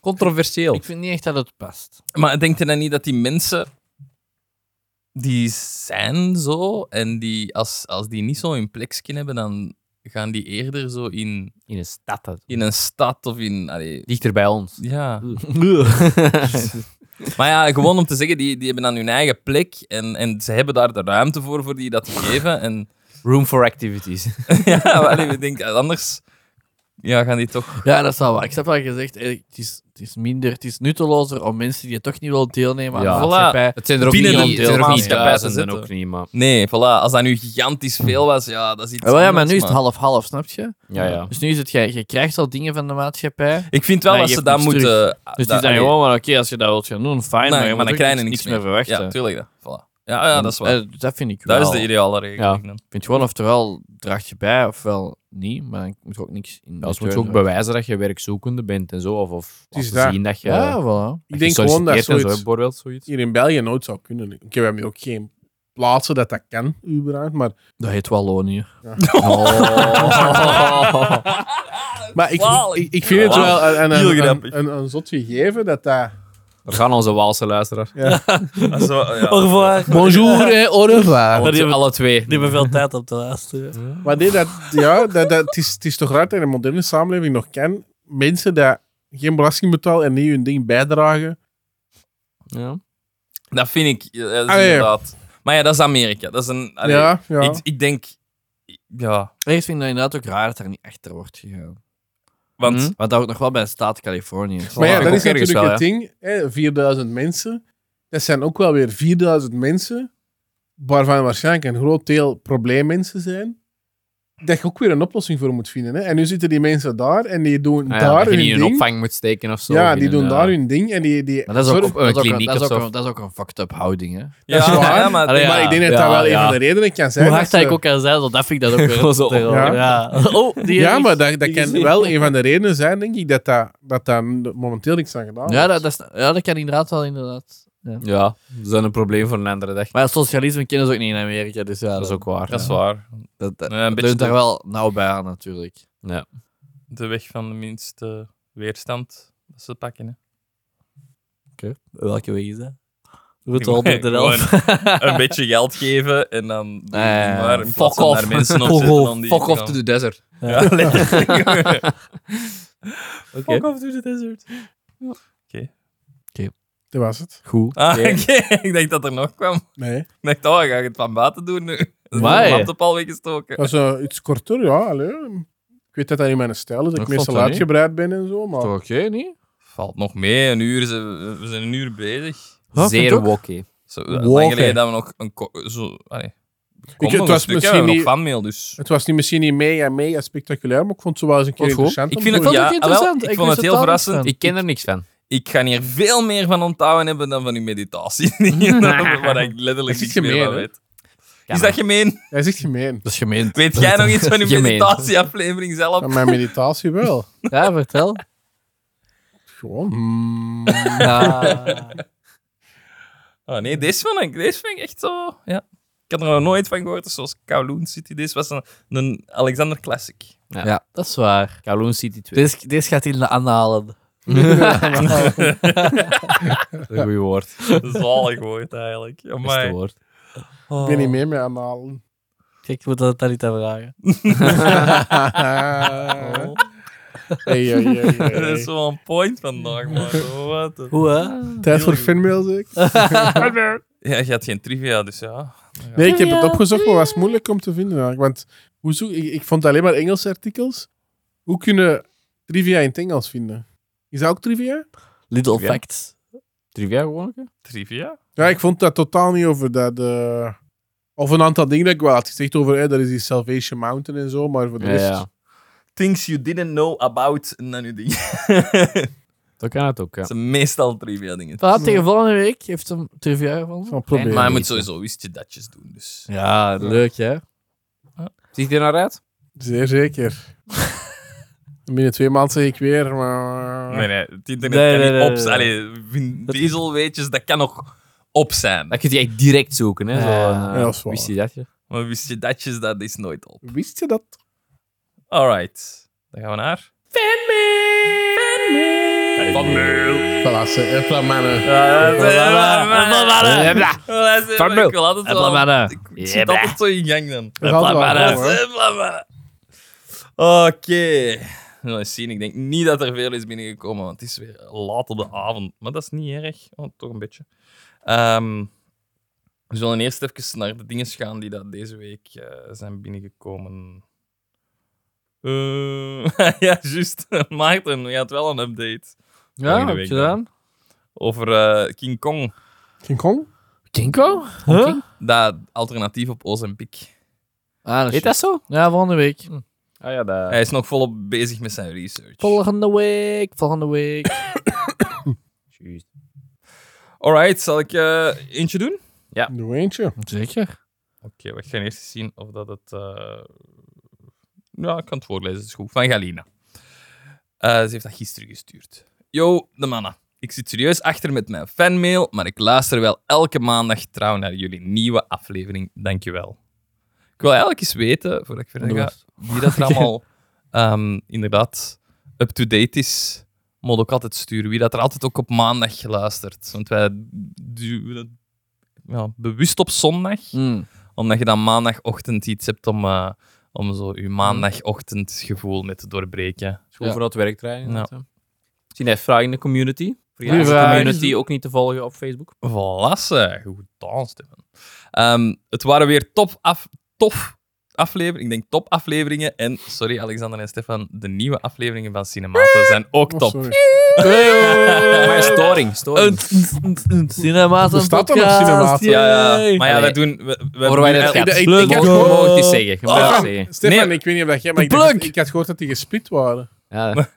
Speaker 4: Controversieel.
Speaker 3: Ik vind niet echt dat het past.
Speaker 2: Maar denk je dan niet dat die mensen... Die zijn zo, en die, als, als die niet zo hun plekje hebben, dan gaan die eerder zo in,
Speaker 4: In een stad. dat-
Speaker 2: in een stad of in... allee,
Speaker 4: Dichter bij ons.
Speaker 2: ja. Maar ja, gewoon om te zeggen, die, die hebben dan hun eigen plek en, en ze hebben daar de ruimte voor, voor die dat te geven. En
Speaker 4: Room for activities.
Speaker 2: ja, maar allee, ik denk, anders ja, gaan die toch...
Speaker 3: ja, dat is wel waar. Ik heb al gezegd, eh, het is, het is minder, het is nuttelozer om mensen die het toch niet willen deelnemen Eh, aan
Speaker 4: Ja.
Speaker 3: de
Speaker 2: Voilà.
Speaker 3: maatschappij.
Speaker 4: Het zijn er ook
Speaker 2: Binnen
Speaker 4: niet,
Speaker 2: die-
Speaker 4: het
Speaker 2: het
Speaker 4: zijn er ook niet
Speaker 2: maatschappij te
Speaker 4: duizenden
Speaker 2: zitten.
Speaker 4: ook niet, maar...
Speaker 2: Nee, voilà, als dat nu gigantisch veel was, ja, dat is iets
Speaker 3: Ja, wel, ja, maar
Speaker 2: anders,
Speaker 3: nu is het half-half, snap je?
Speaker 4: Ja, ja.
Speaker 3: Dus nu is het, je, je krijgt al dingen van de maatschappij. Dus
Speaker 2: Ik vind wel
Speaker 3: Nee,
Speaker 2: dat
Speaker 3: je
Speaker 2: ze
Speaker 3: hebt
Speaker 2: dat
Speaker 3: niks
Speaker 2: moeten... ah,
Speaker 3: Dus
Speaker 2: dat-
Speaker 3: die zijn
Speaker 2: allee,
Speaker 3: gewoon, maar oké, als je dat wilt gaan doen,
Speaker 2: nee,
Speaker 3: fijn, maar je
Speaker 2: maar
Speaker 3: moet
Speaker 2: dan
Speaker 3: ook
Speaker 2: krijg je
Speaker 3: niks,
Speaker 2: niks
Speaker 3: meer
Speaker 2: meer.
Speaker 3: verwachten.
Speaker 2: Ja, tuurlijk. Dat. Voilà. Ja, ja, dat is waar.
Speaker 3: Eh, dat vind ik wel.
Speaker 2: dat is de ideale regeling. dan.
Speaker 3: Ik vind gewoon oftewel draag je bij ofwel niet, maar ik moet ook niks in.
Speaker 4: Ja, dus moet je ook bewijzen dat je werkzoekende bent en zo. Of, of,
Speaker 1: Het is
Speaker 4: of
Speaker 1: daar.
Speaker 4: zien dat je...
Speaker 3: Ja, voilà.
Speaker 1: ik denk gewoon dat
Speaker 4: zoiets...
Speaker 1: zoiets...
Speaker 4: bijvoorbeeld, zoiets.
Speaker 1: hier in België nooit zou kunnen. Ik heb hem ook geen plaatsen dat dat kan, überhaupt. Maar,
Speaker 3: Dat heet
Speaker 4: Ah,
Speaker 3: Wallonië.
Speaker 1: Ja.
Speaker 3: Oh.
Speaker 1: maar ik,
Speaker 2: Zalig.
Speaker 1: ik, ik vind het
Speaker 2: Ja.
Speaker 1: wel een, een,
Speaker 2: Heel
Speaker 1: een,
Speaker 2: grappig.
Speaker 1: een, een zot gegeven dat dat
Speaker 4: Daar gaan onze Waalse luisteraars.
Speaker 2: Zo, ja.
Speaker 5: Au revoir.
Speaker 3: Bonjour en au revoir.
Speaker 5: die
Speaker 4: Alle, twee,
Speaker 5: hebben-
Speaker 4: alle twee.
Speaker 5: Die hebben veel tijd op te luisteren.
Speaker 1: Maar nee, dat, ja, dat, dat, het, is, het is toch raar dat je in een moderne samenleving nog kan. Mensen die geen belasting betalen en niet hun ding bijdragen.
Speaker 4: Ja.
Speaker 2: Dat vind ik, eh, dat is
Speaker 1: Ah, ja, ja.
Speaker 2: inderdaad. Maar ja, dat is Amerika. Dat is een, allee,
Speaker 1: ja, ja.
Speaker 2: Ik, ik denk, ja,
Speaker 3: Ergens vind ik dat inderdaad ook raar dat er niet achter wordt gegaan.
Speaker 2: want
Speaker 4: Hm?
Speaker 3: Want dat ook nog wel bij de staat Californië. is.
Speaker 1: maar ja,
Speaker 4: ik
Speaker 1: dat
Speaker 4: ook
Speaker 1: is natuurlijk
Speaker 4: ergens wel,
Speaker 1: het ding. Hè, 4000 mensen. Dat zijn ook wel weer 4000 mensen. Waarvan waarschijnlijk een groot deel probleemmensen zijn. Dat je ook weer een oplossing voor moet vinden. Hè. En nu zitten die mensen daar en die doen
Speaker 4: Ah ja,
Speaker 1: daar
Speaker 4: dat je
Speaker 1: hun
Speaker 4: niet in
Speaker 1: ding.
Speaker 4: een opvang moet steken of zo.
Speaker 1: ja,
Speaker 4: of
Speaker 1: die
Speaker 4: in
Speaker 1: doen
Speaker 4: een,
Speaker 1: daar
Speaker 4: eh,
Speaker 1: hun ding. En die, die
Speaker 3: Maar dat is ook,
Speaker 1: zorgen-
Speaker 4: een
Speaker 3: dat is ook,
Speaker 4: kliniek
Speaker 3: dat is
Speaker 4: of
Speaker 3: ook
Speaker 4: zo.
Speaker 3: een, dat is ook een fucked-up houding, hè.
Speaker 2: ja,
Speaker 1: is waar.
Speaker 2: ja, maar,
Speaker 4: Allee, ja.
Speaker 1: Maar ik denk dat dat
Speaker 4: ja,
Speaker 1: wel een
Speaker 4: ja.
Speaker 1: van de redenen kan zijn.
Speaker 5: Hoe hard dat
Speaker 1: dat
Speaker 5: ik
Speaker 1: ze-
Speaker 5: ook kan zijn, zo, dat vind ik dat ook weer.
Speaker 4: Gewoon zo.
Speaker 5: terror.
Speaker 1: Ja.
Speaker 5: Ja. Oh, die
Speaker 1: Ja,
Speaker 5: ergens.
Speaker 1: maar dat, dat
Speaker 5: Die
Speaker 1: kan
Speaker 5: gezien.
Speaker 1: wel een van de redenen zijn, denk ik, dat daar dat, daar momenteel niks aan gedaan
Speaker 3: Ja,
Speaker 1: wordt.
Speaker 3: dat, dat, is- ja, dat kan inderdaad wel, inderdaad.
Speaker 4: Ja, dat is dan een probleem voor een andere dag.
Speaker 3: Maar ja, socialisme kennen ze ook niet in Amerika, dus ja,
Speaker 4: Dat is ook waar.
Speaker 2: dat is waar.
Speaker 3: Dat, dat,
Speaker 2: Eh, een
Speaker 3: dat
Speaker 2: beetje
Speaker 3: leunt daar
Speaker 2: de,
Speaker 3: wel nauw bij aan, natuurlijk.
Speaker 2: de weg van de minste weerstand dat ze pakken. Hè.
Speaker 5: Welke weg is dat? Route 111.
Speaker 2: Gewoon een beetje geld geven en dan doen die
Speaker 3: ja, ja.
Speaker 2: maar in plaats
Speaker 4: Fuck
Speaker 2: van
Speaker 4: off.
Speaker 2: daar mensen op
Speaker 4: Fuck
Speaker 2: zetten
Speaker 4: off.
Speaker 2: om die
Speaker 4: Fuck
Speaker 2: te
Speaker 4: off
Speaker 2: gaan-
Speaker 4: to the desert.
Speaker 2: Ja, letterlijk.
Speaker 4: Oké.
Speaker 2: Fuck off to the desert.
Speaker 1: Dat was het.
Speaker 3: Goed.
Speaker 2: Ah,
Speaker 4: Oké.
Speaker 2: oké. ik dacht dat er nog kwam.
Speaker 1: Nee.
Speaker 2: Ik dacht, oh, ga ik het van buiten doen nu? Dan
Speaker 3: Maar,
Speaker 2: is de
Speaker 3: hè.
Speaker 2: laptop al weggestoken.
Speaker 1: Dat is eh, iets korter, ja. Allee. Ik weet dat dat in mijn stijl is, dat ik
Speaker 3: Ik vond
Speaker 1: meestal
Speaker 3: dat niet.
Speaker 1: uitgebreid ben en zo, maar...
Speaker 3: Toch oké, niet?
Speaker 2: Valt nog mee, een uur. zijn- We zijn een uur bezig.
Speaker 3: Ja, vind
Speaker 4: Zeer
Speaker 3: ik ook.
Speaker 4: wokke.
Speaker 2: Zo,
Speaker 1: Wow,
Speaker 2: lang
Speaker 1: hè.
Speaker 2: geleden dat we nog een... ko- Zo, allee, ik,
Speaker 1: het
Speaker 2: het
Speaker 1: was
Speaker 2: was stuk, hè, we
Speaker 1: misschien
Speaker 2: hebben nog
Speaker 1: niet-
Speaker 2: fanmail, dus...
Speaker 1: Het was niet, misschien niet mega, mega spectaculair, maar ik vond het wel eens een keer
Speaker 3: Vond het goed.
Speaker 1: interessant.
Speaker 2: Ik
Speaker 1: om
Speaker 2: vind
Speaker 1: te
Speaker 2: het
Speaker 1: doen.
Speaker 2: wel
Speaker 3: vond het
Speaker 2: ja,
Speaker 3: interessant.
Speaker 2: jawel,
Speaker 3: Ik
Speaker 2: Ik
Speaker 3: wist
Speaker 2: vond het
Speaker 3: het
Speaker 2: heel
Speaker 3: wel
Speaker 2: verrassend.
Speaker 3: interessant.
Speaker 2: Ik,
Speaker 4: Ik ken er niks van.
Speaker 2: ik ga hier veel meer van onthouden hebben dan van uw meditatie. waar ik letterlijk
Speaker 1: is
Speaker 2: niks
Speaker 1: gemeen,
Speaker 2: meer van
Speaker 1: hè?
Speaker 2: weet.
Speaker 4: Ja,
Speaker 2: Is
Speaker 4: maar-
Speaker 2: dat gemeen?
Speaker 1: Dat is echt gemeen.
Speaker 3: Dat is gemeen.
Speaker 2: Weet jij nog iets van uw
Speaker 4: Gemeen.
Speaker 2: meditatieaflevering zelf?
Speaker 1: Van mijn meditatie wel.
Speaker 3: Ja, vertel.
Speaker 1: Gewoon. mm,
Speaker 2: Oh nee, deze vond ik, deze vind ik echt zo. Ja. Ik had er nog nooit van gehoord, dus zoals Kowloon City. Deze was een, een Alexander Classic.
Speaker 3: Ja, dat is waar.
Speaker 4: Kowloon City 2.
Speaker 3: Deze, deze gaat in de aanhalen.
Speaker 4: Dat is een goed woord.
Speaker 2: Zalig woord eigenlijk.
Speaker 4: Beste
Speaker 2: Amai.
Speaker 4: woord.
Speaker 3: Oh.
Speaker 1: Ik ben niet mee met aanhalen.
Speaker 5: Kijk, ik moet dat daar niet aan vragen.
Speaker 2: Oh.
Speaker 1: Hey, hey, hey, hey.
Speaker 2: Dat is wel een point vandaag, man. Oh, Wat een-
Speaker 5: Hoe, hè?
Speaker 1: Tijd voor fanmail, zeg ik.
Speaker 2: Ja, je had geen trivia, dus ja.
Speaker 1: Nee, ik heb het opgezocht, maar was moeilijk om te vinden. eigenlijk. Want hoe zoek, ik, ik vond alleen maar Engelse artikels. Hoe kunnen trivia in het Engels vinden? Is dat ook trivia?
Speaker 3: Little
Speaker 4: Ja.
Speaker 3: facts.
Speaker 4: Trivia gewoon? hè?
Speaker 2: Trivia?
Speaker 1: Ja, ik vond dat totaal niet over dat. eh, of een aantal dingen dat ik wel had gezegd over. hè, dat is die Salvation Mountain en zo, maar voor de
Speaker 4: Ja,
Speaker 1: rest.
Speaker 4: ja.
Speaker 2: Things you didn't know about. En dan uw ding.
Speaker 4: Dat kan het ook, ja.
Speaker 2: Dat zijn meestal trivia dingen.
Speaker 3: Voilà, tegen volgende week heeft hem trivia gevonden.
Speaker 1: Zal proberen.
Speaker 2: Maar je moet
Speaker 4: weten.
Speaker 2: sowieso wist je datjes doen, dus.
Speaker 3: Ja, leuk hè?
Speaker 4: Ziet je er naar uit?
Speaker 1: Zeer zeker. En Binnen twee maanden zeg ik weer. Maar...
Speaker 2: Nee, nee, het internet
Speaker 5: Nee,
Speaker 2: kan
Speaker 5: nee,
Speaker 2: niet
Speaker 5: nee,
Speaker 2: op
Speaker 5: nee.
Speaker 2: zijn. Allee, Vin Diesel, weetjes, dat kan nog op zijn.
Speaker 4: Dan kun je die echt direct zoeken, hè. Zo,
Speaker 3: Ja,
Speaker 4: eh,
Speaker 1: dat is waar.
Speaker 4: Wist je dat? je?
Speaker 2: Maar wist je datjes, dat is nooit op.
Speaker 1: Wist je dat?
Speaker 2: Alright, dan gaan we naar. Fanmail! Fanmail!
Speaker 1: Voilà, ze- eh, voilà, mannen.
Speaker 2: Fanmail!
Speaker 4: Fanmail.
Speaker 2: Ik wil altijd wel...
Speaker 4: Blablabla.
Speaker 2: Ik zit altijd zo in gang dan.
Speaker 1: We gaan het wel
Speaker 4: Blablabla.
Speaker 1: doen, hoor.
Speaker 2: Blablabla. Oké. Nou, eens zien. Ik denk niet dat er veel is binnengekomen, want het is weer laat op de avond. Maar dat is niet erg. Oh, toch een beetje. Ehm, we zullen eerst even naar de dingen gaan die dat deze week eh, zijn binnengekomen. Eh, ja, juist. Maarten, je had wel een update
Speaker 3: Ja,
Speaker 2: Volgende
Speaker 3: heb
Speaker 2: week
Speaker 3: je gedaan?
Speaker 2: over eh, King Kong.
Speaker 1: King Kong?
Speaker 3: Kinko?
Speaker 5: Huh?
Speaker 2: Dat alternatief op Ozempic.
Speaker 3: Ah, dat is
Speaker 4: Heet dat zo?
Speaker 3: Ja, volgende week.
Speaker 4: Ah ja, dat...
Speaker 2: Hij is nog volop bezig met zijn research.
Speaker 3: Volgende week, volgende week.
Speaker 4: Juist.
Speaker 2: Alright, zal ik eh, eentje doen?
Speaker 1: Doe eentje. Oh,
Speaker 3: Zeker.
Speaker 2: Oké, we gaan eerst eens zien of dat het. eh, Ja, ik kan het voorlezen, is goed. Van Galina. Eh, ze heeft dat gisteren gestuurd. Yo, de mannen. Ik zit serieus achter met mijn fanmail, maar ik luister wel elke maandag trouw naar jullie nieuwe aflevering. Dankjewel. Ik wil eigenlijk eens weten, voordat ik verder
Speaker 3: Doe
Speaker 2: ga, wie dat er allemaal ehm, inderdaad up-to-date is. moet ook altijd sturen. Wie dat er altijd ook op maandag geluisterd. Want wij duwen het, ja, bewust op zondag, omdat je dan maandagochtend iets hebt om, eh, om zo je maandagochtendgevoel mee te doorbreken.
Speaker 4: School
Speaker 3: Ja.
Speaker 4: vooral het werk draaien.
Speaker 2: Ja.
Speaker 4: eh. inderdaad, hè. Misschien heeft vragen in de community.
Speaker 3: Goeie
Speaker 4: Vragen in de
Speaker 3: vraag.
Speaker 4: community ook niet te volgen op Facebook.
Speaker 2: Vlassen. Goed gedaan, Steven. Ehm, het waren weer top af, tof afleveringen. Ik denk top afleveringen. En, sorry Alexander en Stefan, de nieuwe afleveringen van Cinemata zijn ook
Speaker 1: Oh,
Speaker 2: top.
Speaker 1: sorry.
Speaker 2: eh,
Speaker 4: Maar storing, storing.
Speaker 5: Cinema's
Speaker 1: Er
Speaker 5: een
Speaker 1: staat dan nog
Speaker 5: podcast,
Speaker 1: Cinema's.
Speaker 2: ja, ja.
Speaker 5: yay.
Speaker 2: Maar ja,
Speaker 4: Allee.
Speaker 2: dat doen... We, we
Speaker 4: Horen wij dat
Speaker 1: Ik-
Speaker 4: gaat?
Speaker 1: ik-
Speaker 4: Je
Speaker 1: ik-
Speaker 4: mag
Speaker 1: ik-
Speaker 4: je
Speaker 1: ik-
Speaker 4: mag het niet zeggen. Je mag het
Speaker 2: Ah.
Speaker 4: niet zeggen.
Speaker 1: Stefan,
Speaker 2: Nee.
Speaker 1: ik weet niet of dat jij, maar ik, dacht- ik had gehoord dat die gesplit waren.
Speaker 4: Ja.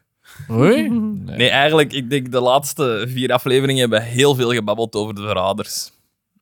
Speaker 3: Oei.
Speaker 2: Nee, eigenlijk, ik denk de laatste vier afleveringen hebben heel veel gebabbeld over de verraders.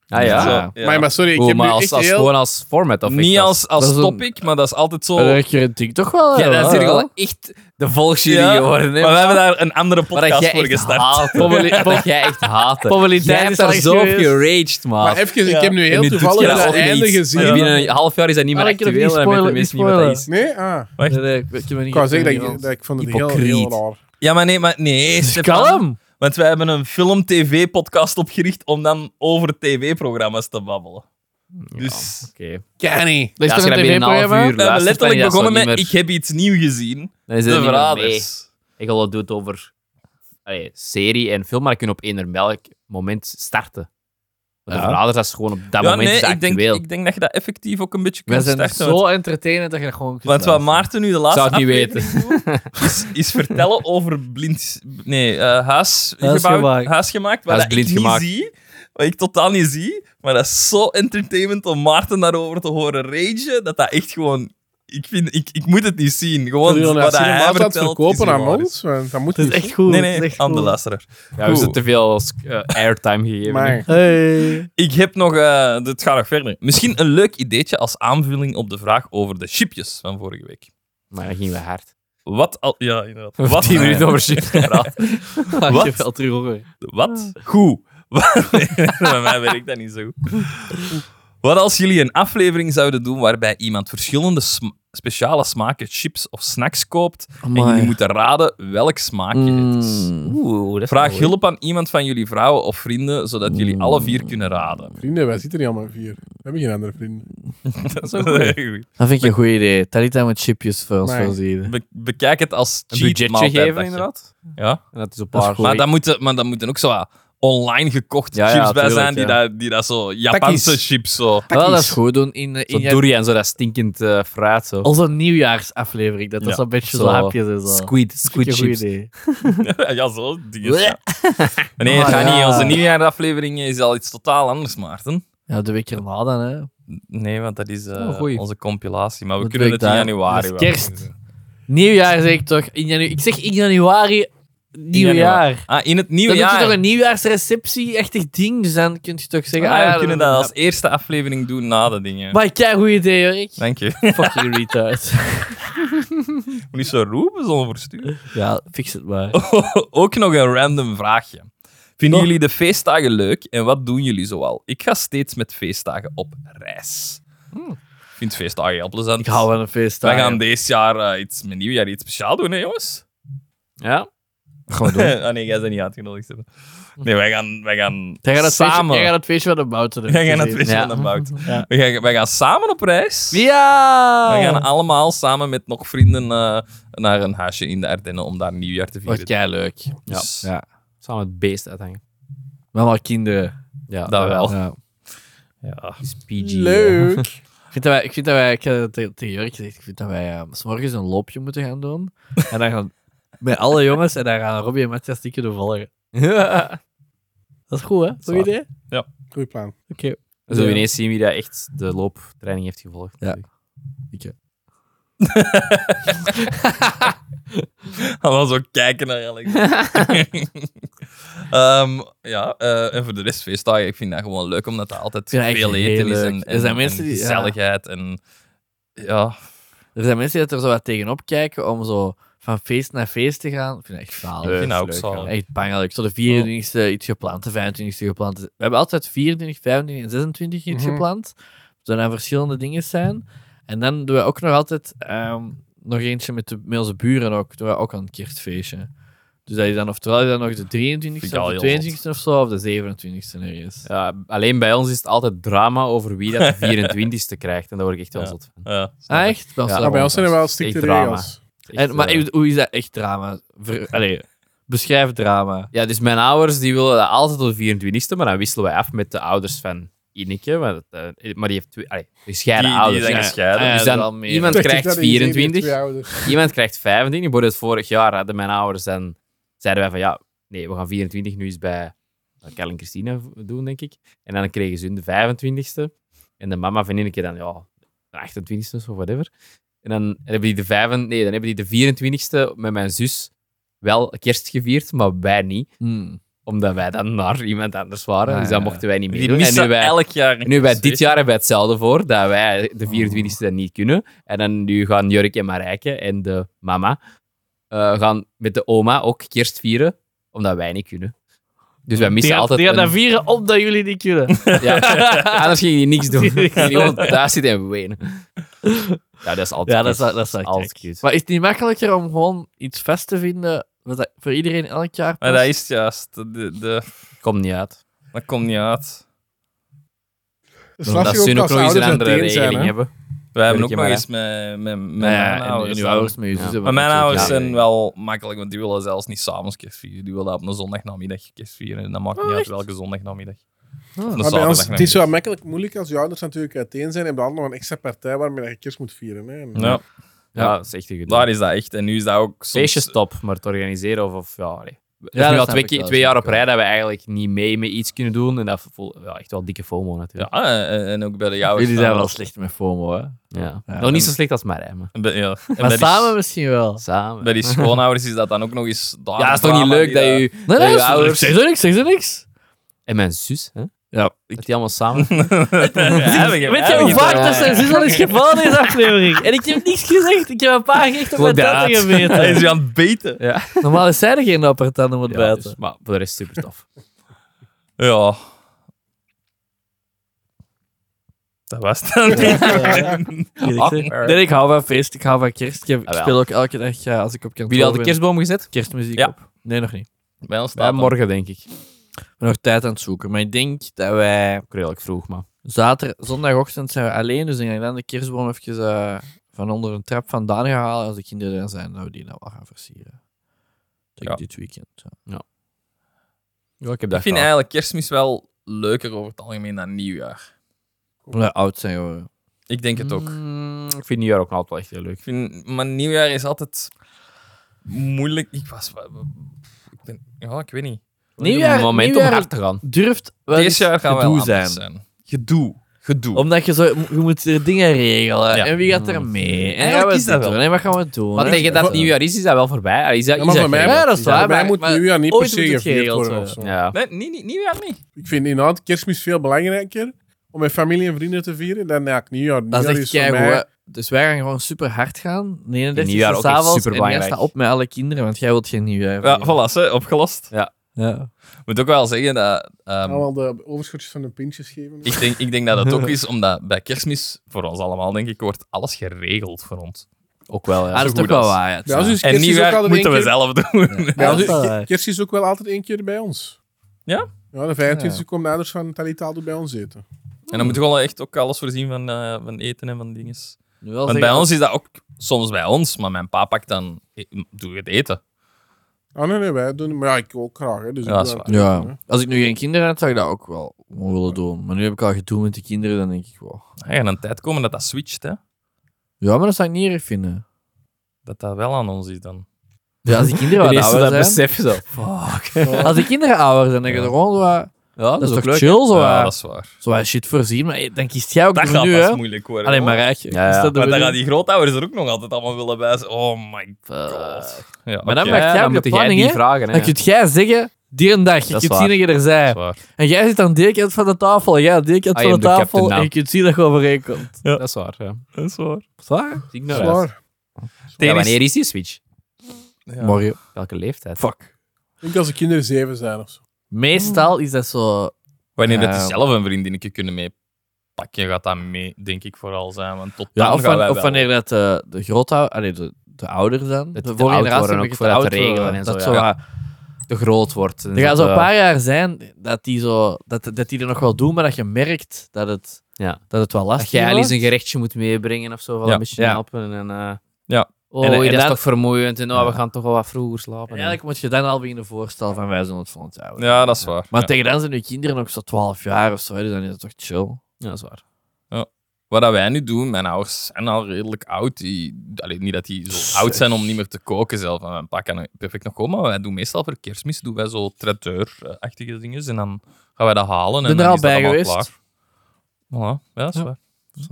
Speaker 2: Dus
Speaker 4: Ah ja.
Speaker 2: Zo,
Speaker 1: Maar, maar sorry, ik
Speaker 4: Oeh,
Speaker 1: heb
Speaker 4: maar
Speaker 1: nu
Speaker 4: als,
Speaker 1: echt
Speaker 4: als,
Speaker 1: heel...
Speaker 4: gewoon als format of
Speaker 2: Niet
Speaker 4: echt
Speaker 2: als, als
Speaker 3: dat is een-
Speaker 2: topic, maar dat is altijd zo...
Speaker 3: Dat je in TikTok wel.
Speaker 4: Oh.
Speaker 3: eh,
Speaker 4: Ja, dat is hier
Speaker 3: wel.
Speaker 4: wel echt de volksjury
Speaker 2: Ja,
Speaker 4: geworden. hè.
Speaker 2: maar we hebben daar een andere
Speaker 4: Maar dat
Speaker 2: podcast voor gestart.
Speaker 4: haat. Populi- dat jij echt haatte.
Speaker 3: Populariteit
Speaker 4: jij hebt
Speaker 3: is
Speaker 4: daar
Speaker 3: slecht
Speaker 4: zo op
Speaker 3: geweest.
Speaker 4: geraged, man.
Speaker 1: Maar even,
Speaker 2: Ja.
Speaker 1: ik heb nu heel
Speaker 4: En nu doet je
Speaker 1: toevallig
Speaker 4: dat
Speaker 1: dat
Speaker 4: ook
Speaker 1: einde
Speaker 4: niet.
Speaker 1: gezien.
Speaker 4: En binnen een half jaar is dat
Speaker 2: Ah,
Speaker 4: niet meer
Speaker 3: Maar ik kan het
Speaker 4: actueel
Speaker 3: niet
Speaker 4: en dan weten
Speaker 3: spoilen,
Speaker 4: mensen
Speaker 3: niet
Speaker 4: niet wat dat
Speaker 1: Nee? Ah.
Speaker 3: spoilen.
Speaker 4: is.
Speaker 3: Nee, nee, ik, ik heb niet
Speaker 1: Ik wou zeggen dat
Speaker 3: gezien.
Speaker 1: ik, dat ik vond het heel, heel
Speaker 4: Hypocriet.
Speaker 1: raar.
Speaker 2: Ja, maar nee, maar nee. Stefan.
Speaker 3: Kalm.
Speaker 2: Want wij hebben een film-tv-podcast opgericht om dan over tv-programma's te babbelen. Dus
Speaker 4: Oké.
Speaker 1: Kan niet.
Speaker 3: Dat is
Speaker 4: Ja,
Speaker 3: toch
Speaker 4: als je dat
Speaker 3: een
Speaker 4: binnen een half
Speaker 3: tv-programma?
Speaker 4: uur
Speaker 2: we hebben
Speaker 4: luistert, dan
Speaker 2: letterlijk
Speaker 4: is dat zo
Speaker 2: begonnen met
Speaker 4: niet meer-
Speaker 2: ik heb iets nieuws gezien.
Speaker 4: dan is dat
Speaker 2: De
Speaker 4: niet meer mee.
Speaker 2: verraders.
Speaker 4: Ik wil dat doen over allee, serie en film, maar dat kunnen op eender welk moment starten. De
Speaker 3: Ja.
Speaker 4: verraders, dat is gewoon op dat
Speaker 2: Ja,
Speaker 4: moment
Speaker 2: nee,
Speaker 4: is dat
Speaker 2: ik denk,
Speaker 4: actueel.
Speaker 2: ik denk dat je dat effectief ook een beetje
Speaker 3: Wij
Speaker 2: kunt
Speaker 3: zijn
Speaker 2: starten.
Speaker 3: zo entertainend dat je dat gewoon kunt
Speaker 2: Want wat
Speaker 3: luisteren.
Speaker 2: Maarten nu de laatste
Speaker 4: zou het niet
Speaker 2: aflevering doet, is, is vertellen over blind... Nee, eh, huis, gebouw,
Speaker 5: Huisgemaakt.
Speaker 2: huisgemaakt. Wat dat ik
Speaker 4: Huisblind
Speaker 2: niet
Speaker 4: gemaakt.
Speaker 2: zie. Wat ik totaal niet zie. Maar dat is zo entertainment om Maarten daarover te horen ragen. Dat dat echt gewoon... Ik, vind, ik, ik moet het niet zien. Gewoon
Speaker 1: Leon,
Speaker 2: wat
Speaker 1: als
Speaker 2: dat
Speaker 1: je
Speaker 2: hij
Speaker 1: hem
Speaker 2: vertelt
Speaker 1: gaat
Speaker 2: is
Speaker 1: verkopen
Speaker 2: gewoon
Speaker 1: aan
Speaker 2: waar.
Speaker 1: ons, want dat moet
Speaker 5: Het is
Speaker 1: niet.
Speaker 5: echt goed.
Speaker 2: Nee,
Speaker 5: het is
Speaker 2: nee,
Speaker 5: echt
Speaker 2: aan de
Speaker 5: goed.
Speaker 2: luisteraar.
Speaker 4: Ja, we hebben
Speaker 2: Goed.
Speaker 4: te veel eh, airtime gegeven.
Speaker 1: Maar
Speaker 5: Hey.
Speaker 2: Ik heb nog... eh het gaat nog verder. Misschien een leuk ideetje als aanvulling op de vraag over de chipjes van vorige week.
Speaker 4: Maar dan gingen we hard.
Speaker 2: Wat al... Ja, inderdaad.
Speaker 4: Wat
Speaker 2: Wat,
Speaker 4: die minuten over shit gepraat.
Speaker 2: Wat?
Speaker 3: Je wel terug horen.
Speaker 2: Wat? Goed. Wat- Nee, Bij mij werkt dat niet zo goed. Wat als jullie een aflevering zouden doen waarbij iemand verschillende sma- speciale smaken chips of snacks koopt en jullie moeten raden welk smaakje het is?
Speaker 3: Mm.
Speaker 4: Oeh, Mm. dat
Speaker 2: Vraag hulp aan iemand van jullie vrouwen of vrienden, zodat jullie
Speaker 4: Mm.
Speaker 2: alle vier kunnen raden.
Speaker 1: Vrienden, wij zitten niet allemaal vier. We hebben geen andere vrienden.
Speaker 2: Dat is ook goed.
Speaker 3: Dat vind ik een goed idee. Talita met chipjes voor ons
Speaker 1: Nee.
Speaker 3: voorzien.
Speaker 2: Be- bekijk het als
Speaker 4: Een
Speaker 2: cheat
Speaker 4: budgetje
Speaker 2: maaltijd,
Speaker 4: geven,
Speaker 2: dacht je.
Speaker 4: inderdaad.
Speaker 2: Ja?
Speaker 4: En dat is op
Speaker 3: Dat is
Speaker 4: paar.
Speaker 3: goed.
Speaker 2: Maar, dat moeten, maar dat moeten ook zo wat online gekochte
Speaker 4: Ja, ja,
Speaker 2: chips bij
Speaker 4: tuurlijk,
Speaker 2: zijn, die,
Speaker 4: ja.
Speaker 2: dat, die dat zo Japanse
Speaker 4: Takkies.
Speaker 2: chips zo...
Speaker 3: Wel, dat is goed doen in, eh, in
Speaker 4: Zo
Speaker 3: je-
Speaker 4: doerie en zo, dat stinkend eh fruit. Zo.
Speaker 3: onze nieuwjaarsaflevering. Dat
Speaker 2: Ja.
Speaker 3: dat zo'n beetje
Speaker 4: Zo.
Speaker 3: zo hapjes en zo.
Speaker 4: Squid,
Speaker 3: Vind
Speaker 4: squid
Speaker 3: ik een goed
Speaker 4: chips.
Speaker 3: idee.
Speaker 2: ja, zo. Dinges, ja. Nee, het
Speaker 3: Ah,
Speaker 2: gaat
Speaker 3: ja.
Speaker 2: niet. Onze nieuwjaaraflevering is al iets totaal anders, Maarten.
Speaker 3: Ja, de week erna dan, hè.
Speaker 2: Nee, want dat is eh,
Speaker 4: Oh, goeie.
Speaker 2: onze compilatie. Maar we
Speaker 3: Dat
Speaker 2: kunnen
Speaker 3: doe
Speaker 2: het
Speaker 3: ik
Speaker 2: in
Speaker 3: daar.
Speaker 2: januari
Speaker 3: Dat is
Speaker 2: wel.
Speaker 3: kerst. Nieuwjaar zeg ik toch. In janu- ik zeg in januari, nieuwjaar.
Speaker 2: januari. Ah, in het nieuwe
Speaker 3: Dan doe je toch
Speaker 2: jaar.
Speaker 3: een nieuwjaarsreceptie, echt ding. Dus dan kun je toch zeggen...
Speaker 2: Ah,
Speaker 3: ah,
Speaker 2: we kunnen
Speaker 3: dan-
Speaker 2: dat als eerste aflevering doen na de dingen.
Speaker 3: Maar ik goed idee, Jorik.
Speaker 2: Dank je.
Speaker 3: Fucking retard.
Speaker 2: Moet niet zo roepen, zo versturen.
Speaker 3: ja, fix het maar.
Speaker 2: Ook nog een random vraagje.
Speaker 3: Oh.
Speaker 2: Vinden jullie de feestdagen leuk en wat doen jullie zoal? Ik ga steeds met feestdagen op reis. Ik vind feestdagen heel plezant.
Speaker 3: Hmm. Ik hou van een
Speaker 2: Wij
Speaker 3: feestdag.
Speaker 2: gaan dit jaar eh, iets, met nieuwjaar iets speciaal doen, hè jongens?
Speaker 4: Ja?
Speaker 3: gewoon doen.
Speaker 2: Ah nee, jij bent niet uitgenodigd. Stefan. Nee, wij gaan, wij gaan
Speaker 3: Jij gaat het feestje,
Speaker 2: samen...
Speaker 3: jij gaat het feestje van de bouten doen.
Speaker 2: Wij gaan het
Speaker 3: gezien.
Speaker 2: feestje
Speaker 4: Ja.
Speaker 2: aan de bout. Wij, gaan, wij gaan samen op reis.
Speaker 3: Ja!
Speaker 2: Wij gaan allemaal samen met nog vrienden eh, naar een huisje in de Ardennen om daar nieuwjaar te vieren.
Speaker 3: Wordt kei leuk.
Speaker 4: Ja.
Speaker 2: Dus
Speaker 3: Oh, Ja.
Speaker 4: Samen het beest uithangen.
Speaker 3: Met maar kinderen.
Speaker 4: Ja,
Speaker 2: Dat wel.
Speaker 3: Ja.
Speaker 2: ja.
Speaker 4: is PG.
Speaker 1: Leuk.
Speaker 3: Ik vind dat wij, ik vind dat wij, ik heb het tegen tegen Jurk gezegd, ik vind dat wij eh, s s'morgens een loopje moeten gaan doen. En dan gaan met alle jongens en dan gaan Robbie en Matthias die kunnen volgen. Dat is goed, hè? Goed idee?
Speaker 1: Goed plan.
Speaker 3: Oké.
Speaker 4: Dan zullen we
Speaker 3: Ja.
Speaker 4: ineens zien wie dat echt de looptraining heeft gevolgd.
Speaker 3: Ja.
Speaker 2: Allemaal zo kijken naar Alex. Ehm, ja, eh, en voor de rest feestdagen, ik vind dat gewoon leuk, omdat dat altijd
Speaker 3: Ja, echt
Speaker 2: veel
Speaker 3: heel
Speaker 2: eten is.
Speaker 3: leuk.
Speaker 2: En, en,
Speaker 3: Er zijn
Speaker 2: en
Speaker 3: mensen die- ja.
Speaker 2: gezelligheid en... Ja,
Speaker 3: Er zijn mensen die er zo wat tegenop kijken om zo van feest naar feest te gaan. Ik vind dat echt faal.
Speaker 2: ik vind dat ook
Speaker 4: leuk,
Speaker 2: zo.
Speaker 4: ja.
Speaker 3: Echt bangelijk. Zo de 24e iets gepland, de 25e gepland. We hebben altijd 24, 25 en 26 iets
Speaker 1: Mhm.
Speaker 3: gepland. Er dan verschillende dingen zijn. En dan doen we ook nog altijd ehm, nog eentje met, de, met onze buren ook. Doen we ook een kerstfeestje. Dus dat is dan, oftewel is dat nog de 23e,
Speaker 2: Vind ik al
Speaker 3: of
Speaker 2: heel
Speaker 3: de
Speaker 2: zot.
Speaker 3: 22e of zo, of de 27e ergens.
Speaker 4: Ja, alleen bij ons is het altijd drama over wie dat de 24ste krijgt. En daar word ik echt wel
Speaker 2: Ja.
Speaker 4: zot van.
Speaker 2: Ja,
Speaker 3: Ah, echt? Wel
Speaker 4: Ja,
Speaker 3: zo.
Speaker 1: Maar bij ons zijn er wel strikte
Speaker 4: Echt drama.
Speaker 1: regels.
Speaker 4: Echt,
Speaker 3: en, maar
Speaker 4: eh,
Speaker 3: hoe is dat echt drama? Ver, allee, beschrijf drama.
Speaker 4: Ja, dus mijn ouders die willen dat altijd tot de 24ste, maar dan wisselen wij af met de ouders van Ineke. Maar, dat, eh, maar die heeft twee, allee, gescheiden
Speaker 2: Die- die
Speaker 4: ouders.
Speaker 2: zijn
Speaker 4: Ja.
Speaker 2: gescheiden.
Speaker 4: Dus
Speaker 3: Ah, dat is wel
Speaker 4: dan,
Speaker 3: meer.
Speaker 4: iemand
Speaker 1: Dacht ik
Speaker 4: krijgt
Speaker 1: dat iedereen die
Speaker 4: 24,
Speaker 1: twee ouders-
Speaker 4: iemand krijgt 25. Bijvoorbeeld vorig jaar hadden mijn ouders dan zeiden wij van ja, nee, we gaan 24 nu eens bij Kel en Christina v- doen, denk ik. En dan kregen ze hun de 25ste. En de mama van Ineke dan ja, de 28ste of whatever. En dan hebben die de, vijf, nee, dan hebben die de 24ste met mijn zus wel kerst gevierd, maar wij niet.
Speaker 3: Hmm.
Speaker 4: Omdat wij dan naar iemand anders waren.
Speaker 3: Ah,
Speaker 4: dus dan
Speaker 3: ja.
Speaker 4: mochten wij niet
Speaker 2: Die
Speaker 4: meedoen. En
Speaker 2: missen
Speaker 4: nu wij,
Speaker 2: elk jaar.
Speaker 4: nu wij dit jaar hebben wij hetzelfde voor, dat wij
Speaker 3: Oh.
Speaker 4: de 24e dan niet kunnen. En dan nu gaan Jurk en Marijke en de mama eh, gaan met de oma ook kerst vieren, omdat wij niet kunnen. Dus wij
Speaker 3: Die
Speaker 4: missen
Speaker 3: gaat,
Speaker 4: altijd...
Speaker 3: die gaat
Speaker 4: een-
Speaker 3: dat vieren omdat jullie niet kunnen.
Speaker 4: ja, anders ging je niks doen. Ging je gewoon thuis zitten en wenen. Ja, dat is altijd
Speaker 3: Ja, dat is,
Speaker 4: kut.
Speaker 3: dat is wel
Speaker 4: altijd
Speaker 3: gek.
Speaker 4: kut.
Speaker 3: Maar is het niet makkelijker om gewoon iets vast te vinden wat dat voor iedereen elk jaar
Speaker 2: Maar
Speaker 3: past?
Speaker 2: dat is het juist. De, de,
Speaker 4: Komt niet uit.
Speaker 2: dat komt niet uit.
Speaker 1: Dat is
Speaker 4: Dat
Speaker 1: lastig
Speaker 4: ze
Speaker 1: ook
Speaker 4: nu ook
Speaker 1: als
Speaker 4: nog eens een
Speaker 1: ouders aan
Speaker 4: andere
Speaker 1: het een
Speaker 4: regeling
Speaker 1: zijn. hè.
Speaker 4: hebben.
Speaker 2: Wij hebben
Speaker 4: Weet
Speaker 2: ook
Speaker 4: je
Speaker 2: nog
Speaker 4: maar,
Speaker 2: eens met, met, met
Speaker 3: Nou ja,
Speaker 2: mijn
Speaker 3: en-
Speaker 2: ouders.
Speaker 3: en uw
Speaker 2: dan.
Speaker 3: ouders met je
Speaker 4: Ja.
Speaker 3: zus hebben
Speaker 2: Maar mijn
Speaker 3: natuurlijk-
Speaker 2: ouders
Speaker 4: ja,
Speaker 2: zijn
Speaker 4: ja.
Speaker 2: wel makkelijk, want die willen zelfs niet s'avonds kerst vieren. Die willen op een zondagnamiddag kerst vieren. En dat maakt
Speaker 3: Oh,
Speaker 2: niet uit welke zondagnamiddag. Of
Speaker 1: Maar bij
Speaker 2: een
Speaker 1: ons, het is
Speaker 2: zaterdagnamiddag.
Speaker 1: zo makkelijk moeilijk als je ouders natuurlijk uiteen zijn. En dan nog een extra partij waarmee je kerst moet vieren. Hè. En-
Speaker 2: Ja,
Speaker 4: Ja,
Speaker 3: Ja.
Speaker 4: dat is echt een gedoe.
Speaker 2: daar is dat echt. En nu is dat ook soms...
Speaker 4: Feestjes top, maar het organiseren of... of eh, ja, nee. Het
Speaker 3: dat
Speaker 4: is nu al
Speaker 3: snap
Speaker 4: twee,
Speaker 3: ik
Speaker 4: keer-
Speaker 3: wel,
Speaker 4: twee
Speaker 3: snap
Speaker 4: jaar
Speaker 3: ik
Speaker 4: op
Speaker 3: wel.
Speaker 4: rij dat we eigenlijk niet mee met iets kunnen doen. En dat voelt ja, echt wel dikke FOMO
Speaker 2: Ja,
Speaker 4: natuurlijk.
Speaker 2: en, en ook bij de jouwers.
Speaker 3: Jullie zijn
Speaker 2: dan.
Speaker 3: wel slecht met FOMO, hè?
Speaker 4: Ja.
Speaker 3: Ja,
Speaker 4: Nog niet
Speaker 3: en-
Speaker 4: zo slecht als Marij, maar
Speaker 2: En bij- ja. En bij
Speaker 3: Maar
Speaker 2: die-
Speaker 3: samen misschien wel.
Speaker 4: samen.
Speaker 2: Bij die schoonouders is dat dan ook nog eens... daar
Speaker 4: ja, dat is toch niet
Speaker 2: drama
Speaker 4: leuk
Speaker 2: die
Speaker 4: dat je...
Speaker 3: Nee,
Speaker 4: dat
Speaker 3: nee,
Speaker 4: je
Speaker 3: dat is-
Speaker 4: ouders-
Speaker 3: zeg er niks, zeg er niks.
Speaker 4: En mijn zus, hè?
Speaker 3: Ja,
Speaker 4: Dat die allemaal samen...
Speaker 2: Ja, we-
Speaker 3: Weet
Speaker 2: we-
Speaker 3: je
Speaker 2: we-
Speaker 3: hoe vaak
Speaker 4: ja,
Speaker 3: dat zijn zus al is gevallen in deze aflevering? En ik heb niks gezegd. Ik heb een paar echt op mijn
Speaker 4: Inderdaad.
Speaker 3: tanden
Speaker 2: Hij is
Speaker 3: gebeten.
Speaker 2: je aan het beten.
Speaker 4: ja.
Speaker 3: Normaal is zij degene die op haar tanden moet
Speaker 4: ja
Speaker 3: bijten.
Speaker 4: dus, maar voor de rest super tof.
Speaker 2: Ja. Dat was het dan niet.
Speaker 3: Eerlijk, hè?
Speaker 2: Awkward.
Speaker 3: Nee, ik hou van feest, ik hou van kerst. Ik, heb- ik
Speaker 4: Ah, wel.
Speaker 3: speel ook elke dag, ja, als ik op
Speaker 4: Heb je
Speaker 3: kantoor
Speaker 4: al de
Speaker 3: ben,
Speaker 4: kerstboom gezet?
Speaker 3: kerstmuziek
Speaker 2: Ja.
Speaker 3: op. Nee, nog niet.
Speaker 2: Bij ons
Speaker 4: Ja,
Speaker 2: staat morgen.
Speaker 4: morgen, denk ik.
Speaker 3: Ik ben nog tijd aan het zoeken. Maar ik denk dat wij
Speaker 4: Ook redelijk vroeg, maar...
Speaker 3: zater, zondagochtend zijn we alleen. Dus ik denk dat ik dan de kerstboom even eh, van onder een trap vandaan gaan halen. Als de kinderen er zijn, dat we die nou wel gaan versieren. Denk
Speaker 2: Ja.
Speaker 3: dit weekend. ja.
Speaker 4: Ja, ik heb
Speaker 2: Ik vind eigenlijk kerstmis wel leuker over het algemeen dan nieuwjaar.
Speaker 3: Omdat we oud zijn geworden.
Speaker 2: Ik denk het
Speaker 4: Mm.
Speaker 2: ook.
Speaker 4: Ik vind nieuwjaar ook nog altijd wel echt heel leuk.
Speaker 2: Ik vind, maar nieuwjaar is altijd moeilijk. Ik was... Ik ben, ja, ik weet niet.
Speaker 4: Het is
Speaker 3: Nieuwjaar,
Speaker 4: een moment
Speaker 3: nieuwjaar
Speaker 4: om hard te gaan.
Speaker 3: durft wel eens
Speaker 2: Deze jaar gaan we wel
Speaker 3: gedoe
Speaker 2: anders
Speaker 3: zijn.
Speaker 2: zijn. Gedoe. Gedoe.
Speaker 3: Omdat je, zo, je moet er dingen regelen.
Speaker 2: Ja.
Speaker 3: En wie gaat er mee? En
Speaker 2: Eigenlijk
Speaker 3: gaan Mm. we
Speaker 2: is dat
Speaker 3: dit
Speaker 2: wel.
Speaker 3: doen? En wat gaan we doen?
Speaker 4: Maar
Speaker 3: En-
Speaker 4: tegen dat het nieuwjaar is, is dat wel voorbij. Ah, Is dat,
Speaker 1: Ja,
Speaker 4: is
Speaker 1: maar voor mij,
Speaker 4: gek?
Speaker 3: Ja, dat is
Speaker 1: voor
Speaker 3: waar,
Speaker 1: mij
Speaker 3: maar-
Speaker 1: moet
Speaker 3: maar
Speaker 1: nu ja niet per
Speaker 3: ooit
Speaker 1: se
Speaker 3: moet het
Speaker 1: gevierd
Speaker 3: geregeld
Speaker 1: worden. of
Speaker 3: worden.
Speaker 1: zo.
Speaker 4: Ja.
Speaker 2: Nee, niet, niet, nieuwjaar niet.
Speaker 1: Ik vind inderdaad kerstmis veel belangrijker om met familie en vrienden te vieren dan ja, nieuwjaar.
Speaker 3: Dat
Speaker 1: Nieuwjaar
Speaker 3: is echt
Speaker 1: is voor
Speaker 3: keigoed, hè.
Speaker 1: mij...
Speaker 3: Dus wij gaan gewoon super hard gaan.
Speaker 4: Nieuwjaar
Speaker 3: 39
Speaker 4: ook
Speaker 3: is
Speaker 4: echt
Speaker 3: s'avonds en jij
Speaker 4: superbelangrijk.
Speaker 3: staat op met alle kinderen, want jij wilt geen nieuwjaar.
Speaker 2: Ja,
Speaker 3: vieren.
Speaker 2: voilà, ze, opgelost.
Speaker 3: Ja.
Speaker 2: Ik moet ook wel zeggen dat... ehm,
Speaker 1: al de overschotjes van de pintjes geven.
Speaker 2: ik, denk, ik denk dat het ook is, omdat bij kerstmis, voor ons allemaal, denk ik, wordt alles geregeld voor ons.
Speaker 4: Ook wel, ja.
Speaker 3: Ah, dat
Speaker 2: goed
Speaker 3: is toch wel
Speaker 2: als-
Speaker 3: waar. ja, het is
Speaker 1: Bij ons
Speaker 3: waar.
Speaker 1: is
Speaker 2: En
Speaker 1: kerst is ook
Speaker 2: nieuwjaar
Speaker 1: altijd één
Speaker 2: moeten we
Speaker 1: keer...
Speaker 2: zelf doen.
Speaker 1: Bij ons
Speaker 3: Ja, dat is wel
Speaker 1: is
Speaker 3: waar.
Speaker 1: kerst is ook wel altijd één keer bij ons.
Speaker 2: Ja?
Speaker 1: Ja, de 25e komen de ouders van Talitado bij ons eten.
Speaker 2: En dan moeten we wel echt ook alles voorzien van, eh, van eten en van dingen.
Speaker 3: Nu wel
Speaker 2: Want
Speaker 3: zeggen
Speaker 2: bij
Speaker 3: dat-
Speaker 2: ons is dat ook soms bij ons, maar mijn pa pakt dan eh, doe je het eten.
Speaker 1: Ah nee, nee, wij doen... Maar ja, ik ook graag, hè. Dus
Speaker 2: Ja,
Speaker 1: ik
Speaker 2: dat
Speaker 1: doe
Speaker 2: is
Speaker 1: dat ook, hè.
Speaker 3: Ja. Als ik nu geen kinderen had, zou ik dat ook wel willen doen. Maar nu heb ik al gedoe met de kinderen, dan denk ik, wow.
Speaker 2: Er gaat een tijd komen dat dat switcht, hè.
Speaker 3: Ja, maar dat zou ik niet erg vinden.
Speaker 2: Dat dat wel aan ons is dan.
Speaker 3: Ja, als die kinderen
Speaker 4: De
Speaker 3: wat
Speaker 4: eerste dat
Speaker 3: ouder zijn...
Speaker 4: besef zo.
Speaker 3: Als die kinderen ouder zijn, dan denk je er gewoon zo... wat-
Speaker 4: Ja,
Speaker 3: Dat is toch chill, zo
Speaker 2: ja,
Speaker 3: wat-
Speaker 2: dat is waar.
Speaker 3: zo wat shit voorzien. Maar hey, dan kiest jij ook
Speaker 2: Dat
Speaker 3: voor
Speaker 2: gaat
Speaker 3: nu,
Speaker 2: pas
Speaker 3: hè.
Speaker 2: moeilijk worden.
Speaker 3: Alleen
Speaker 2: hoor.
Speaker 3: maar rijtje.
Speaker 4: Ja, ja.
Speaker 3: Kies dat
Speaker 2: Want dan
Speaker 3: er
Speaker 2: gaan
Speaker 3: nu.
Speaker 2: die grootouders er ook nog altijd allemaal willen bij zijn. Oh my god. Ja,
Speaker 4: Maar dan
Speaker 2: oké.
Speaker 4: maakt
Speaker 3: Ja,
Speaker 4: jij ook
Speaker 3: dan
Speaker 4: de
Speaker 3: moet jij
Speaker 4: planning,
Speaker 3: die
Speaker 4: hè? vragen,
Speaker 3: Dan kun jij zeggen, die een dag, je
Speaker 4: Dat is
Speaker 3: kunt zien dat je er
Speaker 2: Dat is
Speaker 3: bent.
Speaker 2: waar.
Speaker 3: En jij zit aan die kant van de tafel, jij aan die kant
Speaker 4: I
Speaker 3: van de
Speaker 4: am the captain
Speaker 3: tafel.
Speaker 4: now.
Speaker 3: En je kunt zien dat je overeenkomt.
Speaker 4: Dat is waar, ja.
Speaker 2: Dat is waar.
Speaker 3: Zwaar?
Speaker 4: Zie ik
Speaker 1: Dat
Speaker 4: nou
Speaker 1: is
Speaker 4: uit.
Speaker 1: waar.
Speaker 4: Ja,
Speaker 2: Tennis-
Speaker 4: wanneer is die Switch?
Speaker 2: Ja.
Speaker 3: Morgen.
Speaker 4: Welke leeftijd?
Speaker 3: Fuck.
Speaker 1: Ik denk als de kinderen zeven zijn of zo.
Speaker 3: Meestal is dat zo...
Speaker 2: Wanneer dat
Speaker 3: Ja.
Speaker 2: je zelf een vriendinnetje kunnen meepakken, gaat dat mee, denk ik, vooral zijn. Want tot
Speaker 3: Ja,
Speaker 2: dan
Speaker 3: of,
Speaker 2: gaan
Speaker 3: van-
Speaker 2: wij
Speaker 3: of
Speaker 2: wel.
Speaker 3: wanneer dat de, de grootouders... Allee, de, de ouders dan.
Speaker 4: Dat
Speaker 3: de
Speaker 4: de oud worden
Speaker 3: heb
Speaker 4: ook
Speaker 3: ik
Speaker 4: voor dat te
Speaker 3: oud
Speaker 4: regelen
Speaker 3: worden.
Speaker 4: en
Speaker 3: Dat
Speaker 4: zo,
Speaker 3: zo
Speaker 4: ja.
Speaker 3: wat-
Speaker 4: te groot wordt. En
Speaker 3: Er gaan
Speaker 4: dat,
Speaker 3: zo'n
Speaker 4: eh,
Speaker 3: paar jaar zijn dat die, zo, dat, dat die er nog wel doen, maar dat je merkt dat het,
Speaker 4: Ja.
Speaker 3: dat het wel
Speaker 4: Dat
Speaker 3: lastig
Speaker 4: jij al
Speaker 3: wordt.
Speaker 4: eens een gerechtje moet meebrengen of zo, van
Speaker 2: Ja.
Speaker 4: een beetje
Speaker 3: Ja.
Speaker 4: helpen. En, eh
Speaker 2: Ja.
Speaker 4: Oh,
Speaker 3: En- en
Speaker 4: dat
Speaker 3: dan-
Speaker 4: is toch vermoeiend. En oh, we
Speaker 2: Ja.
Speaker 4: gaan toch al wat vroeger slapen.
Speaker 3: En eigenlijk moet je dan al beginnen voorstellen van wij zullen het volgend jaar worden.
Speaker 2: Ja, dat is waar.
Speaker 3: Maar
Speaker 2: Ja.
Speaker 3: tegen dan zijn je kinderen nog zo 12 jaar of zo, hè, dus dan is het toch chill.
Speaker 4: Ja, dat is waar.
Speaker 2: Wat dat wij nu doen, mijn ouders zijn al redelijk oud. Die, allee, niet dat die zo oud zijn om niet meer te koken zelf. En mijn pa kan perfect nog komen, maar wij doen meestal voor kerstmis doen wij zo traiteur-achtige dingen. En dan gaan wij dat halen.
Speaker 3: Ben
Speaker 2: en
Speaker 3: er
Speaker 2: dan
Speaker 3: al
Speaker 2: is dat
Speaker 3: bij
Speaker 2: allemaal
Speaker 3: geweest.
Speaker 2: Klaar. Voilà. Ja, dat is
Speaker 3: Ja.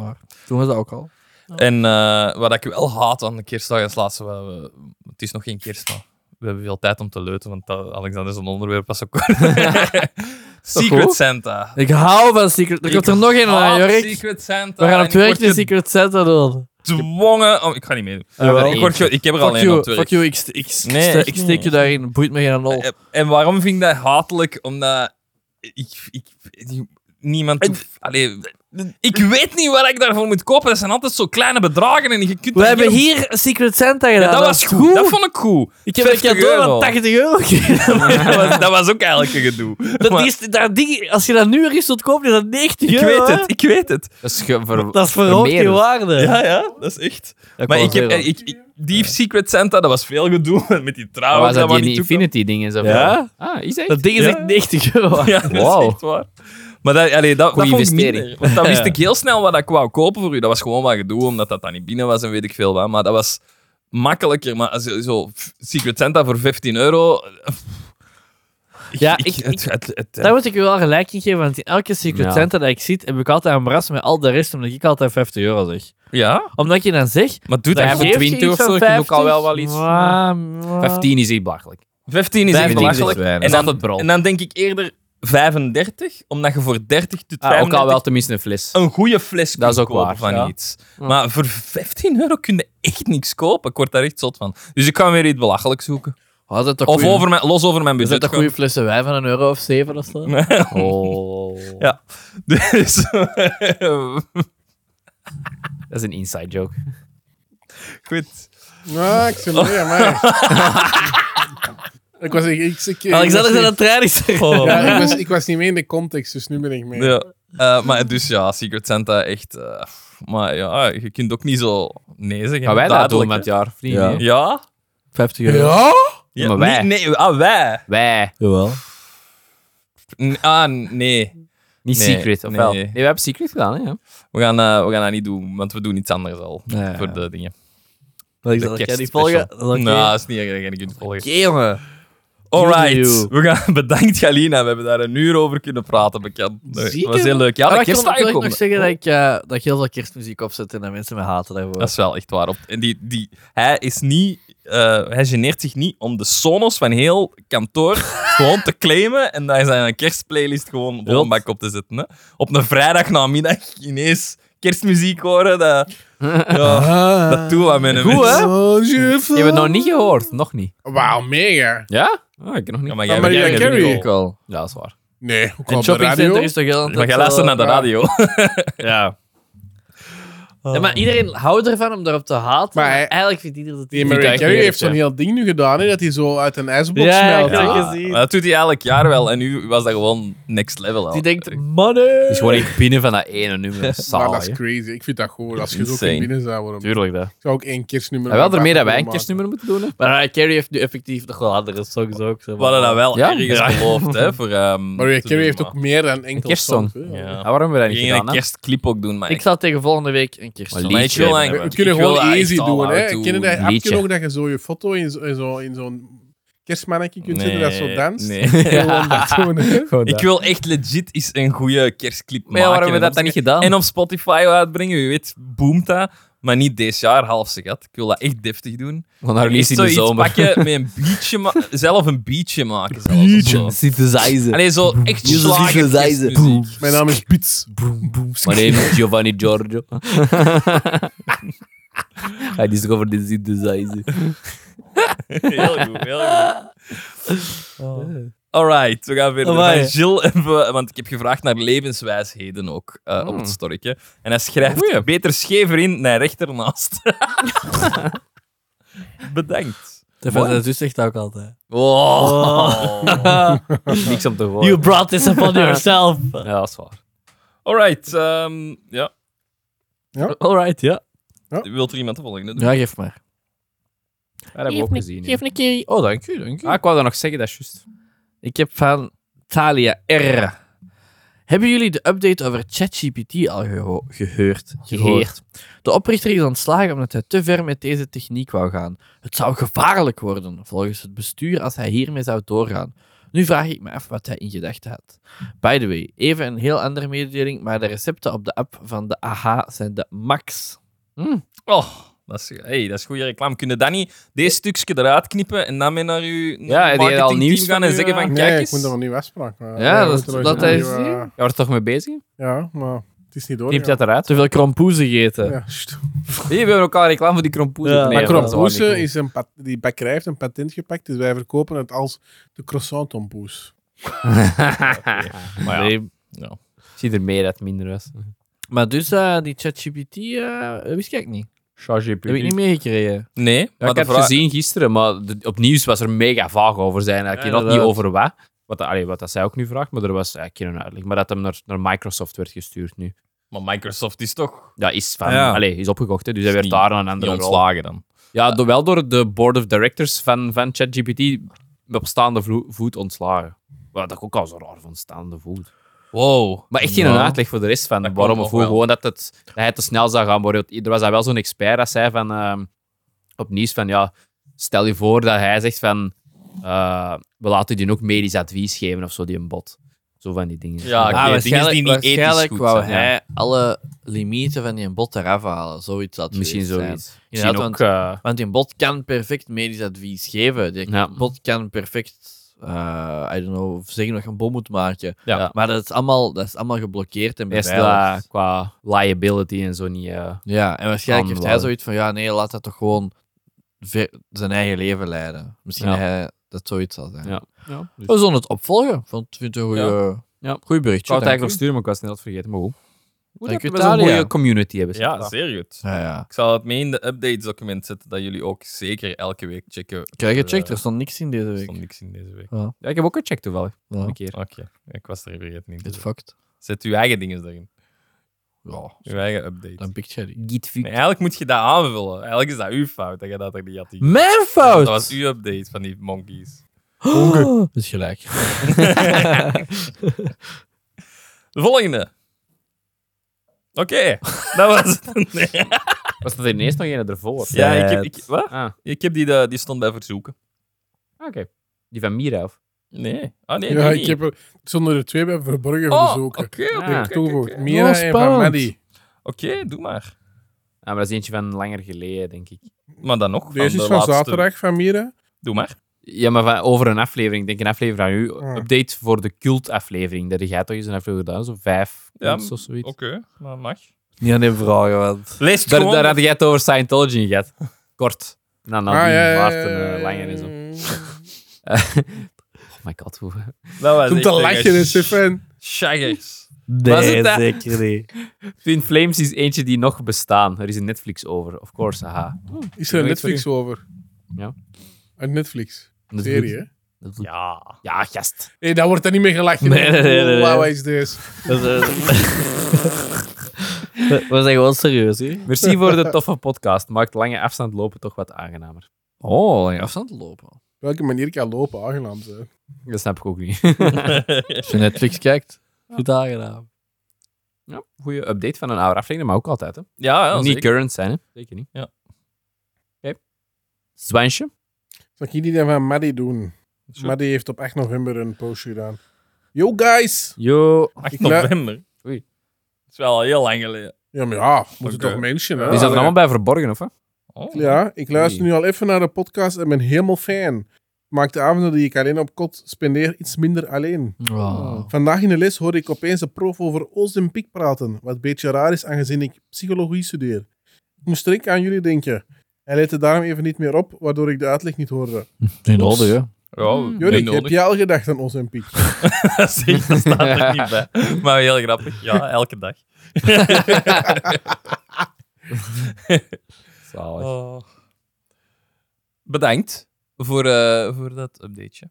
Speaker 2: waar.
Speaker 3: Toen was dat ook al.
Speaker 2: En eh, wat ik wel haat aan de kerstdag is laatste, wel, we- het is nog geen kerst, maar we hebben veel tijd om te leuten, want dat, Alexander is een onderwerp pas zo kort. Secret
Speaker 3: goed?
Speaker 2: Santa.
Speaker 3: Ik hou van Secret... Er komt er nog een aan,
Speaker 2: Haat
Speaker 3: Jorik.
Speaker 2: Secret Santa.
Speaker 3: We gaan
Speaker 2: en
Speaker 3: op het werk de
Speaker 2: Ik
Speaker 3: Secret Santa doen.
Speaker 2: word gedwongen... om- ik ga niet meedoen.
Speaker 3: Jawel.
Speaker 2: ik, word ge- ik heb er
Speaker 3: Fuck
Speaker 2: alleen op
Speaker 3: you,
Speaker 2: het werk.
Speaker 3: fuck you. Ik, st- ik, st-
Speaker 2: Nee,
Speaker 3: st-
Speaker 2: ik
Speaker 3: ik steek je daarin. Boeit me geen rol.
Speaker 2: Eh, En waarom vind ik dat hatelijk? Omdat ik, ik, ik- niemand. hoeft- Allee, ik weet niet waar ik daarvoor moet kopen. Dat zijn altijd zo kleine bedragen en je kunt.
Speaker 3: We
Speaker 2: daar
Speaker 3: hebben
Speaker 2: geen-
Speaker 3: hier Secret Santa gedaan.
Speaker 2: Ja, dat was goed. Dat vond ik goed.
Speaker 3: Ik heb een
Speaker 2: 50
Speaker 3: cadeau
Speaker 2: euro.
Speaker 3: van 80 euro gekregen.
Speaker 2: dat, was, dat was ook eigenlijk een gedoe.
Speaker 3: Dat
Speaker 2: Maar
Speaker 3: is, dat ding, als je dat nu ergens wilt kopen, is dat 90
Speaker 2: ik
Speaker 3: euro.
Speaker 2: weet
Speaker 3: hè?
Speaker 2: het, ik weet het.
Speaker 4: Dat is ge- ver-
Speaker 3: Dat is verhoogd in
Speaker 4: vermeerderd.
Speaker 3: waarde.
Speaker 2: Ja, ja, dat is echt. maar ik heb, eh, ik, ik- die Secret Santa, dat was veel gedoe met die
Speaker 4: Maar
Speaker 2: trouwen.
Speaker 4: Oh, was dat
Speaker 2: dat
Speaker 4: die
Speaker 2: we niet toe-
Speaker 4: Infinity dingen? Zo
Speaker 2: Ja.
Speaker 4: van- Ah, is echt?
Speaker 3: Dat ding is
Speaker 2: Ja.
Speaker 3: echt 90 euro. waard.
Speaker 2: Ja, dat is
Speaker 4: Wauw.
Speaker 2: echt waar. Maar dat, allee, dat, dat
Speaker 4: Goeie
Speaker 2: vond ik
Speaker 4: investering.
Speaker 2: minder. Want dan wist ik heel snel wat ik wou kopen voor u. Dat was gewoon wat gedoe, omdat dat dan niet binnen was en weet ik veel wat. Maar dat was makkelijker. Maar zo, zo pff, Secret Santa voor 15 euro... eh, pff.
Speaker 3: Ja, ik-
Speaker 2: het, het, het-
Speaker 3: Daar moet ik je wel gelijk in geven, want in elke Secret
Speaker 4: Ja.
Speaker 3: Santa dat ik zie, heb ik altijd een bras met al de rest, omdat ik altijd 50 euro zeg.
Speaker 2: ja,
Speaker 3: Omdat je dan zegt...
Speaker 2: maar doe
Speaker 4: Daar
Speaker 2: dat
Speaker 3: dan
Speaker 4: hebben
Speaker 2: voor
Speaker 3: geef je
Speaker 4: 20
Speaker 3: iets
Speaker 4: of
Speaker 3: van
Speaker 4: zo, ik doe ook al wel wel iets.
Speaker 3: Mwah, mwah.
Speaker 4: 15 is echt belachelijk.
Speaker 2: 15 is echt
Speaker 4: 15 is echt
Speaker 2: belachelijk.
Speaker 4: weinig.
Speaker 2: En
Speaker 4: Dat
Speaker 2: dan,
Speaker 4: is altijd brol.
Speaker 2: en dan denk ik eerder 35, omdat je voor 30 tot
Speaker 4: Ah, ook
Speaker 2: 35
Speaker 4: al wel tenminste een fles.
Speaker 2: een goede fles
Speaker 4: Dat is
Speaker 2: kunt
Speaker 4: ook
Speaker 2: kopen
Speaker 4: waar,
Speaker 2: van
Speaker 4: ja.
Speaker 2: iets. Maar voor 15 euro kun je echt niks kopen. Ik word daar echt zot van. Dus ik ga weer iets belachelijks zoeken.
Speaker 3: Oh, dat is toch
Speaker 2: Of
Speaker 3: goeie-
Speaker 2: over mijn, los over mijn
Speaker 3: Is dat
Speaker 2: budget.
Speaker 3: toch goede flessen wijn van een euro of zeven of zo?
Speaker 4: Oh.
Speaker 2: Ja. Dus, eh,
Speaker 4: Dat is een inside joke.
Speaker 2: goed.
Speaker 1: Ja, Nou, ik zie mee, amai. ik was... Ik, ik, ik, ik was
Speaker 3: Alexander is aan
Speaker 1: niet-
Speaker 3: het trainen.
Speaker 1: ja, ik, was, ik was niet mee in de context, dus nu ben ik mee.
Speaker 2: Oh, Ja. Eh, maar dus ja, Secret Santa echt... eh, maar ja, je kunt ook niet zo nee zeggen.
Speaker 4: Gaan wij dat doen
Speaker 2: duidelijk,
Speaker 4: met het
Speaker 2: hè.
Speaker 4: jaar? Vrienden.
Speaker 3: Ja.
Speaker 4: hè?
Speaker 2: Ja?
Speaker 3: 50 euro.
Speaker 1: Ja?
Speaker 2: ja
Speaker 4: maar wij.
Speaker 2: Nee, nee, ah, wij.
Speaker 4: Wij.
Speaker 3: Jawel.
Speaker 2: N- ah, nee.
Speaker 4: Niet
Speaker 2: Nee,
Speaker 4: Secret, of wel?
Speaker 2: nee.
Speaker 4: Nee, we hebben Secret gedaan, hè? ja.
Speaker 2: We gaan, eh, we gaan dat niet doen, want we doen iets anders al.
Speaker 3: Nee.
Speaker 2: Voor de dingen.
Speaker 3: Alexander, kan je die volgen? Dat Ah, is oké.
Speaker 2: Nou, dat is niet erg dat je niet kunt volgen.
Speaker 3: Oké, jongen.
Speaker 2: Alright,
Speaker 3: You.
Speaker 2: we gaan, bedankt Galina. We hebben daar een uur over kunnen praten, bekend. Nee,
Speaker 1: Zeker.
Speaker 2: was heel leuk. Ja,
Speaker 3: maar
Speaker 2: de
Speaker 3: ik wil
Speaker 2: kerst
Speaker 3: natuurlijk nog
Speaker 2: aangekomen.
Speaker 3: zeggen dat ik, eh, dat ik heel veel kerstmuziek opzet en dat mensen me haten daarvoor.
Speaker 2: Dat is wel echt waar. Op- En die, die, hij is niet... eh, hij geneert zich niet om de Sonos van heel kantoor gewoon te claimen en daar zijn kerstplaylist gewoon op een bak op te zetten. Hè. Op een vrijdag namiddag ineens kerstmuziek horen, dat, ja, dat doet wat met een
Speaker 4: Goed,
Speaker 2: mens.
Speaker 4: hè?
Speaker 1: Oh, je
Speaker 4: Je hebt het nog niet gehoord. Nog niet.
Speaker 1: Wauw, mega.
Speaker 4: Ja? Oh, ik nog niet.
Speaker 2: Ja, maar jij,
Speaker 1: Maria
Speaker 2: jij- jij-
Speaker 1: Carey.
Speaker 2: jij-
Speaker 3: Ook al.
Speaker 4: Ja, dat is waar.
Speaker 1: Nee, hoe
Speaker 3: En
Speaker 1: kwam de radio?
Speaker 3: shoppingcenter is toch heel...
Speaker 2: eh, Maar jij luistert
Speaker 3: eh,
Speaker 2: naar de
Speaker 1: Ja.
Speaker 2: radio.
Speaker 4: Ja.
Speaker 3: Ja, maar iedereen houdt ervan om daarop te haten.
Speaker 1: Maar
Speaker 3: Maar,
Speaker 1: hij-
Speaker 3: eigenlijk vindt iedereen dat
Speaker 1: Die
Speaker 3: het niet
Speaker 1: Mary
Speaker 4: echt
Speaker 1: Carey
Speaker 4: eerlijk,
Speaker 1: heeft zo'n
Speaker 4: ja.
Speaker 1: heel ding nu gedaan, hè, dat hij zo uit een ijsblok
Speaker 3: Ja,
Speaker 1: smelt.
Speaker 3: ik heb
Speaker 1: hè.
Speaker 3: het gezien.
Speaker 2: Maar dat doet hij elk jaar wel en nu was dat gewoon next level.
Speaker 3: Die
Speaker 2: al.
Speaker 3: denkt, mannen...
Speaker 4: Het is gewoon echt binnen van dat ene nummer.
Speaker 1: Maar dat
Speaker 4: Saai.
Speaker 1: is
Speaker 4: hè.
Speaker 1: crazy. Ik vind dat goed. Als je het ook
Speaker 2: Insane.
Speaker 1: in binnen zou worden. Ik
Speaker 4: Tuurlijk, dat.
Speaker 1: zou ook één kerstnummer...
Speaker 4: En wel
Speaker 1: maken.
Speaker 4: ermee dat wij een kerstnummer moeten doen, hè?
Speaker 3: Maar Mariah Carey heeft nu effectief nog wel andere songs ook. Zeg
Speaker 2: We hadden dat wel
Speaker 4: Ja?
Speaker 2: ergens
Speaker 4: Ja.
Speaker 2: beloofd, hè? Voor, ehm,
Speaker 1: Mariah
Speaker 2: te
Speaker 1: Carey
Speaker 2: doen,
Speaker 1: heeft ook
Speaker 2: maar-
Speaker 1: meer dan enkel
Speaker 4: kerstsong.
Speaker 1: songs, hè.
Speaker 2: Ja.
Speaker 4: Ah, waarom hebben we
Speaker 2: We
Speaker 4: dat niet
Speaker 2: gingen
Speaker 4: gedaan,
Speaker 2: een
Speaker 4: hè?
Speaker 2: kerstclip ook doen, maar
Speaker 3: Ik zal tegen volgende week een kerst.
Speaker 4: Maar
Speaker 2: maar ik
Speaker 4: liedje
Speaker 2: wil
Speaker 4: hebben we.
Speaker 1: We
Speaker 2: eigenlijk...
Speaker 1: kunnen
Speaker 2: ik wil
Speaker 1: gewoon
Speaker 2: dat echt
Speaker 1: easy
Speaker 2: allemaal
Speaker 1: doen. Hè.
Speaker 2: doen.
Speaker 1: Ken je dat
Speaker 4: Liedje.
Speaker 1: appje nog dat je zo je foto in zo'n in zo, in zo'n kerstmannetje kunt zetten dat zo
Speaker 2: Nee,
Speaker 1: danst?
Speaker 2: nee.
Speaker 1: Gewoon dat doen, hè.
Speaker 2: Ik wil echt legit eens een goede kerstclip
Speaker 4: Maar
Speaker 2: maken.
Speaker 4: ja, waarom
Speaker 2: en
Speaker 4: hebben we dat dan niet gedaan?
Speaker 2: En op Spotify uitbrengen, wie weet, boomt dat. Maar niet dit jaar, half ze gat. Ik wil dat echt deftig doen.
Speaker 4: We gaan haar
Speaker 2: Echt
Speaker 4: release in de
Speaker 2: zoiets
Speaker 4: zomer.
Speaker 2: pakken met een beatje, ma- zelf een beatje maken. zelfs of zo.
Speaker 5: Synthesizer.
Speaker 2: Allee, zo echt
Speaker 5: Jozef
Speaker 2: slagen
Speaker 5: Visualizer.
Speaker 2: kerstmuziek.
Speaker 1: Mijn naam is Piets.
Speaker 4: My name is Giovanni Giorgio. I discovered the synthesizer.
Speaker 2: Heel goed, heel goed. Alright, we gaan verder
Speaker 3: Amai.
Speaker 2: naar Jill. Even, want ik heb gevraagd naar levenswijsheden ook eh,
Speaker 4: Hmm.
Speaker 2: op het storkje. En hij schrijft beter schever in naar rechter naast. Bedankt.
Speaker 3: Stefan zijn zus zegt dat ook altijd.
Speaker 4: Oh. Niks om te horen.
Speaker 3: You brought this upon yourself.
Speaker 4: Ja, dat is waar.
Speaker 2: Alright, ehm, ja.
Speaker 3: Alright, ja.
Speaker 2: Wilt er iemand de volgende doen?
Speaker 3: Ja, geef maar.
Speaker 4: Dat hebben we ook gezien. ja.
Speaker 3: een keer. Oh, dank u, dank u.
Speaker 4: Ah, ik wou dat nog zeggen, dat is juist.
Speaker 3: Ik heb van Thalia R. Hebben jullie de update over ChatGPT al geho- gehoord? Gehoord. De oprichter is ontslagen omdat hij te ver met deze techniek wou gaan. Het zou gevaarlijk worden volgens het bestuur als hij hiermee zou doorgaan. Nu vraag ik me af wat hij in gedachten had. By the way, even een heel andere mededeling, maar de recepten op de app van de AHA zijn de max.
Speaker 2: Oh, dat is, hey, dat is goede reclame. Kunnen Danny deze stukje eruit knippen en dan mee naar uw
Speaker 4: die had al
Speaker 2: marketingteam gaan
Speaker 4: nieuws van
Speaker 2: en
Speaker 4: u,
Speaker 2: zeggen van
Speaker 1: Nee,
Speaker 2: kijk
Speaker 1: ik
Speaker 2: eens.
Speaker 1: moet er een nieuwe afspraak maken.
Speaker 3: Ja,
Speaker 1: we
Speaker 3: dat-
Speaker 1: moeten er
Speaker 3: dat
Speaker 1: eens een
Speaker 3: is-
Speaker 1: nieuwe-
Speaker 4: Je wordt er toch mee bezig?
Speaker 1: Ja, maar het is niet door.
Speaker 4: Knip dat eruit.
Speaker 3: Te veel krompoes gegeten.
Speaker 2: eh,
Speaker 1: Ja, st-
Speaker 4: Hier, we hebben ook al reclame voor die krompoes.
Speaker 3: Ja.
Speaker 1: maar
Speaker 3: dat
Speaker 1: Krompoes is een pat- die bakkerij heeft een patent gepakt, dus wij verkopen het als de croissant tompoes.
Speaker 2: Maar ja.
Speaker 3: Nee,
Speaker 4: Ik zie er meer dat het minder was.
Speaker 3: Maar dus eh, die ChatGPT eh, wist ik niet.
Speaker 4: Charge
Speaker 3: Heb ik niet meegekregen.
Speaker 2: Nee,
Speaker 4: Ja,
Speaker 2: maar
Speaker 4: ik
Speaker 2: de
Speaker 4: heb het
Speaker 2: vraag...
Speaker 4: gezien gisteren, maar de- op nieuws was er mega vaag over zijn. Ik
Speaker 2: Ja,
Speaker 4: weet nog niet
Speaker 3: inderdaad.
Speaker 4: over wat. Wat, allee, wat dat zij ook nu vraagt, maar er was eigenlijk geen uitleg. Maar dat hem naar, naar Microsoft werd gestuurd nu.
Speaker 2: Maar Microsoft is toch
Speaker 4: Dat is, van,
Speaker 2: Ja.
Speaker 4: allee, is opgekocht, hè, dus hij
Speaker 2: Is
Speaker 4: werd
Speaker 2: niet-
Speaker 4: daar aan een
Speaker 2: niet
Speaker 4: andere rol.
Speaker 2: ontslagen dan.
Speaker 4: Ja, door- wel door de board of directors van, van ChatGPT op staande vlo- voet ontslagen. Wat ik ook al zo raar van staande voet.
Speaker 2: Wow.
Speaker 4: Maar echt geen
Speaker 2: Ja.
Speaker 4: uitleg voor de rest van
Speaker 2: Dat kan
Speaker 4: waarom
Speaker 2: nog
Speaker 4: of hoe.
Speaker 2: wel.
Speaker 4: Gewoon dat, het, dat hij te snel zou gaan. Bijvoorbeeld, Er was daar wel zo'n expert dat zei van, ehm, op nieuws van ja, stel je voor dat hij zegt van eh, we laten die ook medisch advies geven of zo, die een bot. Zo van die dingen.
Speaker 2: Ja, oké,
Speaker 3: Ah,
Speaker 2: dingen die niet ethisch
Speaker 3: waarschijnlijk
Speaker 2: goed
Speaker 3: wou
Speaker 2: zijn,
Speaker 3: hij alle limieten van die bot eraf halen. Zoiets dat
Speaker 4: Misschien
Speaker 3: geweest zijn.
Speaker 4: zoiets.
Speaker 3: Inderdaad,
Speaker 4: Misschien ook... eh,
Speaker 3: Want die bot kan perfect medisch advies geven. Die
Speaker 4: Ja.
Speaker 3: bot kan perfect, eh, I don't know, zeggen dat je een bom moet maken.
Speaker 2: Ja.
Speaker 4: Ja.
Speaker 3: Maar dat is allemaal, dat is allemaal geblokkeerd en
Speaker 4: Eerst
Speaker 3: beveiligd.
Speaker 4: la- qua liability en zo niet... eh,
Speaker 3: Ja, en waarschijnlijk heeft hij
Speaker 4: Aanladen.
Speaker 3: zoiets van, ja, nee, laat dat toch gewoon ver- zijn eigen leven leiden. Misschien
Speaker 4: Ja.
Speaker 3: hij dat zoiets zal zijn.
Speaker 4: Ja. ja. Dus,
Speaker 3: We zullen het opvolgen. Want ik vind het een goede,
Speaker 4: Ja.
Speaker 3: goeie
Speaker 4: ik
Speaker 3: berichtje.
Speaker 4: wou het eigenlijk
Speaker 3: dank
Speaker 4: nog
Speaker 3: u.
Speaker 4: sturen, maar ik was het net vergeten. Maar goed. Hoe
Speaker 3: Dank
Speaker 4: dat
Speaker 3: u,
Speaker 4: we zo'n
Speaker 3: Thalia.
Speaker 4: mooie community hebben.
Speaker 2: Ja, zeer goed.
Speaker 3: Ja, ja.
Speaker 2: Ik zal het mee in de updates document zetten, dat jullie ook zeker elke week checken.
Speaker 3: Kijk,
Speaker 2: Er,
Speaker 3: gecheckt.
Speaker 2: eh,
Speaker 3: Er stond niks in deze
Speaker 2: Er
Speaker 3: week.
Speaker 2: stond niks in deze week.
Speaker 4: Ja, ik heb ook gecheckt toevallig.
Speaker 3: Ja.
Speaker 4: Een keer.
Speaker 2: Oké, ik was er vergeten in te
Speaker 3: Dit
Speaker 2: zetten.
Speaker 3: fucked.
Speaker 2: Zet uw eigen dingen erin.
Speaker 3: Ja,
Speaker 2: Uw eigen update.
Speaker 3: dan pikt jij die.
Speaker 2: Nee, eigenlijk moet je dat aanvullen. Eigenlijk is dat uw fout dat je dat er niet had. ingevuld.
Speaker 4: Mijn
Speaker 2: Dat
Speaker 4: fout!
Speaker 2: was uw update van die monkeys.
Speaker 3: Oh, dat is gelijk.
Speaker 2: De volgende. Oké, dat was het. Nee.
Speaker 4: Was dat ineens nog een ervoor?
Speaker 2: Ja, ik heb, ik, wat?
Speaker 4: Ah,
Speaker 2: ik heb die, eh, die stond bij verzoeken.
Speaker 4: oké. Die van Mira of?
Speaker 2: Nee. Ah, nee,
Speaker 1: ja,
Speaker 2: die
Speaker 1: ik
Speaker 2: niet.
Speaker 1: heb er zonder er twee bij verborgen
Speaker 2: Oh,
Speaker 1: verzoeken.
Speaker 2: Oké,
Speaker 1: Die
Speaker 2: oké,
Speaker 1: heb ik
Speaker 4: Ah.
Speaker 2: oké,
Speaker 1: toegevoegd.
Speaker 2: oké.
Speaker 1: Mira en van
Speaker 3: spannend.
Speaker 1: Maddie.
Speaker 2: Oké, doe maar.
Speaker 4: Ah, maar dat is eentje van langer geleden, denk ik.
Speaker 2: Maar dan nog.
Speaker 1: Deze
Speaker 2: de
Speaker 1: is van
Speaker 2: laatste.
Speaker 1: zaterdag van Mira.
Speaker 2: Doe maar.
Speaker 4: Ja, maar van, over een aflevering. Ik denk een aflevering aan u.
Speaker 1: Ah.
Speaker 4: Update voor de cult-aflevering. Dat jij toch eens een aflevering gedaan, zo vijf
Speaker 2: Ja,
Speaker 4: cults of zoiets.
Speaker 2: Oké, maar mag.
Speaker 3: Niet aan hem vragen, want...
Speaker 2: Lees het
Speaker 4: Daar,
Speaker 2: gewoon.
Speaker 4: daar had jij het over Scientology gehad. Kort. Na Nadine,
Speaker 1: Ah, ja, ja,
Speaker 4: Maarten,
Speaker 1: ja, ja,
Speaker 4: Nou, eh,
Speaker 1: ja,
Speaker 4: Langer en zo. Oh my god, hoe...
Speaker 2: Dat was
Speaker 1: Om te
Speaker 2: echt
Speaker 1: lachen,
Speaker 2: een
Speaker 1: hè, Stefan.
Speaker 2: Shaggers.
Speaker 4: Was het dat?
Speaker 5: zeker niet.
Speaker 4: Twin Flames is eentje die nog bestaan. Er is een Netflix over, of course, aha.
Speaker 1: Is er een
Speaker 4: weet
Speaker 1: Netflix over?
Speaker 4: Ja.
Speaker 1: Een Netflix.
Speaker 4: Netflix.
Speaker 1: Serie, hè?
Speaker 2: Ja.
Speaker 4: Ja, gast.
Speaker 1: Nee, daar wordt er niet mee gelachen.
Speaker 3: Nee, nee, nee, nee,
Speaker 1: Wauw,
Speaker 3: nee.
Speaker 1: is deze.
Speaker 3: Dat is- We we zijn gewoon serieus, hè?
Speaker 4: Merci voor de toffe podcast. Maakt lange afstand lopen toch wat aangenamer.
Speaker 3: Oh, in afstand lopen.
Speaker 1: Welke manier kan lopen aangenaam zijn?
Speaker 4: Dat snap ik ook niet.
Speaker 3: Als je Netflix kijkt, goed aangedaan.
Speaker 4: Ja, goede update van een oude aflevering, maar ook altijd. Hè.
Speaker 2: ja, ja
Speaker 4: niet
Speaker 2: zeker.
Speaker 4: current zijn, hè? Zeker niet.
Speaker 2: Ja.
Speaker 4: Oké. Zwijntje.
Speaker 1: Zal ik die dan van Maddie doen?
Speaker 2: Zo.
Speaker 1: Maddie heeft op 8 november een postje gedaan. Yo, guys!
Speaker 4: Yo.
Speaker 2: 8
Speaker 1: Ik lu-
Speaker 2: november.
Speaker 4: Oei.
Speaker 2: Dat is wel al heel lang geleden.
Speaker 1: Ja, maar ja, moeten
Speaker 2: Oké.
Speaker 1: toch mensen, hè?
Speaker 4: Die zaten allemaal bij verborgen, of? hè?
Speaker 2: Oh.
Speaker 1: Ja, ik luister nu al even naar de podcast en ben helemaal fan. Maak de avonden die ik alleen op kot spendeer iets minder alleen.
Speaker 3: Wow.
Speaker 1: Vandaag in de les hoorde ik opeens de prof over Ozempic praten, wat een beetje raar is aangezien ik psychologie studeer. Ik moest direct aan jullie denken. Hij lette daarom even niet meer op, waardoor ik de uitleg niet hoorde.
Speaker 3: Niet nodig, hè?
Speaker 2: Ja,
Speaker 1: Jorik,
Speaker 2: niet
Speaker 1: heb
Speaker 2: nodig.
Speaker 1: je al gedacht aan Ozempic?
Speaker 2: Zeg, dat staat er niet bij. Maar heel grappig. Ja, elke dag.
Speaker 4: Zalig.
Speaker 2: Oh. Bedankt voor, eh, voor dat updateje.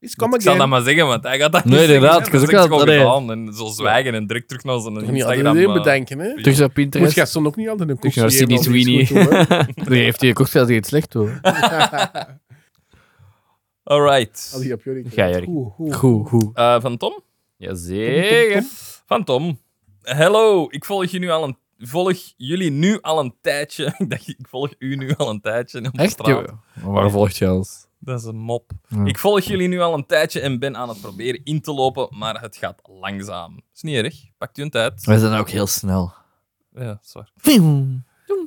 Speaker 1: Is
Speaker 2: Want Ik zal dat maar zeggen, want hij gaat dat
Speaker 3: Nee,
Speaker 2: niet
Speaker 3: inderdaad,
Speaker 2: zeggen. dus hè.
Speaker 3: ik
Speaker 2: Dat is
Speaker 3: zeg
Speaker 2: gewoon
Speaker 3: dat, nee.
Speaker 2: gedaan. En zo zwijgen en druk terug naar zijn
Speaker 1: Ik niet
Speaker 2: Instagram. eh.
Speaker 1: altijd een
Speaker 2: maar-
Speaker 1: bedenken, hè?
Speaker 3: Terug op
Speaker 1: Moet
Speaker 3: Pinterest.
Speaker 1: je soms ook niet altijd een
Speaker 3: Terug
Speaker 1: kopje
Speaker 3: naar
Speaker 1: geven als
Speaker 3: Sydney
Speaker 1: je iets goed doet, hè.
Speaker 3: Die heeft hij gekocht, dat hij het slecht hoor.
Speaker 2: Alright.
Speaker 1: Al die op Jorik.
Speaker 4: Ga, Jorik.
Speaker 1: Oeh, oeh.
Speaker 3: Goed, goed.
Speaker 2: Eh, van Tom?
Speaker 4: Jazeker.
Speaker 2: Van Tom. Hallo, ik volg, je nu al een, volg jullie nu al een tijdje. Ik dacht, ik volg u nu al een tijdje op
Speaker 3: Echt?
Speaker 2: straat.
Speaker 3: joh? Maar waar volgt je ons?
Speaker 2: Dat is een mop.
Speaker 3: Ja.
Speaker 2: Ik volg jullie nu al een tijdje en ben aan het proberen in te lopen, maar het gaat langzaam. Is niet erg. Pakt u een tijd.
Speaker 3: We zijn ook heel snel.
Speaker 2: Ja, zwaar.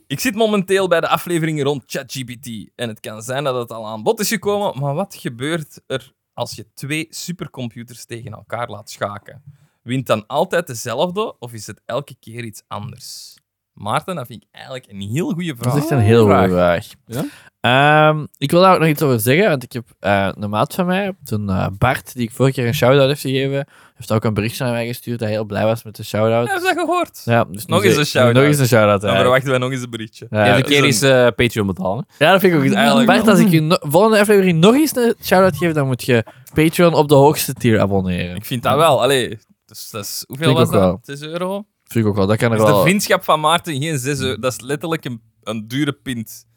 Speaker 2: Ik zit momenteel bij de afleveringen rond ChatGPT. En het kan zijn dat het al aan bod is gekomen, maar wat gebeurt er als je twee supercomputers tegen elkaar laat schaken? Wint dan altijd dezelfde of is het elke keer iets anders? Maarten, dat vind ik eigenlijk een heel goede vraag.
Speaker 3: Dat is echt een heel goede
Speaker 4: Vraag.
Speaker 3: vraag. Ehm, ik wil daar ook nog iets over zeggen, want ik heb eh, een maat van mij, toen eh, Bart, die ik vorige keer een shout-out heeft gegeven, heeft ook een berichtje naar mij gestuurd dat hij heel blij was met de shout-out.
Speaker 2: Hebben ze dat gehoord?
Speaker 3: Ja, dus
Speaker 2: Nog
Speaker 3: nu
Speaker 2: eens
Speaker 3: zeg-
Speaker 2: een shout-out.
Speaker 3: Nog eens een shout-out.
Speaker 2: Dan
Speaker 3: eigenlijk.
Speaker 2: verwachten wij nog eens een berichtje.
Speaker 3: Ja, dus
Speaker 4: Elke
Speaker 3: dat
Speaker 2: is
Speaker 4: keer
Speaker 2: een-
Speaker 4: is eh, Patreon betalen.
Speaker 3: Ja, dat vind ik ook iets.
Speaker 2: Eigenlijk
Speaker 3: Bart,
Speaker 2: wel.
Speaker 3: als ik je no- volgende aflevering nog eens een shout-out geef, dan moet je Patreon op de hoogste tier abonneren.
Speaker 2: Ik vind dat wel. Allee, dus, dat is, hoeveel
Speaker 3: Vind ik
Speaker 2: was
Speaker 3: ook wel.
Speaker 2: dat? 6 euro?
Speaker 3: Vind ik ook wel, dat kan er
Speaker 2: Dat is de
Speaker 3: wel...
Speaker 2: vriendschap van Maarten geen 6 euro. Dat is letterlijk een, een dure pint.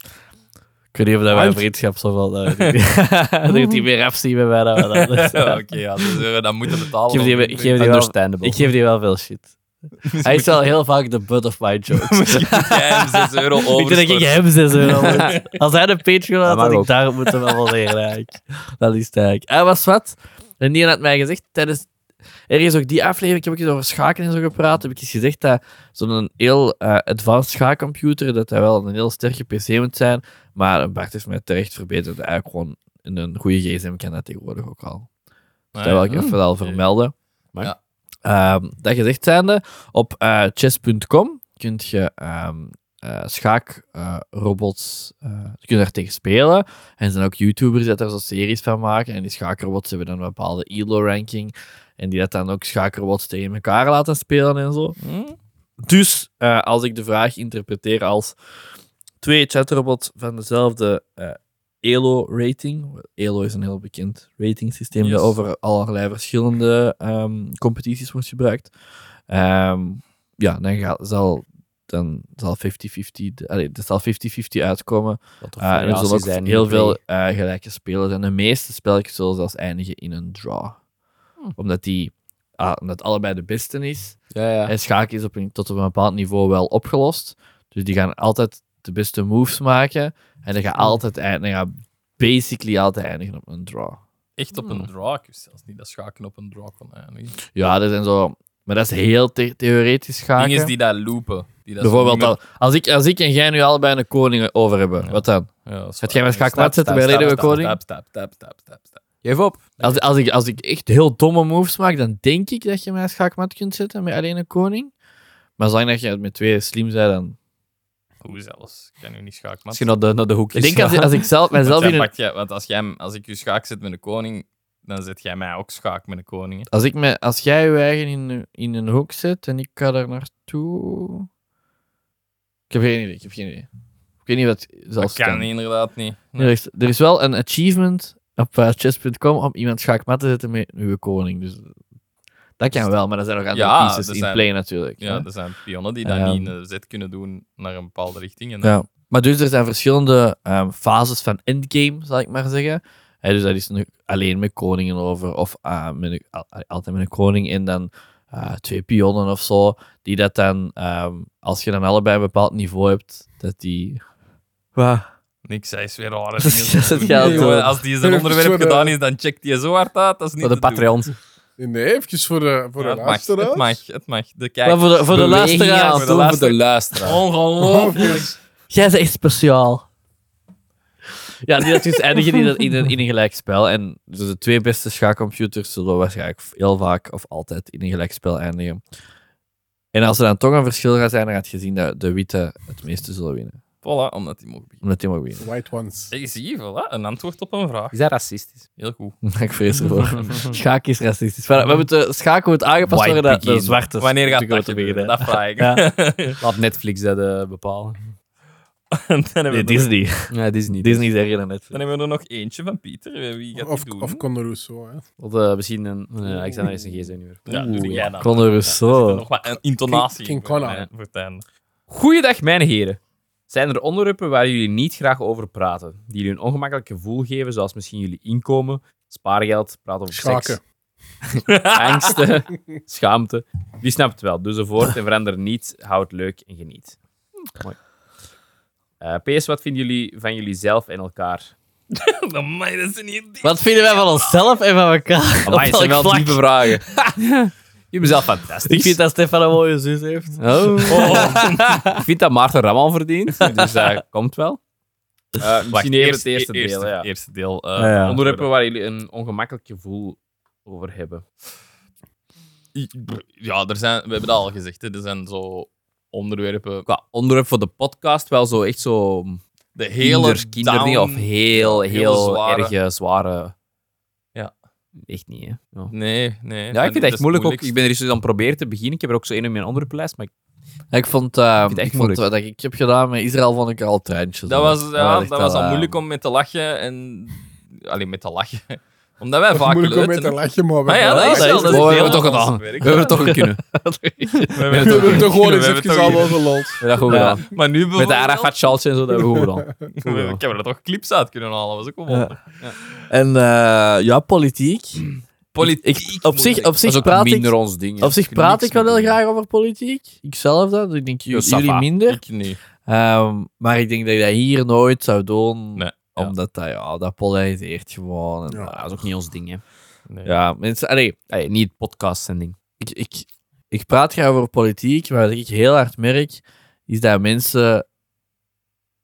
Speaker 3: Ik weet niet of
Speaker 2: Ah,
Speaker 3: eh, dat wij
Speaker 1: Uit.
Speaker 3: vriendschap zoveel... Dat heeft hij meer afzien bij mij dan wat anders.
Speaker 2: Ja, Oké, ja, dus eh, dat moeten betalen.
Speaker 3: Ik geef die- ik geef die wel-
Speaker 4: Understandable.
Speaker 3: Ik geef die wel veel shit. Hij is wel heel vaak de butt of my jokes.
Speaker 2: Misschien moet jij hem 6 euro
Speaker 3: ik denk dat ik
Speaker 2: overstort.
Speaker 3: hem zes euro moet. Als hij de Patreon had,
Speaker 4: Dat mag
Speaker 3: had ik
Speaker 4: ook.
Speaker 3: daar moeten wel wel leren eigenlijk. Dat is het eigenlijk. Hij was wat. En die had mij gezegd tijdens... Ergens ook die aflevering, ik heb ik eens over schaken en zo gepraat, heb ik eens gezegd dat zo'n heel eh, advanced schaakcomputer, dat hij wel een heel sterke PC moet zijn. Maar Bart is mij terecht verbeterd. Eigenlijk gewoon in een goede gsm kan dat tegenwoordig ook al.
Speaker 2: Nee.
Speaker 3: Dat wil ik even al vermelden.
Speaker 2: Maar- Ja.
Speaker 3: Ehm, dat gezegd zijnde, op eh, chess.com kun je ehm, eh, schaakrobots kun eh, je daar tegen spelen. En er zijn ook YouTubers die daar zo series van maken. En die schaakrobots hebben dan een bepaalde ELO-ranking. En die dat dan ook schaakrobots tegen elkaar laten spelen en zo.
Speaker 2: Hm?
Speaker 3: Dus eh, als ik de vraag interpreteer als twee chatrobots van dezelfde eh, ELO-rating. ELO is een heel bekend ratingsysteem
Speaker 2: Yes.
Speaker 3: dat over allerlei verschillende ehm, competities wordt gebruikt. Ehm, ja, dan, ga- zal, dan zal 50-50 de- allee, er zal 50-50 uitkomen.
Speaker 4: Wat
Speaker 3: Eh, en er zullen ook
Speaker 4: zijn
Speaker 3: heel veel eh, gelijke spelers zijn. De meeste spelletjes zullen zelfs eindigen in een draw.
Speaker 4: Hm.
Speaker 3: Omdat die ah, omdat allebei de beste is.
Speaker 4: Ja, ja.
Speaker 3: En schaak is op een, tot op een bepaald niveau wel opgelost. Dus die gaan altijd de beste moves maken. En dan
Speaker 4: Hm.
Speaker 3: gaat altijd eindigen, dan gaat basically altijd eindigen op een draw.
Speaker 2: Echt op
Speaker 3: Hmm.
Speaker 2: een draw. Ik wist zelfs niet dat schaken op een eh, draw kon eindigen.
Speaker 3: Ja, dat zijn zo. Maar dat is heel the- theoretisch schaken.
Speaker 2: Dingen die daar loopen. Die dat zo
Speaker 3: Bijvoorbeeld,
Speaker 2: niet
Speaker 3: al- als, ik, als ik en jij nu allebei een koning over hebben, wat dan?
Speaker 2: meer- Ja, dat is
Speaker 3: Gaat
Speaker 2: waar.
Speaker 3: jij met schaakmat
Speaker 2: Stap,
Speaker 3: zetten bij
Speaker 2: stap,
Speaker 3: Leden
Speaker 2: stap,
Speaker 3: we koning?
Speaker 2: Stap, stap, stap, stap, stap, stap.
Speaker 4: Geef op.
Speaker 3: Als, als, ik, als ik echt heel domme moves maak, dan denk ik dat je mij een schaakmat kunt zetten met alleen een koning. Maar zolang dat je het met twee slim bent, dan...
Speaker 2: Hoe zelfs? Ik kan nu niet schaakmat.
Speaker 4: Misschien naar de, naar de hoekjes.
Speaker 3: Ik denk als, als ik zelf,
Speaker 2: Want,
Speaker 3: mijzelf
Speaker 2: jij
Speaker 3: in een
Speaker 2: pakt jij- want als, jij, hem- als ik u schaak zet met een koning, dan zet jij mij ook schaak met een koning. hè.
Speaker 3: Als, ik me, als jij je eigen in, in een hoek zet en ik ga daar naartoe. Ik heb geen idee. Ik heb geen idee. Ik weet niet wat
Speaker 2: Dat
Speaker 3: zelfs.
Speaker 2: kan
Speaker 3: kan.
Speaker 2: inderdaad niet.
Speaker 3: Nee, er, is, er is wel een achievement op eh, chess.com om iemand schaakmat te zetten met uw koning. Dus dat kan wel, maar er zijn nog andere
Speaker 2: Dus Ja,
Speaker 3: pieces
Speaker 2: er
Speaker 3: in
Speaker 2: zijn-
Speaker 3: play natuurlijk. hè.
Speaker 2: Ja, er zijn pionnen die dat
Speaker 3: Ehm.
Speaker 2: niet in de zet kunnen doen naar een bepaalde richting. En dan-
Speaker 3: Ja. Maar dus er zijn verschillende ehm, fases van endgame, zal ik maar zeggen. Hè, dus dat is nu alleen met koningen over, of ah, met een- al- al- altijd met een koning en dan ah, twee pionnen of zo. Die dat dan, ehm, als je dan allebei een bepaald niveau hebt, dat die.
Speaker 2: Niks, hij is weer rare
Speaker 3: Dat
Speaker 2: dingen.
Speaker 3: is
Speaker 2: aan het
Speaker 3: geld,
Speaker 2: doen. Jongen,
Speaker 3: hoor.
Speaker 2: als die zijn
Speaker 1: Even
Speaker 2: onderwerp
Speaker 1: voor de-
Speaker 2: gedaan is, dan checkt hij zo hard uit. Dat is niet
Speaker 4: Naar de
Speaker 2: te doen.
Speaker 4: Patreons.
Speaker 1: Nee, eventjes voor de, voor
Speaker 2: Ja,
Speaker 1: de
Speaker 2: het, mag,
Speaker 1: laatste
Speaker 2: het mag, het mag. De kijk.
Speaker 3: Maar voor de, voor de
Speaker 4: Bewegingen
Speaker 3: luisteraar.
Speaker 4: aan het doen Voor de luisteraar.
Speaker 2: Ongelooflijk.
Speaker 3: Jij bent echt speciaal. Ja, die dat dus eindigen in een, in, een, in een gelijk spel. En dus de twee beste schaakcomputers zullen waarschijnlijk heel vaak of altijd in een gelijk spel eindigen. En als er dan toch een verschil gaat zijn, dan gaat je zien dat de witte het meeste zullen winnen.
Speaker 2: Voilà, omdat hij mocht beginnen.
Speaker 3: Omdat die mag winnen.
Speaker 1: White ones.
Speaker 2: Ik zie, voilà, een antwoord op een vraag.
Speaker 4: Is dat racistisch?
Speaker 2: Heel goed.
Speaker 3: ik vrees ervoor. Schaak is racistisch. Maar we moeten, schaken moet aangepast
Speaker 4: White
Speaker 3: worden dat de
Speaker 4: begin.
Speaker 3: zwarte
Speaker 2: Wanneer gaat dat
Speaker 3: moeten
Speaker 2: gebeuren?
Speaker 3: beginnen.
Speaker 2: Dat vraag ik.
Speaker 3: Ja.
Speaker 4: Laat Netflix dat eh, bepalen.
Speaker 2: En dan hebben,
Speaker 3: Nee,
Speaker 2: we, er,
Speaker 3: Disney.
Speaker 4: Ja, Disney.
Speaker 3: Disney is erger dan net.
Speaker 2: dan hebben we er nog eentje van Pieter. Eh, Wie gaat
Speaker 1: Of,
Speaker 2: die doen?
Speaker 1: of Conor Rousseau. Hè.
Speaker 4: Wat, eh, misschien een... Nee, Alexander is een gsm nu weer.
Speaker 2: ja, doe jij dan.
Speaker 3: Conor
Speaker 2: Er zit
Speaker 3: Rousseau.
Speaker 2: er nog wat een intonatie
Speaker 1: King-
Speaker 2: in
Speaker 1: King
Speaker 2: voor
Speaker 1: Conor.
Speaker 2: mij, voor het einde.
Speaker 4: Goeiedag, mijn heren. Zijn er onderwerpen waar jullie niet graag over praten? Die jullie een ongemakkelijk gevoel geven, zoals misschien jullie inkomen, spaargeld, praten over
Speaker 1: Schaken.
Speaker 4: seks, angsten, schaamte. Wie snapt het wel? Doe ze voort en verander niet. Hou het leuk en geniet. Mooi. Eh, PS, wat vinden jullie van jullie zelf en elkaar?
Speaker 2: Amai, dat is niet
Speaker 3: Wat vinden wij van onszelf en van elkaar?
Speaker 4: Amai,
Speaker 3: Op
Speaker 4: het zijn
Speaker 3: welk
Speaker 4: wel
Speaker 3: vlak?
Speaker 4: diepe vragen. Je bent zelf fantastisch.
Speaker 3: Ik vind dat Stefan een mooie zus heeft.
Speaker 4: Oh. Ik vind dat Maarten Raman verdient, dus dat komt wel. e- Eh, misschien even het eerste deel. ja.
Speaker 2: Eerste deel. eh,
Speaker 3: Ja, ja.
Speaker 4: Onderwerpen waar jullie een ongemakkelijk gevoel over hebben.
Speaker 2: Ja, er zijn, we hebben het al gezegd. Hè. Er zijn zo onderwerpen.
Speaker 4: Qua onderwerp voor de podcast wel zo echt zo
Speaker 2: De hele
Speaker 4: kinder, kinderdingen
Speaker 2: down-
Speaker 4: of heel, heel,
Speaker 2: hele zware.
Speaker 4: erg eh, zware.
Speaker 2: Ja.
Speaker 4: Echt niet, hè. Ja,
Speaker 2: Nee, nee.
Speaker 4: Ja, ik vind het echt moeilijk ook.
Speaker 2: moeilijk.
Speaker 4: Ik ben er eens aan het proberen te beginnen. Ik heb er ook zo één op mijn onderwerpenlijst, maar ik
Speaker 3: Ik vond, eh,
Speaker 4: vind het echt
Speaker 3: ik vond wat ik heb gedaan met Israël vond ik er al treintjes.
Speaker 2: Dat
Speaker 3: hoor.
Speaker 2: was, ja,
Speaker 3: echt
Speaker 2: dat was
Speaker 3: wel,
Speaker 2: al
Speaker 3: eh,
Speaker 2: moeilijk om mee te lachen. En... Allee, met te lachen. Omdat wij vaak
Speaker 1: Moeilijk om mee
Speaker 2: leuten...
Speaker 1: te lachen, maar we
Speaker 2: Maar ja,
Speaker 1: hebben
Speaker 2: dat is
Speaker 1: wel-
Speaker 2: wel.
Speaker 3: dat
Speaker 2: Dat
Speaker 3: is-
Speaker 2: is
Speaker 3: we
Speaker 2: deel
Speaker 3: hebben
Speaker 4: toch
Speaker 2: van ons
Speaker 4: gedaan.
Speaker 2: werk.
Speaker 4: we hebben het toch kunnen.
Speaker 2: We hebben
Speaker 1: We hebben
Speaker 2: het
Speaker 1: toch gewoon eens
Speaker 2: we hebben
Speaker 1: even
Speaker 2: het toch
Speaker 1: al over lol.
Speaker 4: We hebben dat goed
Speaker 2: Ja.
Speaker 4: gedaan.
Speaker 2: Maar nu
Speaker 4: Met de
Speaker 2: bijvoorbeeld-
Speaker 4: Arafat Schaltje en zo, dat hebben we goed gedaan.
Speaker 2: We- Ik heb er toch clips uit kunnen halen. was ook wel wonder.
Speaker 3: En eh, ja, politiek.
Speaker 2: Politiek.
Speaker 3: Ik, op zich,
Speaker 2: moeilijk.
Speaker 3: op
Speaker 4: Dat is
Speaker 3: zich
Speaker 4: ook
Speaker 3: praat ik,
Speaker 4: minder ons ding. hè.
Speaker 3: op zich
Speaker 4: Ik kan er
Speaker 3: praat ik
Speaker 4: niks
Speaker 3: wel
Speaker 4: mee
Speaker 3: heel
Speaker 4: doen.
Speaker 3: graag over politiek. Ikzelf dan. Ik denk ju-
Speaker 4: Ja, ça
Speaker 3: jullie
Speaker 4: va.
Speaker 3: minder.
Speaker 2: Ik niet.
Speaker 3: Ehm, maar ik denk dat ik dat hier nooit zou doen.
Speaker 2: Nee, ja.
Speaker 3: Omdat dat, ja, dat polariseert gewoon. En,
Speaker 1: Ja.
Speaker 4: Ja, dat is ook niet ons ding, hè.
Speaker 2: Nee.
Speaker 3: ja, mensen, allee,
Speaker 4: Allee, niet podcastzending.
Speaker 3: ik, ik, ik praat graag over politiek, maar wat ik heel hard merk, is dat mensen,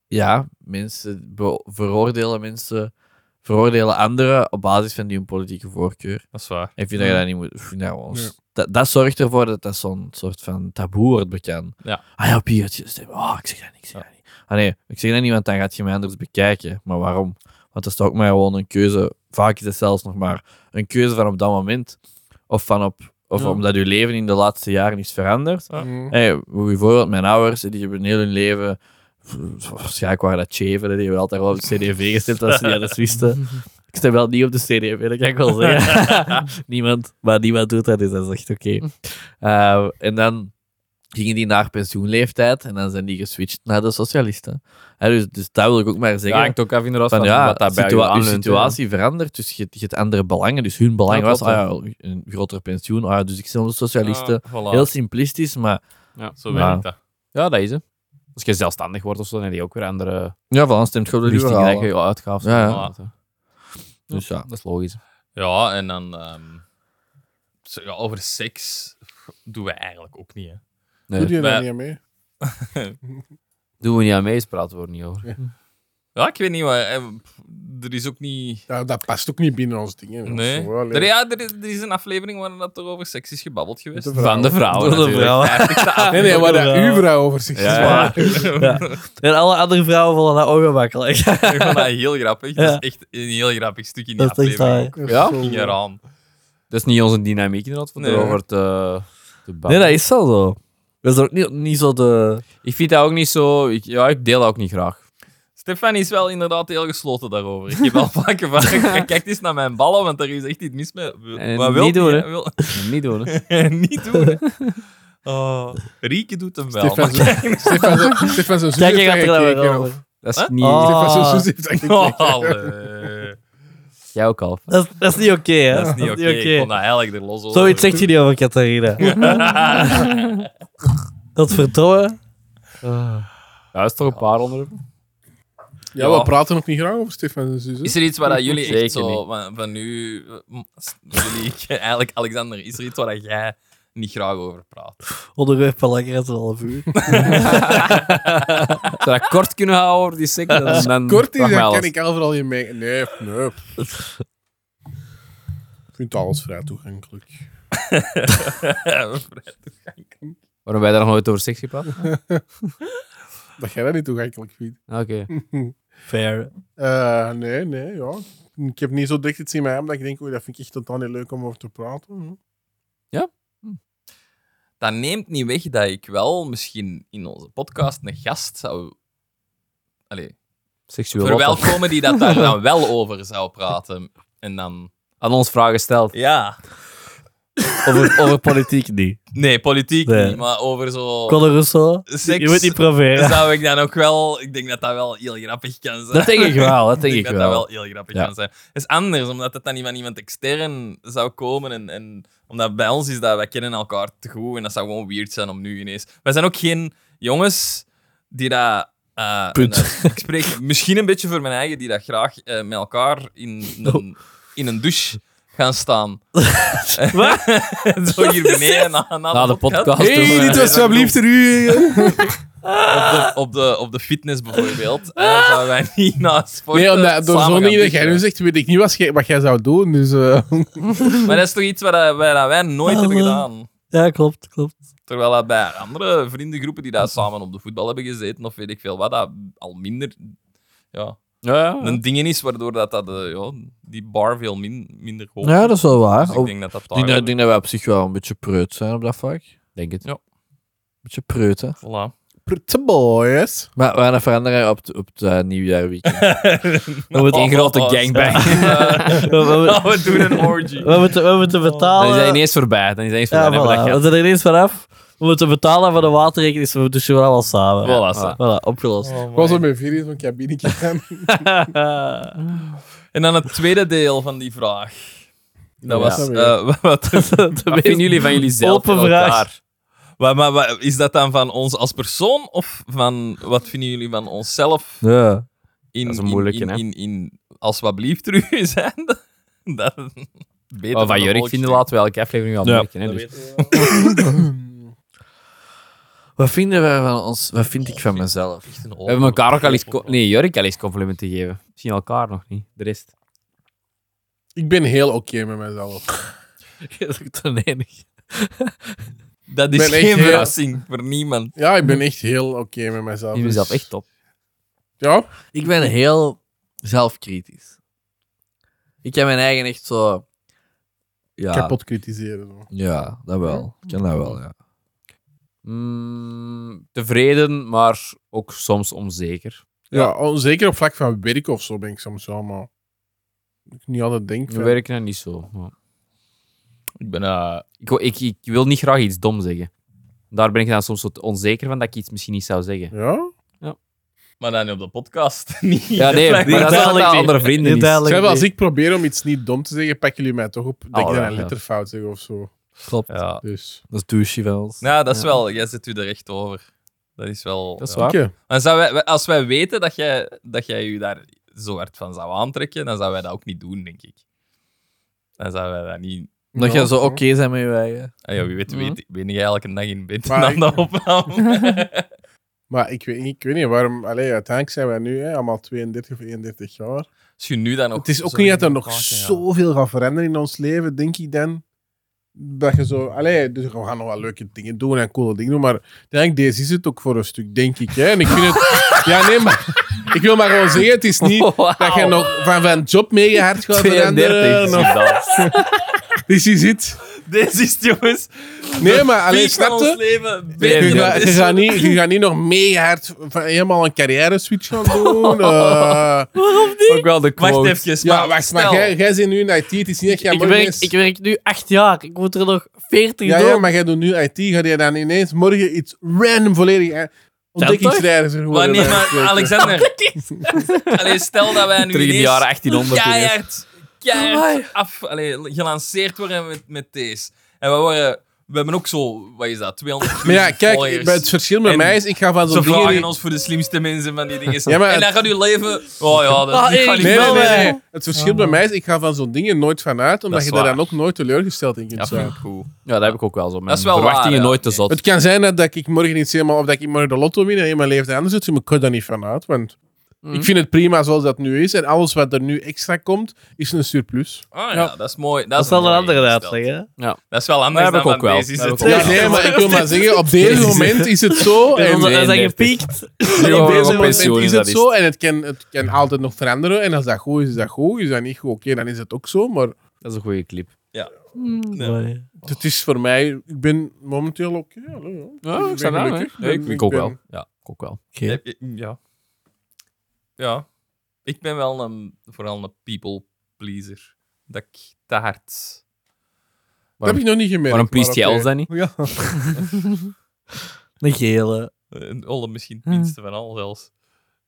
Speaker 3: ja, mensen be- veroordelen mensen, veroordelen anderen op basis van hun politieke voorkeur.
Speaker 2: Dat is waar.
Speaker 3: En vind dat je dat niet moet, vind dat gewoon-
Speaker 1: Ja.
Speaker 3: dat, dat zorgt ervoor dat dat zo'n soort van taboe wordt bekend.
Speaker 2: Ja.
Speaker 3: Ah ja, Piertje, stem. Oh, ik zeg dat niet, ik zeg dat niet. Ah nee, ik zeg dat niet, want dan gaat je mij anders bekijken. Maar waarom? Want dat is toch ook maar gewoon een keuze. Vaak is het zelfs nog maar een keuze van op dat moment. Of, van op, of
Speaker 2: Ja.
Speaker 3: omdat je leven in de laatste jaren is veranderd.
Speaker 2: Ja.
Speaker 1: Mm.
Speaker 3: Hey, bijvoorbeeld mijn ouders, die hebben heel hun leven... Waarschijnlijk waren dat cheven, die hebben altijd wel op de CDV gestemd als ze niet anders wisten. Ik stem wel niet op de CDV, dat kan ik wel zeggen. niemand, maar niemand doet dat, dus dat is echt oké.
Speaker 4: Hm.
Speaker 3: Eh, en dan gingen die naar pensioenleeftijd en dan zijn die geswitcht naar de socialisten. Hè, dus, dus dat wil ik ook maar
Speaker 4: Ja,
Speaker 3: zeggen.
Speaker 4: hangt ook af inderdaad
Speaker 3: van,
Speaker 4: van,
Speaker 3: ja,
Speaker 4: wat dat bij
Speaker 3: situa-
Speaker 4: je
Speaker 3: uw
Speaker 4: aanleunt, hè.
Speaker 3: situatie verandert, dus je, je hebt andere belangen. Dus hun belang
Speaker 4: Ja,
Speaker 3: was
Speaker 4: klopt,
Speaker 3: ah, ja, een groter pensioen, ah, ja, dus ik stem op de socialisten.
Speaker 2: Ah, voilà.
Speaker 3: Heel simplistisch, maar
Speaker 4: Ja.
Speaker 2: Zo werkt
Speaker 3: Ja.
Speaker 2: dat.
Speaker 4: Ja, dat is het. Als je zelfstandig wordt of zo, dan heb je ook weer andere
Speaker 3: Ja, van stemt gewoon de
Speaker 4: richting dat
Speaker 3: liberalen.
Speaker 4: je uitgaven.
Speaker 3: Ja,
Speaker 2: ja.
Speaker 4: Voilà.
Speaker 3: Dus ja.
Speaker 4: Dat is logisch.
Speaker 2: Ja, en dan... ehm, zo, ja, over seks doen we eigenlijk ook niet, hè.
Speaker 1: Doe je
Speaker 2: Maar-
Speaker 1: daar nou niet aan mee?
Speaker 4: Doen we niet aan mee, is praten we er niet over.
Speaker 2: Ja, ik weet niet wat... eh, pff, Er is ook niet...
Speaker 1: Ja, dat past ook niet binnen ons ding. Hè. Dat is
Speaker 2: Nee.
Speaker 1: zo, allee.
Speaker 2: Er, ja, er is, er is een aflevering waarin dat er over seks is gebabbeld geweest.
Speaker 1: Met de
Speaker 4: Van de vrouwen
Speaker 3: Door de
Speaker 4: natuurlijk.
Speaker 3: vrouwen.
Speaker 1: Nee, nee, waar dat
Speaker 3: Ja.
Speaker 1: uw vrouw over zich
Speaker 4: Ja,
Speaker 1: ja,
Speaker 4: ja.
Speaker 3: En alle andere vrouwen vallen dat ongemakkelijk.
Speaker 2: Ik vond dat heel grappig.
Speaker 3: Ja.
Speaker 2: Dat is echt een heel grappig stuk in die
Speaker 3: Dat is echt
Speaker 2: aflevering. ook.
Speaker 1: is
Speaker 4: Ja?
Speaker 1: zo-
Speaker 2: Ging eraan.
Speaker 4: Dat is niet onze dynamiek inderdaad, van
Speaker 2: Nee.
Speaker 4: erover te, te
Speaker 3: Nee,
Speaker 4: babbelen.
Speaker 3: dat is wel zo. Dat is ook niet, niet zo de...
Speaker 4: Ik vind dat ook niet zo... Ik, ja, ik deel dat ook niet graag.
Speaker 2: Stefan is wel inderdaad heel gesloten daarover. Ik heb al vaak gevraagd, kijk eens naar mijn ballen, want er is echt iets mis mee. W-
Speaker 4: En
Speaker 2: Wat wil
Speaker 4: niet
Speaker 2: die,
Speaker 4: doen,
Speaker 2: hè?
Speaker 4: hè?
Speaker 2: Wil-
Speaker 4: Niet doen, hè.
Speaker 2: niet doen. Oh, Rieke doet hem wel.
Speaker 1: Stefan
Speaker 2: maar-
Speaker 1: zijn- Stefan zijn- Stefan zijn zus
Speaker 3: Kijk,
Speaker 1: heeft
Speaker 3: ik
Speaker 1: dat
Speaker 3: gaat er dan weer
Speaker 1: gekeken.
Speaker 3: over.
Speaker 1: of-
Speaker 4: Dat is
Speaker 2: Huh?
Speaker 4: niet...
Speaker 3: Oh.
Speaker 1: Stefan zijn
Speaker 3: Ah.
Speaker 1: zus heeft dat
Speaker 2: Oh,
Speaker 1: gekeken.
Speaker 2: allee.
Speaker 4: Jij ook al.
Speaker 3: Dat is, dat is niet oké, hè?
Speaker 2: Dat is niet oké. Ik vond dat eigenlijk er los over.
Speaker 3: Zoiets zegt je niet over Catharina. dat vertrouwen.
Speaker 4: Ja, dat is toch een paar onderwerpen.
Speaker 1: Ja,
Speaker 2: Ja.
Speaker 1: we praten nog niet graag over Stefan zijn zus. hè.
Speaker 2: Is er iets waar dat jullie echt
Speaker 4: Zeker
Speaker 2: zo van, van nu, eh, m- s- jullie, eigenlijk Alexander, is er iets waar dat jij niet graag over praat?
Speaker 3: Onderwerp van langer dan een half uur.
Speaker 4: Zou dat kort kunnen houden over die seks? Dan, dan
Speaker 1: Kort is,
Speaker 4: vraag mij
Speaker 1: dan
Speaker 4: alles.
Speaker 1: kan ik overal je mee. Nee, nee. Ik vind alles vrij toegankelijk.
Speaker 4: Waarom wij daar nog nooit over seks gepraat?
Speaker 1: Dat jij dat niet toegankelijk vindt.
Speaker 4: Ah, Oké.
Speaker 3: Fair.
Speaker 1: Eh, nee, nee, ja. Ik heb niet zo direct iets in mij omdat ik denk, oei, dat vind ik echt totaal niet leuk om over te praten.
Speaker 2: dat neemt niet weg dat ik wel misschien in onze podcast een gast zou allee,
Speaker 4: Seksueel wat
Speaker 2: verwelkomen die dat daar dan wel over zou praten. En dan...
Speaker 4: dan aan ons vragen stelt.
Speaker 2: Ja.
Speaker 3: Over, over politiek niet.
Speaker 2: Nee, politiek
Speaker 3: Nee.
Speaker 2: niet, maar over zo...
Speaker 3: Conor Rousseau,
Speaker 2: Seks
Speaker 3: je moet niet proveren.
Speaker 2: zou ik dan ook wel... Ik denk dat dat wel heel grappig kan zijn.
Speaker 4: Dat denk ik wel, dat denk ik
Speaker 2: dat dat
Speaker 4: wel.
Speaker 2: wel heel grappig
Speaker 4: Ja.
Speaker 2: kan zijn. Het is anders, omdat het dan niet van iemand extern zou komen. En, en omdat bij ons is dat, wij kennen elkaar te goed. En dat zou gewoon weird zijn om nu ineens... Wij zijn ook geen jongens die dat... eh,
Speaker 3: Punt.
Speaker 2: en, eh, ik spreek misschien een beetje voor mijn eigen, die dat graag eh, met elkaar in een, in een douche gaan staan.
Speaker 3: Wat?
Speaker 2: Zo hier beneden na, na,
Speaker 4: Na de podcast.
Speaker 1: Hé,
Speaker 4: doen we-
Speaker 1: dit was
Speaker 2: zo
Speaker 1: alsjeblieft er u.
Speaker 2: dus op de, op de, op de fitness bijvoorbeeld. Eh zouden wij niet na sporten
Speaker 1: Nee, omdat, door
Speaker 2: Eh, samen
Speaker 1: zo'n
Speaker 2: gaan
Speaker 1: ding dat jij nu
Speaker 2: douchen.
Speaker 1: zegt, weet ik niet wat jij, wat jij zou doen. Dus, eh,
Speaker 2: Maar dat is toch iets wat dat- wat dat wij nooit hebben
Speaker 3: eh.
Speaker 2: gedaan.
Speaker 3: Ja, klopt, klopt.
Speaker 2: Terwijl dat bij andere vriendengroepen die daar samen op de voetbal hebben gezeten, of weet ik veel wat, dat al minder ja,
Speaker 4: Ja,
Speaker 2: een ding is waardoor dat, dat, eh, ja, die bar veel min, minder hoog
Speaker 3: Ja, dat is wel waar. Oh.
Speaker 2: Dus
Speaker 3: Op-
Speaker 2: ik denk dat dat
Speaker 3: Ik denk, dat-
Speaker 2: daar...
Speaker 3: ik denk dat wij op zich wel een beetje preut zijn op dat vlak.
Speaker 4: denk het.
Speaker 3: beetje preut, hè.
Speaker 2: Voilà.
Speaker 1: pretty boys.
Speaker 3: Maar we gaan dat veranderen op, het- op het eh, nieuwjaarweekend.
Speaker 2: Dan
Speaker 4: wordt een
Speaker 2: oh,
Speaker 4: grote gangbang.
Speaker 3: we, we,
Speaker 2: we doen een orgy.
Speaker 3: we moeten, we moeten
Speaker 4: Dan is
Speaker 3: betalen...
Speaker 4: hij ineens voorbij. Dan is hij ineens
Speaker 3: ja,
Speaker 4: voorbij. Dan hebben
Speaker 3: voilà.
Speaker 4: we
Speaker 3: We
Speaker 4: dat
Speaker 3: zijn er ineens vanaf. We moeten betalen voor de waterrekening, dus we doen gewoon allemaal samen.
Speaker 4: gehad. Voilà, zo.
Speaker 3: Voilà, opgelost.
Speaker 1: Ik was op mijn video zo'n cabinetje aan.
Speaker 2: En dan het tweede deel van die vraag.
Speaker 1: Ja.
Speaker 2: Dat was... eh, wat,
Speaker 4: Wat vinden jullie van jullie zelf
Speaker 3: Open
Speaker 4: en
Speaker 3: vraag.
Speaker 4: elkaar?
Speaker 2: wat, maar wat- is dat dan van ons als persoon, of van wat vinden jullie van onszelf?
Speaker 3: Ja.
Speaker 2: in,
Speaker 4: Dat is een
Speaker 2: in-
Speaker 4: moeilijke,
Speaker 2: in,
Speaker 4: hè?
Speaker 2: in, in- als wat blieft er u zijn, dat beter
Speaker 4: Wat
Speaker 2: dan
Speaker 4: Oh, van Jurk
Speaker 2: volkstuk.
Speaker 4: vinden laten we elke aflevering wel
Speaker 3: Ja.
Speaker 4: merken. hè,
Speaker 2: Dat
Speaker 4: dus.
Speaker 2: weet ik.
Speaker 3: Wat vinden wij van ons? Wat vind ik van mezelf?
Speaker 2: Echt een
Speaker 4: We hebben elkaar ook al eens... co- Nee, Jurk al eens complimenten gegeven. Misschien elkaar nog niet. De rest.
Speaker 1: Ik ben heel oké met mezelf.
Speaker 3: Dat is ook ten enige.
Speaker 2: Dat is
Speaker 1: Ik ben echt
Speaker 2: geen
Speaker 1: heel-
Speaker 2: verrassing voor niemand.
Speaker 1: Ja, ik ben echt heel oké met mezelf.
Speaker 4: Die is zelf
Speaker 1: Dus-
Speaker 4: echt top.
Speaker 1: Ja,
Speaker 3: Ik ben heel zelfkritisch. Ik heb mijn eigen echt zo... Ja,
Speaker 1: kapot kritiseren. zo.
Speaker 3: ja dat wel. Ik ken dat wel, ja.
Speaker 4: Mm, tevreden, maar ook soms onzeker.
Speaker 1: Ja, onzeker op vlak van werk of zo ben ik soms wel, maar... Ik niet altijd denk
Speaker 4: We
Speaker 1: van...
Speaker 4: werken er niet zo. maar-
Speaker 2: Ik ben, eh,
Speaker 4: Ik, wil- ik, ik wil niet graag iets dom zeggen. Daar ben ik dan soms wat onzeker van dat ik iets misschien niet zou zeggen.
Speaker 1: Ja?
Speaker 2: maar dan op de podcast niet.
Speaker 4: Ja, nee, maar
Speaker 2: Blijkbaar.
Speaker 4: dat is altijd andere vrienden. is.
Speaker 1: Ik zeg wel, als ik probeer om iets niet dom te zeggen, pakken jullie mij toch op dat
Speaker 4: Ah,
Speaker 1: ik dan
Speaker 4: ja,
Speaker 1: een
Speaker 4: ja.
Speaker 1: letterfout zeg of zo.
Speaker 3: Klopt.
Speaker 2: Ja.
Speaker 1: Dus...
Speaker 3: Dat is douche van ons.
Speaker 2: Nou, dat is wel... Jij zit u er echt over. Dat is wel...
Speaker 4: Dat is
Speaker 2: ja.
Speaker 4: waar.
Speaker 1: Oké.
Speaker 2: Maar zou wij- wij- als wij weten dat jij, dat jij je daar zo hard van zou aantrekken, dan zouden wij dat ook niet doen, denk ik. Dan zouden wij dat niet...
Speaker 3: Dat
Speaker 1: Ja.
Speaker 3: je zo oké zijn met je eigen.
Speaker 2: Ah, ja, wie weet,
Speaker 4: Mhm.
Speaker 2: weet, ben jij elke dag in bed
Speaker 1: Maar
Speaker 2: aan
Speaker 1: ik-
Speaker 2: de opname?
Speaker 1: Maar ik weet, niet- ik weet niet waarom... Allee, uiteindelijk zijn wij nu hè, allemaal 32 of 31 jaar.
Speaker 2: Als je nu dan ook
Speaker 1: Het is ook
Speaker 2: zo
Speaker 1: niet dat er
Speaker 2: in
Speaker 1: nog
Speaker 2: elkaar kan gaan.
Speaker 1: zoveel gaat veranderen in ons leven, denk ik dan. Dat je zo, allee, dus we gaan nog wel leuke dingen doen en coole dingen doen, maar ik denk deze is het ook voor een stuk, denk ik. Hè? En ik vind het, ja, nee, maar ik wil maar gewoon zeggen, het is niet dat je nog van, van job mega hard gaat
Speaker 4: 32
Speaker 1: veranderen.
Speaker 4: is
Speaker 1: Of,
Speaker 4: dat.
Speaker 1: dus is het.
Speaker 2: Deze is het, jongens.
Speaker 1: Nee, maar alleen
Speaker 2: Piek van
Speaker 1: snap
Speaker 2: ons
Speaker 1: je?
Speaker 2: leven.
Speaker 1: Je,
Speaker 2: Beter.
Speaker 1: gaat- je,
Speaker 2: Is-
Speaker 1: gaat niet, je gaat niet nog mega hard van, helemaal een carrière switch gaan doen. eh.
Speaker 4: Ook wel de
Speaker 2: Wacht
Speaker 4: quote.
Speaker 2: even.
Speaker 1: ja, wacht, maar
Speaker 2: stel-
Speaker 1: jij, jij zit nu in IT, het is niet echt...
Speaker 3: Ik werk, ik werk nu acht jaar. Ik moet er nog veertig
Speaker 1: Ja,
Speaker 3: doen.
Speaker 1: ja, maar jij doet nu IT, ga je dan ineens morgen iets random volledig ontdekkingsreizen worden.
Speaker 2: Maar nee,
Speaker 1: bij wijze van
Speaker 2: maar
Speaker 1: spreken.
Speaker 2: Alexander. Allee, stel dat wij nu
Speaker 4: Terug in de
Speaker 2: ineens
Speaker 4: jaren 1800 toen eerst.
Speaker 2: keihard, keihard af, allee, gelanceerd worden met, met deze. En we worden... We hebben ook zo... Wat is dat? 200
Speaker 1: Maar ja, kijk,
Speaker 2: followers.
Speaker 1: bij het verschil met
Speaker 2: En
Speaker 1: mij is, ik ga van
Speaker 2: Ze
Speaker 1: zo'n dingen...
Speaker 2: vragen ons voor de slimste mensen van die dingen.
Speaker 1: Ja, maar
Speaker 2: en dan
Speaker 1: het-
Speaker 2: gaat uw leven... Oh ja, dat
Speaker 3: Ah,
Speaker 2: ik ga
Speaker 3: ik
Speaker 2: niet
Speaker 1: Nee, nee,
Speaker 2: wel,
Speaker 1: nee,
Speaker 2: eh.
Speaker 1: nee. Het verschil bij mij is, ik ga van zo'n dingen nooit vanuit, omdat
Speaker 2: is
Speaker 1: je daar
Speaker 2: waar.
Speaker 1: dan ook nooit teleurgesteld in
Speaker 2: Ja,
Speaker 1: kunt
Speaker 2: vind
Speaker 1: zijn.
Speaker 2: ik cool.
Speaker 4: Ja, dat heb ik ook wel zo. Mijn
Speaker 2: Dat is wel
Speaker 4: verwachtingen
Speaker 2: waar, ja.
Speaker 4: nooit te zot.
Speaker 1: Het kan zijn dat, dat ik morgen iets helemaal, of dat ik morgen de lotto win en in mijn leven anders zit, maar ik kan daar niet vanuit, want ik vind het prima zoals dat nu is en alles wat er nu extra komt, is een surplus.
Speaker 2: Ah ja,
Speaker 4: Ja.
Speaker 2: dat is mooi. Dat,
Speaker 3: Dat is wel
Speaker 2: mooi
Speaker 3: een andere
Speaker 2: ingesteld.
Speaker 3: uitleg, hè?
Speaker 2: Dat is wel anders
Speaker 4: Dat heb
Speaker 2: dan
Speaker 4: ik ook
Speaker 2: van
Speaker 4: wel.
Speaker 2: deze is
Speaker 4: Dat heb
Speaker 2: het.
Speaker 4: ik ook
Speaker 1: Ja, nee, maar ik wil maar zeggen, op deze moment is het zo.
Speaker 3: En
Speaker 1: En
Speaker 3: dan dan zijn
Speaker 4: 32.
Speaker 3: gepiekt.
Speaker 1: En op
Speaker 4: Ja,
Speaker 1: deze
Speaker 4: op
Speaker 1: moment
Speaker 4: pensioen
Speaker 1: is
Speaker 4: is
Speaker 1: het
Speaker 4: dat
Speaker 1: zo en het kan, het kan altijd nog veranderen. En als dat goed is, is dat goed. Is dat niet goed, oké, dan is het ook zo. Maar
Speaker 4: Dat is een goede clip.
Speaker 2: Hmm,
Speaker 3: Mooi.
Speaker 1: het is voor mij... Ik ben momenteel oké. hallo, ja.
Speaker 4: Ja,
Speaker 1: ik
Speaker 4: ik
Speaker 1: sta
Speaker 4: sta
Speaker 1: daar, hè.
Speaker 4: Ik, ik ook
Speaker 1: ben-
Speaker 4: wel. Ja, ik ook wel.
Speaker 3: Oké.
Speaker 2: Ja. ja, ik ben wel een, vooral een people pleaser. Dat ik te hard.
Speaker 1: Dat heb ik nog niet gemerkt.
Speaker 4: Waarom priest
Speaker 1: maar
Speaker 4: jij
Speaker 1: oké.
Speaker 4: ons dan niet?
Speaker 1: Ja.
Speaker 3: Een gele.
Speaker 2: eh, Alle misschien
Speaker 4: Hmm.
Speaker 2: het minste van al zelfs.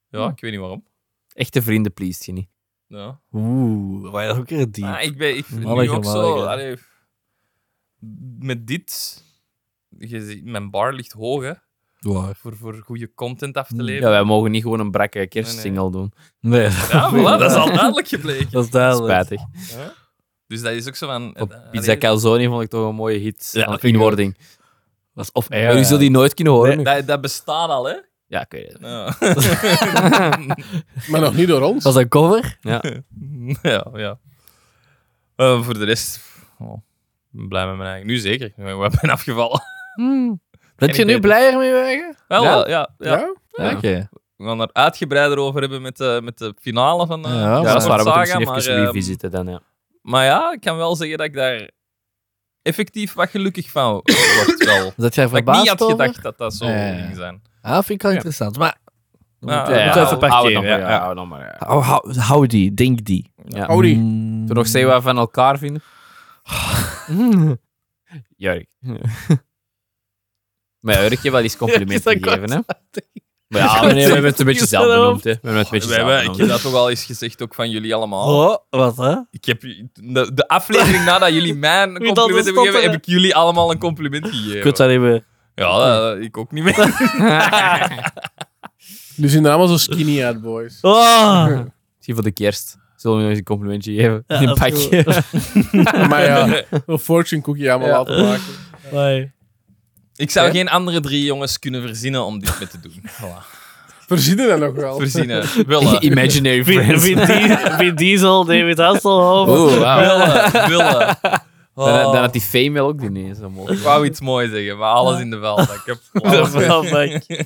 Speaker 2: Ja, ik weet niet waarom.
Speaker 4: Echte vrienden pleest je niet.
Speaker 2: Ja.
Speaker 3: Oeh, maar dat is ook weer diep.
Speaker 2: Ah, ik ben ik vind nu
Speaker 3: Manneke,
Speaker 2: ook zo.
Speaker 3: manneke.
Speaker 2: allee, met dit, je ziet, mijn bar ligt hoog hè,
Speaker 3: Waar?
Speaker 2: voor, voor goede content af te
Speaker 4: Ja,
Speaker 2: leveren.
Speaker 4: wij mogen niet gewoon een brakke kerstsingle doen.
Speaker 3: Nee,
Speaker 2: Ja, voilà, dat is al duidelijk gebleken.
Speaker 3: dat is duidelijk.
Speaker 4: Spijtig.
Speaker 2: Dus dat is ook zo van. eh,
Speaker 4: Op
Speaker 2: allee,
Speaker 4: Pizza Calzone vond ik toch een mooie hit.
Speaker 3: Ja,
Speaker 4: van
Speaker 3: vind ik
Speaker 4: inwording.
Speaker 3: Dat is of
Speaker 4: Maar u zult die nooit kunnen horen.
Speaker 2: dat, dat bestaat al, hè?
Speaker 4: Ja, ik weet het.
Speaker 2: Ja.
Speaker 1: Maar nog niet door ons.
Speaker 3: Was dat een cover?
Speaker 2: ja, ja. Eh, voor de rest, oh, ik ben blij met mijn eigen. Nu zeker, ik ben ik ben afgevallen.
Speaker 3: Bent je
Speaker 2: Hmm. idee.
Speaker 3: nu blijer mee weg?
Speaker 2: Wel,
Speaker 4: Ja?
Speaker 2: wel, ja, ja.
Speaker 1: Ja?
Speaker 4: Ja.
Speaker 3: Oké.
Speaker 2: We gaan er uitgebreider over hebben met de, met de finale van. eh,
Speaker 3: Ja,
Speaker 2: van
Speaker 3: dat
Speaker 4: Ja, dat is waar. We
Speaker 2: Saga,
Speaker 4: moeten misschien even
Speaker 2: ehm,
Speaker 4: revisiten dan, ja.
Speaker 2: Maar ja, ik kan wel zeggen dat ik daar effectief wat gelukkig van word. Wel.
Speaker 3: Dat jij
Speaker 2: dat ik niet
Speaker 3: verbaasd
Speaker 2: had
Speaker 3: over?
Speaker 2: gedacht dat dat zo
Speaker 3: Ja, ja, ja.
Speaker 2: ging zijn.
Speaker 3: Ah, vind ik wel
Speaker 2: Ja.
Speaker 3: interessant. Maar
Speaker 2: Ja,
Speaker 3: moet,
Speaker 2: ja,
Speaker 3: moet
Speaker 2: ja,
Speaker 3: even
Speaker 2: hou-
Speaker 4: Hou het
Speaker 3: parkeren.
Speaker 4: nog
Speaker 3: hè.
Speaker 4: maar, ja. Hou het nog maar, ja.
Speaker 3: Hou, hou, hou die, denk die.
Speaker 4: Ja.
Speaker 1: Hou die.
Speaker 3: Mm.
Speaker 4: Toen nog zeggen wat we van elkaar vinden. Jurk. Maar ja, Jurk heeft wel eens complimenten
Speaker 3: Jurk is dat
Speaker 4: gegeven, hè? Maar ja, meneer, we hebben het een beetje zelf benoemd, hè? We hebben het een beetje
Speaker 2: Wij-
Speaker 4: zelf
Speaker 2: wij- ik
Speaker 4: benoemd.
Speaker 2: heb dat toch al eens gezegd, ook van jullie allemaal.
Speaker 3: Oh, wat hè?
Speaker 2: Ik heb, de, de aflevering nadat jullie mij een
Speaker 3: dat
Speaker 2: compliment hebben
Speaker 3: stotteren.
Speaker 2: gegeven, heb ik jullie allemaal een compliment
Speaker 3: Ik weet
Speaker 2: gegeven.
Speaker 3: dat niet meer.
Speaker 2: Ja, dat- ik ook niet meer.
Speaker 1: Die zien er allemaal zo skinny uit, boys.
Speaker 3: Oh,
Speaker 4: Misschien voor de kerst. Zullen we nog eens een complimentje geven?
Speaker 3: Ja,
Speaker 4: in een
Speaker 3: dat is
Speaker 4: pakje.
Speaker 1: Maar ja, een fortune cookie allemaal
Speaker 4: Ja.
Speaker 1: laten maken.
Speaker 3: nee.
Speaker 2: Ik zou geen andere drie jongens kunnen verzinnen om dit mee te doen. Voilà.
Speaker 1: Verzinnen dat nog wel.
Speaker 2: Verzinnen, willen,
Speaker 4: Imaginary
Speaker 3: Vin,
Speaker 4: friends.
Speaker 3: Vin Di- Vin Diesel, David Hasselhoff. Oh.
Speaker 4: Oeh, wauw.
Speaker 2: willen, willen.
Speaker 4: Dan, dan
Speaker 2: Oh,
Speaker 4: had die fame wel ook die nee, zo mooi.
Speaker 2: ik wou iets moois zeggen, maar alles in de veld. Ik heb
Speaker 3: Dat
Speaker 2: alles-
Speaker 3: is wel leuk.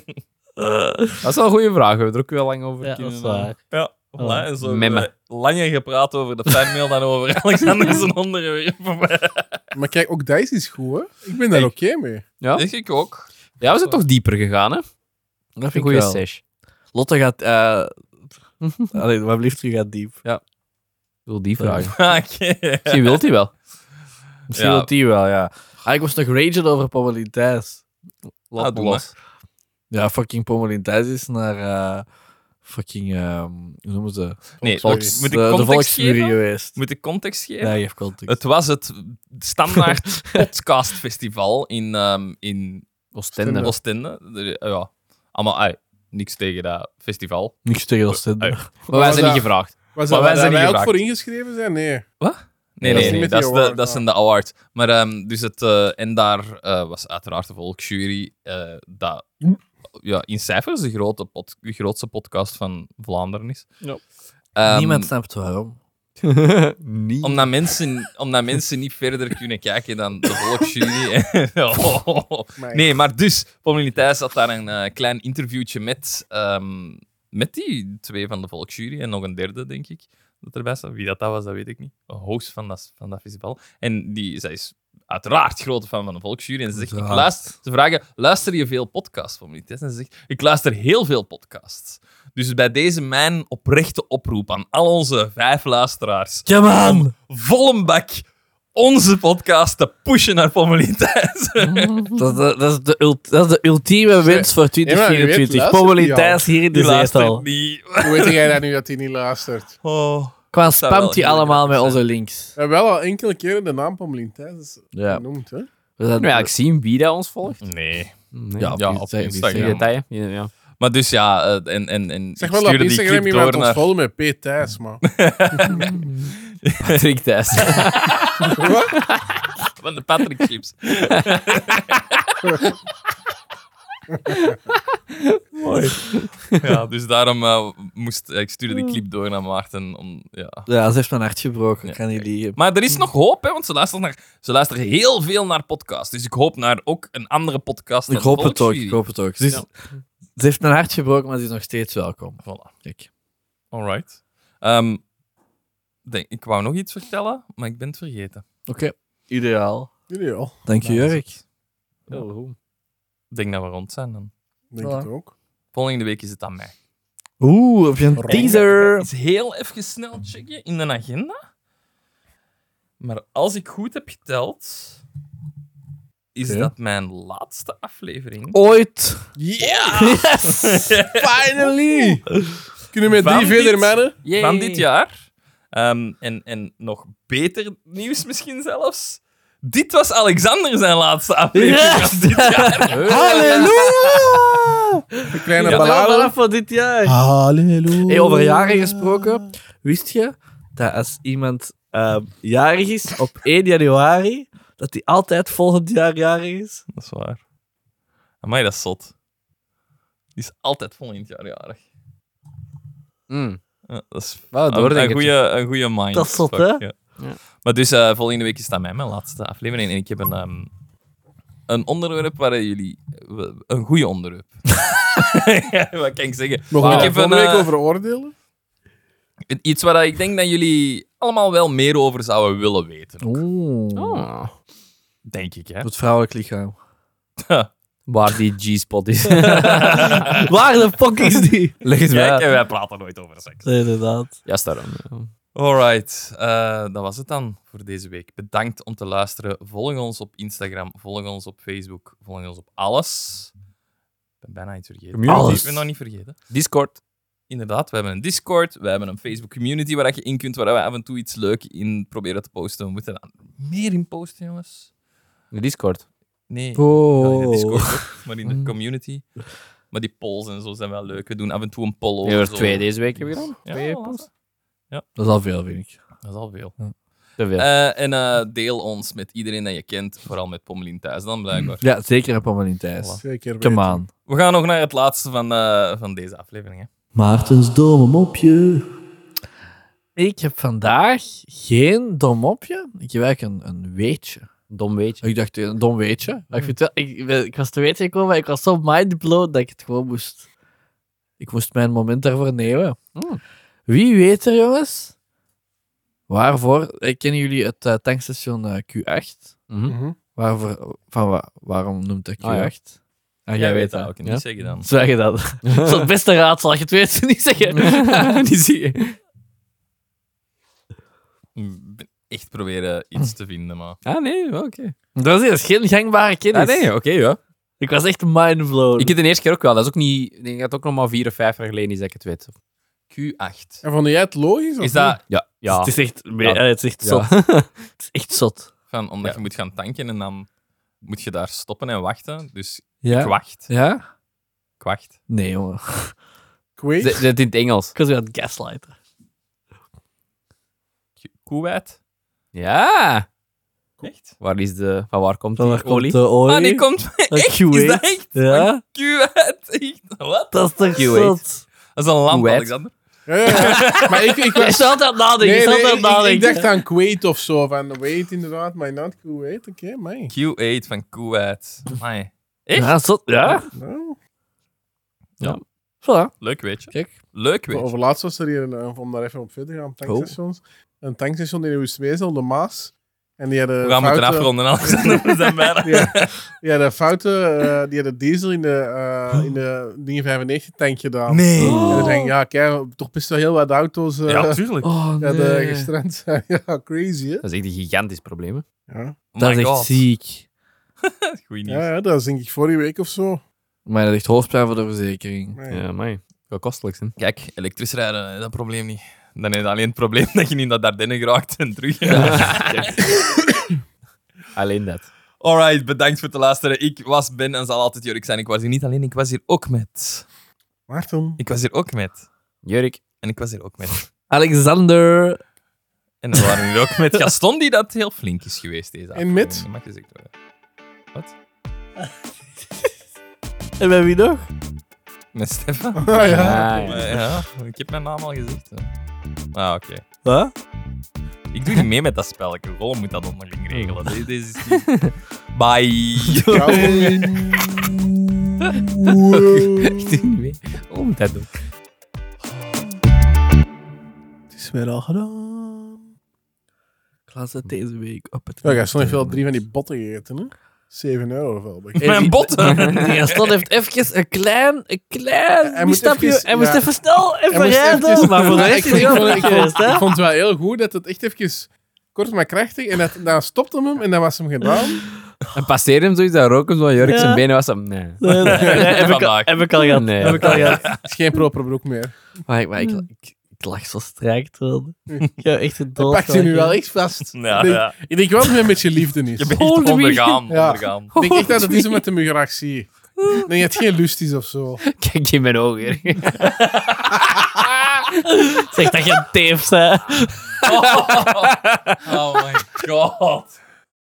Speaker 4: Dat is wel een goede vraag. We hebben er ook wel lang over
Speaker 3: Ja, dat is
Speaker 4: kunnen-
Speaker 3: waar.
Speaker 2: Ja, voilà, en zo hebben
Speaker 4: Memmen.
Speaker 2: we langer gepraat over de fanmail dan over Alexander zijn onderwerp.
Speaker 1: Maar kijk, ook dat is iets goed, hè? Ik ben daar oké mee.
Speaker 4: Ja?
Speaker 2: Denk ik ook.
Speaker 4: ja, we zijn toch dieper gegaan, hè?
Speaker 3: Dat vind
Speaker 4: Een
Speaker 3: ik
Speaker 4: goede
Speaker 3: wel.
Speaker 4: sesh.
Speaker 3: Lotte gaat... eh Allee, maar blijft u gaat diep.
Speaker 4: Ik wil die vragen.
Speaker 2: Oké.
Speaker 4: Misschien wilt hij wel.
Speaker 3: Misschien
Speaker 2: Ja.
Speaker 3: wil die wel, ja. Ah, ik was nog ragen over Pommelin Thijs.
Speaker 2: Laat
Speaker 4: Laat
Speaker 2: doen,
Speaker 4: los.
Speaker 3: Ja, fucking Pommelin Thijs is naar... eh, fucking... ehm hoe noemen ze?
Speaker 2: Nee,
Speaker 1: Volks-
Speaker 2: wacht,
Speaker 3: De,
Speaker 2: moet ik
Speaker 3: de
Speaker 2: context
Speaker 3: Volksjury
Speaker 2: geven?
Speaker 3: geweest.
Speaker 2: Moet ik Eh, context geven?
Speaker 3: Ja, geef context.
Speaker 2: Het was het standaard podcastfestival in, ehm, in
Speaker 4: Oostende.
Speaker 2: Oostende. De- eh, Ja, allemaal, ai, niks tegen dat festival.
Speaker 3: Niks tegen
Speaker 2: Oh,
Speaker 3: dat zin.
Speaker 2: Ui.
Speaker 4: Maar wij
Speaker 1: was
Speaker 4: zijn niet
Speaker 1: dat-
Speaker 4: gevraagd.
Speaker 1: Was
Speaker 2: Maar
Speaker 1: dat,
Speaker 2: wij
Speaker 1: wij
Speaker 2: zijn niet
Speaker 1: wij ook
Speaker 2: geraakt.
Speaker 1: voor ingeschreven zijn? Nee.
Speaker 2: Nee,
Speaker 1: dat
Speaker 2: nee,
Speaker 1: is
Speaker 2: nee,
Speaker 1: niet met
Speaker 2: dat,
Speaker 1: die
Speaker 2: is de,
Speaker 1: award,
Speaker 2: dat is
Speaker 1: ja.
Speaker 2: een de award. Maar ehm, dus het, eh, en daar eh, was uiteraard de volksjury eh, dat ja, in cijfers de, grote pod- de grootste podcast van Vlaanderen is.
Speaker 4: Ja.
Speaker 2: Ehm,
Speaker 3: Niemand snapt waarom.
Speaker 4: niet.
Speaker 2: Omdat mensen, omdat mensen niet verder kunnen kijken dan de volksjury. Oh.
Speaker 1: Maar-
Speaker 2: Nee, maar dus, Pommelien Thijs had daar een eh, klein interviewtje met, ehm, met die twee van de volksjury en nog een derde, denk ik, dat erbij staat. Wie dat, dat was, dat weet ik niet. Een host van dat, van dat festival. En die, zij is uiteraard grote fan van de volksjury. En ze zegt, ik
Speaker 3: Uiteraard.
Speaker 2: luister, ze vragen, luister je veel podcasts, Pommelien Thijs? En ze zegt, ik luister heel veel podcasts. Dus bij deze mijn oprechte oproep aan al onze vijf luisteraars
Speaker 3: Come on!
Speaker 2: volle bak onze podcast te pushen naar Pommelien Thijs.
Speaker 3: Dat, dat, dat, is de ult- dat is de ultieme winst voor
Speaker 1: maar je weet,
Speaker 3: 2024.
Speaker 1: luistert
Speaker 3: Pommelin
Speaker 1: die
Speaker 3: Thijs hier in de
Speaker 2: Die
Speaker 3: zetel.
Speaker 2: luistert niet.
Speaker 1: Hoe weet jij dat nu dat hij niet luistert?
Speaker 2: Oh.
Speaker 3: Qua
Speaker 2: zou wel
Speaker 3: spamt hij
Speaker 2: heel
Speaker 3: allemaal met
Speaker 2: grappig
Speaker 3: onze links.
Speaker 1: We hebben wel al enkele keren de naam Pommelien Thijs
Speaker 3: Ja.
Speaker 1: genoemd, hè?
Speaker 3: We zijn-
Speaker 4: Kunnen we eigenlijk zien wie dat ons volgt?
Speaker 2: Nee.
Speaker 4: Nee.
Speaker 3: Ja,
Speaker 2: Ja,
Speaker 3: op
Speaker 2: op
Speaker 3: Instagram.
Speaker 4: Geen
Speaker 2: Instagram.
Speaker 4: detail. Ja, ja.
Speaker 2: Maar dus ja, eh, en, en, en
Speaker 1: Zeg
Speaker 2: ik
Speaker 1: wel op
Speaker 2: stuurde
Speaker 1: Instagram
Speaker 2: clip
Speaker 1: iemand
Speaker 2: door
Speaker 1: ons
Speaker 2: naar-
Speaker 1: volgen met P. Thijs, man.
Speaker 4: Patrick Thijs.
Speaker 2: van de Patrick Chips. Mooi. Ja, dus daarom eh, moest ik stuurde die clip door naar Maarten om ja.
Speaker 3: Ja, ze heeft mijn hart gebroken. Ik kan niet liegen.
Speaker 2: Maar er is nog hoop, hè, want ze luisteren, naar, ze luisteren heel veel naar podcasts. Dus ik hoop naar ook een andere podcast.
Speaker 3: Ik
Speaker 2: dan
Speaker 3: hoop het ook.
Speaker 2: Volksjury.
Speaker 3: Ik hoop het ook. Ze, is- ze heeft mijn hart gebroken, maar ze is nog steeds welkom.
Speaker 2: Voilà.
Speaker 3: Kijk.
Speaker 2: Alright. Ehm, denk, ik wou nog iets vertellen, maar ik ben het vergeten.
Speaker 3: Oké. Ideaal.
Speaker 1: Jullie wel.
Speaker 3: Dank je, Jurk.
Speaker 4: Heel goed.
Speaker 2: Ik denk dat we rond zijn dan.
Speaker 1: Denk
Speaker 3: Voilà.
Speaker 1: ik ook.
Speaker 2: Volgende week is het aan mij.
Speaker 5: Oeh, heb je een teaser?
Speaker 2: Is heel even snel checken in de agenda. Maar als ik goed heb geteld, is
Speaker 1: Oké.
Speaker 2: dat mijn laatste aflevering.
Speaker 3: Oh.
Speaker 5: Ooit.
Speaker 1: Finally! Kunnen we met
Speaker 2: Van
Speaker 1: drie verder,
Speaker 2: dit-
Speaker 1: mannen?
Speaker 2: van dit jaar. Ehm, en, en nog beter nieuws misschien zelfs. Dit was Alexander zijn laatste aflevering van dit jaar.
Speaker 5: Halleluja!
Speaker 1: Een kleine
Speaker 2: Ja,
Speaker 1: ballade.
Speaker 3: van dit jaar.
Speaker 5: Halleluja.
Speaker 3: Hey, over jaren gesproken, wist je dat als iemand ehm, jarig is op 1 januari, dat hij altijd volgend jaar jarig is?
Speaker 2: Dat is waar. Amai, dat is zot. Die is altijd volgend jaar jarig.
Speaker 4: Mm.
Speaker 2: Ja, dat is
Speaker 3: Ah,
Speaker 4: Wel,
Speaker 2: een, Ah, een,
Speaker 4: doordenkertje.
Speaker 2: goede, een goede mind.
Speaker 3: Dat is zot,
Speaker 2: Fuck,
Speaker 3: hè?
Speaker 2: ja. Maar dus eh, volgende week is dat mij mijn laatste aflevering. En ik heb een, ehm, een onderwerp waar jullie... Een goede onderwerp. Wat kan ik zeggen?
Speaker 1: Mogen we daar
Speaker 2: ik heb een,
Speaker 1: volgende week
Speaker 2: eh,
Speaker 1: over oordelen?
Speaker 2: Iets waar ik denk dat jullie allemaal wel meer over zouden willen weten.
Speaker 3: Oeh.
Speaker 4: Oh.
Speaker 2: Denk ik, hè?
Speaker 3: Het vrouwelijk lichaam.
Speaker 4: Waar die G-spot is.
Speaker 3: Waar de fuck is die?
Speaker 4: Leg het
Speaker 2: Kijk, en
Speaker 4: wel.
Speaker 2: wij praten nooit over seks.
Speaker 3: Nee, inderdaad.
Speaker 4: Ja, daarom.
Speaker 2: Alright, eh, dat was het dan voor deze week. Bedankt om te luisteren. Volg ons op Instagram, volg ons op Facebook, volg ons op alles. Ik ben bijna iets vergeten.
Speaker 4: Community.
Speaker 2: Alles. Ik ben nog niet vergeten.
Speaker 4: Discord.
Speaker 2: Inderdaad, we hebben een Discord, we hebben een Facebook community waar je in kunt, waar we af en toe iets leuk in proberen te posten. We moeten daar meer in posten, jongens.
Speaker 4: De Discord.
Speaker 2: Nee. Ja, in de
Speaker 3: Oh.
Speaker 2: Discord ook, maar in de community. Maar die polls en zo zijn wel leuk. We doen af en toe een poll
Speaker 4: Je
Speaker 2: over.
Speaker 4: hebt
Speaker 2: zo.
Speaker 4: er twee deze week heb ik gedaan.
Speaker 2: Ja,
Speaker 4: Twee
Speaker 2: voilà.
Speaker 4: posts.
Speaker 3: Dat is al veel, vind ik.
Speaker 2: Dat is al veel.
Speaker 4: Te veel.
Speaker 2: Eh, en eh, deel ons met iedereen dat je kent, vooral met Pommelien thuis dan blijkbaar.
Speaker 3: Ja, zeker op Amalien Thijs.
Speaker 1: Zeker weten.
Speaker 3: Come on.
Speaker 2: We gaan nog naar het laatste van, eh, van deze aflevering. Hè.
Speaker 3: Ah,
Speaker 5: Maartens domme mopje.
Speaker 3: Ik heb vandaag geen dom mopje. Ik heb eigenlijk een, een weetje.
Speaker 4: Dom weet je.
Speaker 3: Ik dacht, een dom weetje. Maar ik, vind wel- ik, ben- ik was te weten gekomen, maar ik was zo mindblown dat ik het gewoon moest... Ik moest mijn moment daarvoor nemen.
Speaker 4: Hmm.
Speaker 3: Wie weet er, jongens? Waarvoor? eh, Kennen jullie het eh, tankstation eh, Q8?
Speaker 4: Mhm.
Speaker 1: Mhm.
Speaker 3: Waarvoor, van, wa- waarom noemt dat Q8?
Speaker 4: Ah, ja.
Speaker 3: Ah, jij weet dat.
Speaker 2: ook.
Speaker 4: ja.
Speaker 2: Niet zeggen dan.
Speaker 3: Zeg je dat? dat is het beste raadsel. Je het weet, niet zeggen. niet zeggen.
Speaker 2: Ik ben echt proberen iets te vinden, maar...
Speaker 4: Ah, nee, wel, oké.
Speaker 3: Dat is geen gangbare kennis.
Speaker 4: Ah, nee, oké, ja.
Speaker 3: Ik was echt mindblown.
Speaker 4: Ik heb de eerste keer ook wel. Dat is ook niet... Ik denk dat het ook nog maar vier of vijf jaar geleden is dat ik het weet.
Speaker 2: Q8.
Speaker 1: En vond jij het logisch? of
Speaker 2: Is dat
Speaker 4: Ja. Ja.
Speaker 3: Het is echt,
Speaker 4: Ja.
Speaker 3: eh, het is echt
Speaker 4: Ja.
Speaker 3: zot. het is echt zot.
Speaker 2: van, omdat
Speaker 4: Ja.
Speaker 2: je moet gaan tanken en dan moet je daar stoppen en wachten. Dus
Speaker 3: Ja?
Speaker 2: kwacht.
Speaker 3: Ja?
Speaker 2: Kwacht.
Speaker 3: Nee, jongen.
Speaker 1: Kweet?
Speaker 4: Ze- ze- Het in het Engels.
Speaker 3: Ik was weer aan het gaslighten.
Speaker 2: Q- Koewijd.
Speaker 4: Ja.
Speaker 2: Echt?
Speaker 4: Waar is de... Van waar komt die olie?
Speaker 3: de olie.
Speaker 2: Ah, die komt... Echt? Is dat echt?
Speaker 3: Ja?
Speaker 2: Q-uit. Echt? Wat?
Speaker 3: Dat is toch
Speaker 4: Q8.
Speaker 3: zot?
Speaker 2: Dat is een lamp,
Speaker 4: Q8.
Speaker 2: Alexander.
Speaker 1: Ja, ja, ja. Maar ik, ik
Speaker 3: Je
Speaker 1: was...
Speaker 3: staat aan het nadenken, je
Speaker 1: Nee,
Speaker 3: staat
Speaker 1: nee, ik,
Speaker 3: aan het
Speaker 1: ik- ik
Speaker 3: nadenken.
Speaker 1: dacht aan Kuwait of zo. Van Wait inderdaad, maar not Kuwait. Oké, mij.
Speaker 2: Q8 van Kuwait. Amai. Echt?
Speaker 3: Ja, zot, ja.
Speaker 1: Nou,
Speaker 3: Voilà.
Speaker 2: Leuk weet je.
Speaker 3: Kijk.
Speaker 2: Leuk weet Oh. je.
Speaker 1: overlaatst was er hier, een- om daar even op verder te gaan, op tankstations. Een tankstation in Oostwezel, de Maas. En die hadden
Speaker 2: We gaan moeten
Speaker 1: foute-
Speaker 2: afronden, Alexander. We zijn bijna.
Speaker 1: Die hadden- die hadden fouten, eh, die hadden diesel in de, eh in de dingen 95 tank gedaan.
Speaker 2: Nee.
Speaker 1: En dan denk ik, ja, kijk, toch best wel heel wat auto's eh
Speaker 2: Ja, tuurlijk.
Speaker 3: Oh,
Speaker 1: ja,
Speaker 3: nee.
Speaker 1: de gestrand zijn. ja, crazy, hè?
Speaker 4: Dat is echt een gigantisch probleem. hè.
Speaker 1: Ja.
Speaker 2: Oh
Speaker 3: dat
Speaker 2: my
Speaker 3: is echt
Speaker 2: God.
Speaker 3: ziek.
Speaker 2: Goeie nieuws.
Speaker 1: Ja, ja, dat is denk ik vorige week of zo.
Speaker 3: Maar dat is echt hoofdpijn voor de verzekering.
Speaker 1: Nee.
Speaker 4: Ja, mij. Wel kostelijk, hè.
Speaker 2: Kijk, elektrisch rijden, eh, dat probleem niet. Dan is alleen het probleem dat je niet naar Dardenne geraakt en terug.
Speaker 4: Alleen dat.
Speaker 2: Alright, bedankt voor het luisteren. Ik was, Ben en zal altijd Jurk zijn. Ik was hier niet alleen, ik was hier ook met.
Speaker 1: Maarten.
Speaker 2: Ik was hier ook met.
Speaker 4: Jurk.
Speaker 2: En ik was hier ook met.
Speaker 3: Alexander.
Speaker 2: En we waren hier ook met Gaston, die dat heel flink is geweest deze
Speaker 1: En met?
Speaker 2: aflevering. Dat mag gezegd worden.
Speaker 3: En bij wie nog?
Speaker 2: Met Stefan.
Speaker 1: Ah, ja.
Speaker 4: Ah, ja.
Speaker 2: Eh, ja, ik heb mijn naam al gezegd. hè. Ah, oké.
Speaker 3: Huh?
Speaker 2: Ik doe niet mee met dat spelletje. Gewoon moet dat onderling regelen. Dit- dit is niet- Bye.
Speaker 4: Ik doe niet mee. Hoe moet Oh, dat doen?
Speaker 1: Het is weer al gedaan.
Speaker 3: Ik las het deze week op het...
Speaker 1: Oh Ja, Gaston heeft wel drie van die botten gegeten, hè? 7 euro of wel.
Speaker 2: Mijn botten.
Speaker 3: Die Gaston heeft even een klein, een klein
Speaker 1: Hij moet
Speaker 3: misstapje.
Speaker 1: even-
Speaker 3: hij moest
Speaker 1: ja.
Speaker 3: even snel, even
Speaker 1: moest
Speaker 3: rijden.
Speaker 1: even-
Speaker 3: maar voor de
Speaker 1: Maar
Speaker 3: rest
Speaker 1: ik
Speaker 3: is
Speaker 1: vond- ik
Speaker 3: het heel
Speaker 1: vond-
Speaker 3: goed geweest, hè?
Speaker 1: Ik vond het wel heel goed dat het echt even kort maar krachtig en dat, dan stopte hem hem en dan was hem gedaan.
Speaker 4: En passeerde hem zoiets, dan rook hem zo, Jurk zijn
Speaker 3: Ja.
Speaker 4: benen was hem. Nee.
Speaker 3: Nee, nee, nee, heb ik al-
Speaker 2: Vandaag.
Speaker 3: Heb ik al gehad.
Speaker 4: Nee.
Speaker 3: Heb ik al gehad.
Speaker 1: Het is geen proper broek meer.
Speaker 3: Maar, ik, maar ik, ik, ik lag zo strijk terwijl.
Speaker 1: Hm.
Speaker 3: Ik heb echt een
Speaker 1: Dat
Speaker 3: dood.
Speaker 1: pakt hij nu wel echt vast.
Speaker 2: Ja,
Speaker 1: ik, denk,
Speaker 2: ja.
Speaker 1: ik denk wel dat het een beetje liefde is.
Speaker 2: Je bent
Speaker 3: Holy wee.
Speaker 2: ondergaan.
Speaker 1: Ja.
Speaker 2: ondergaan.
Speaker 1: Ik denk echt dat het is omdat hij me graag ziet. Ik denk dat het geen lust is of zo.
Speaker 4: Kijk in mijn ogen, Jurk.
Speaker 3: Zeg dat je een teef hè.
Speaker 2: Oh my god.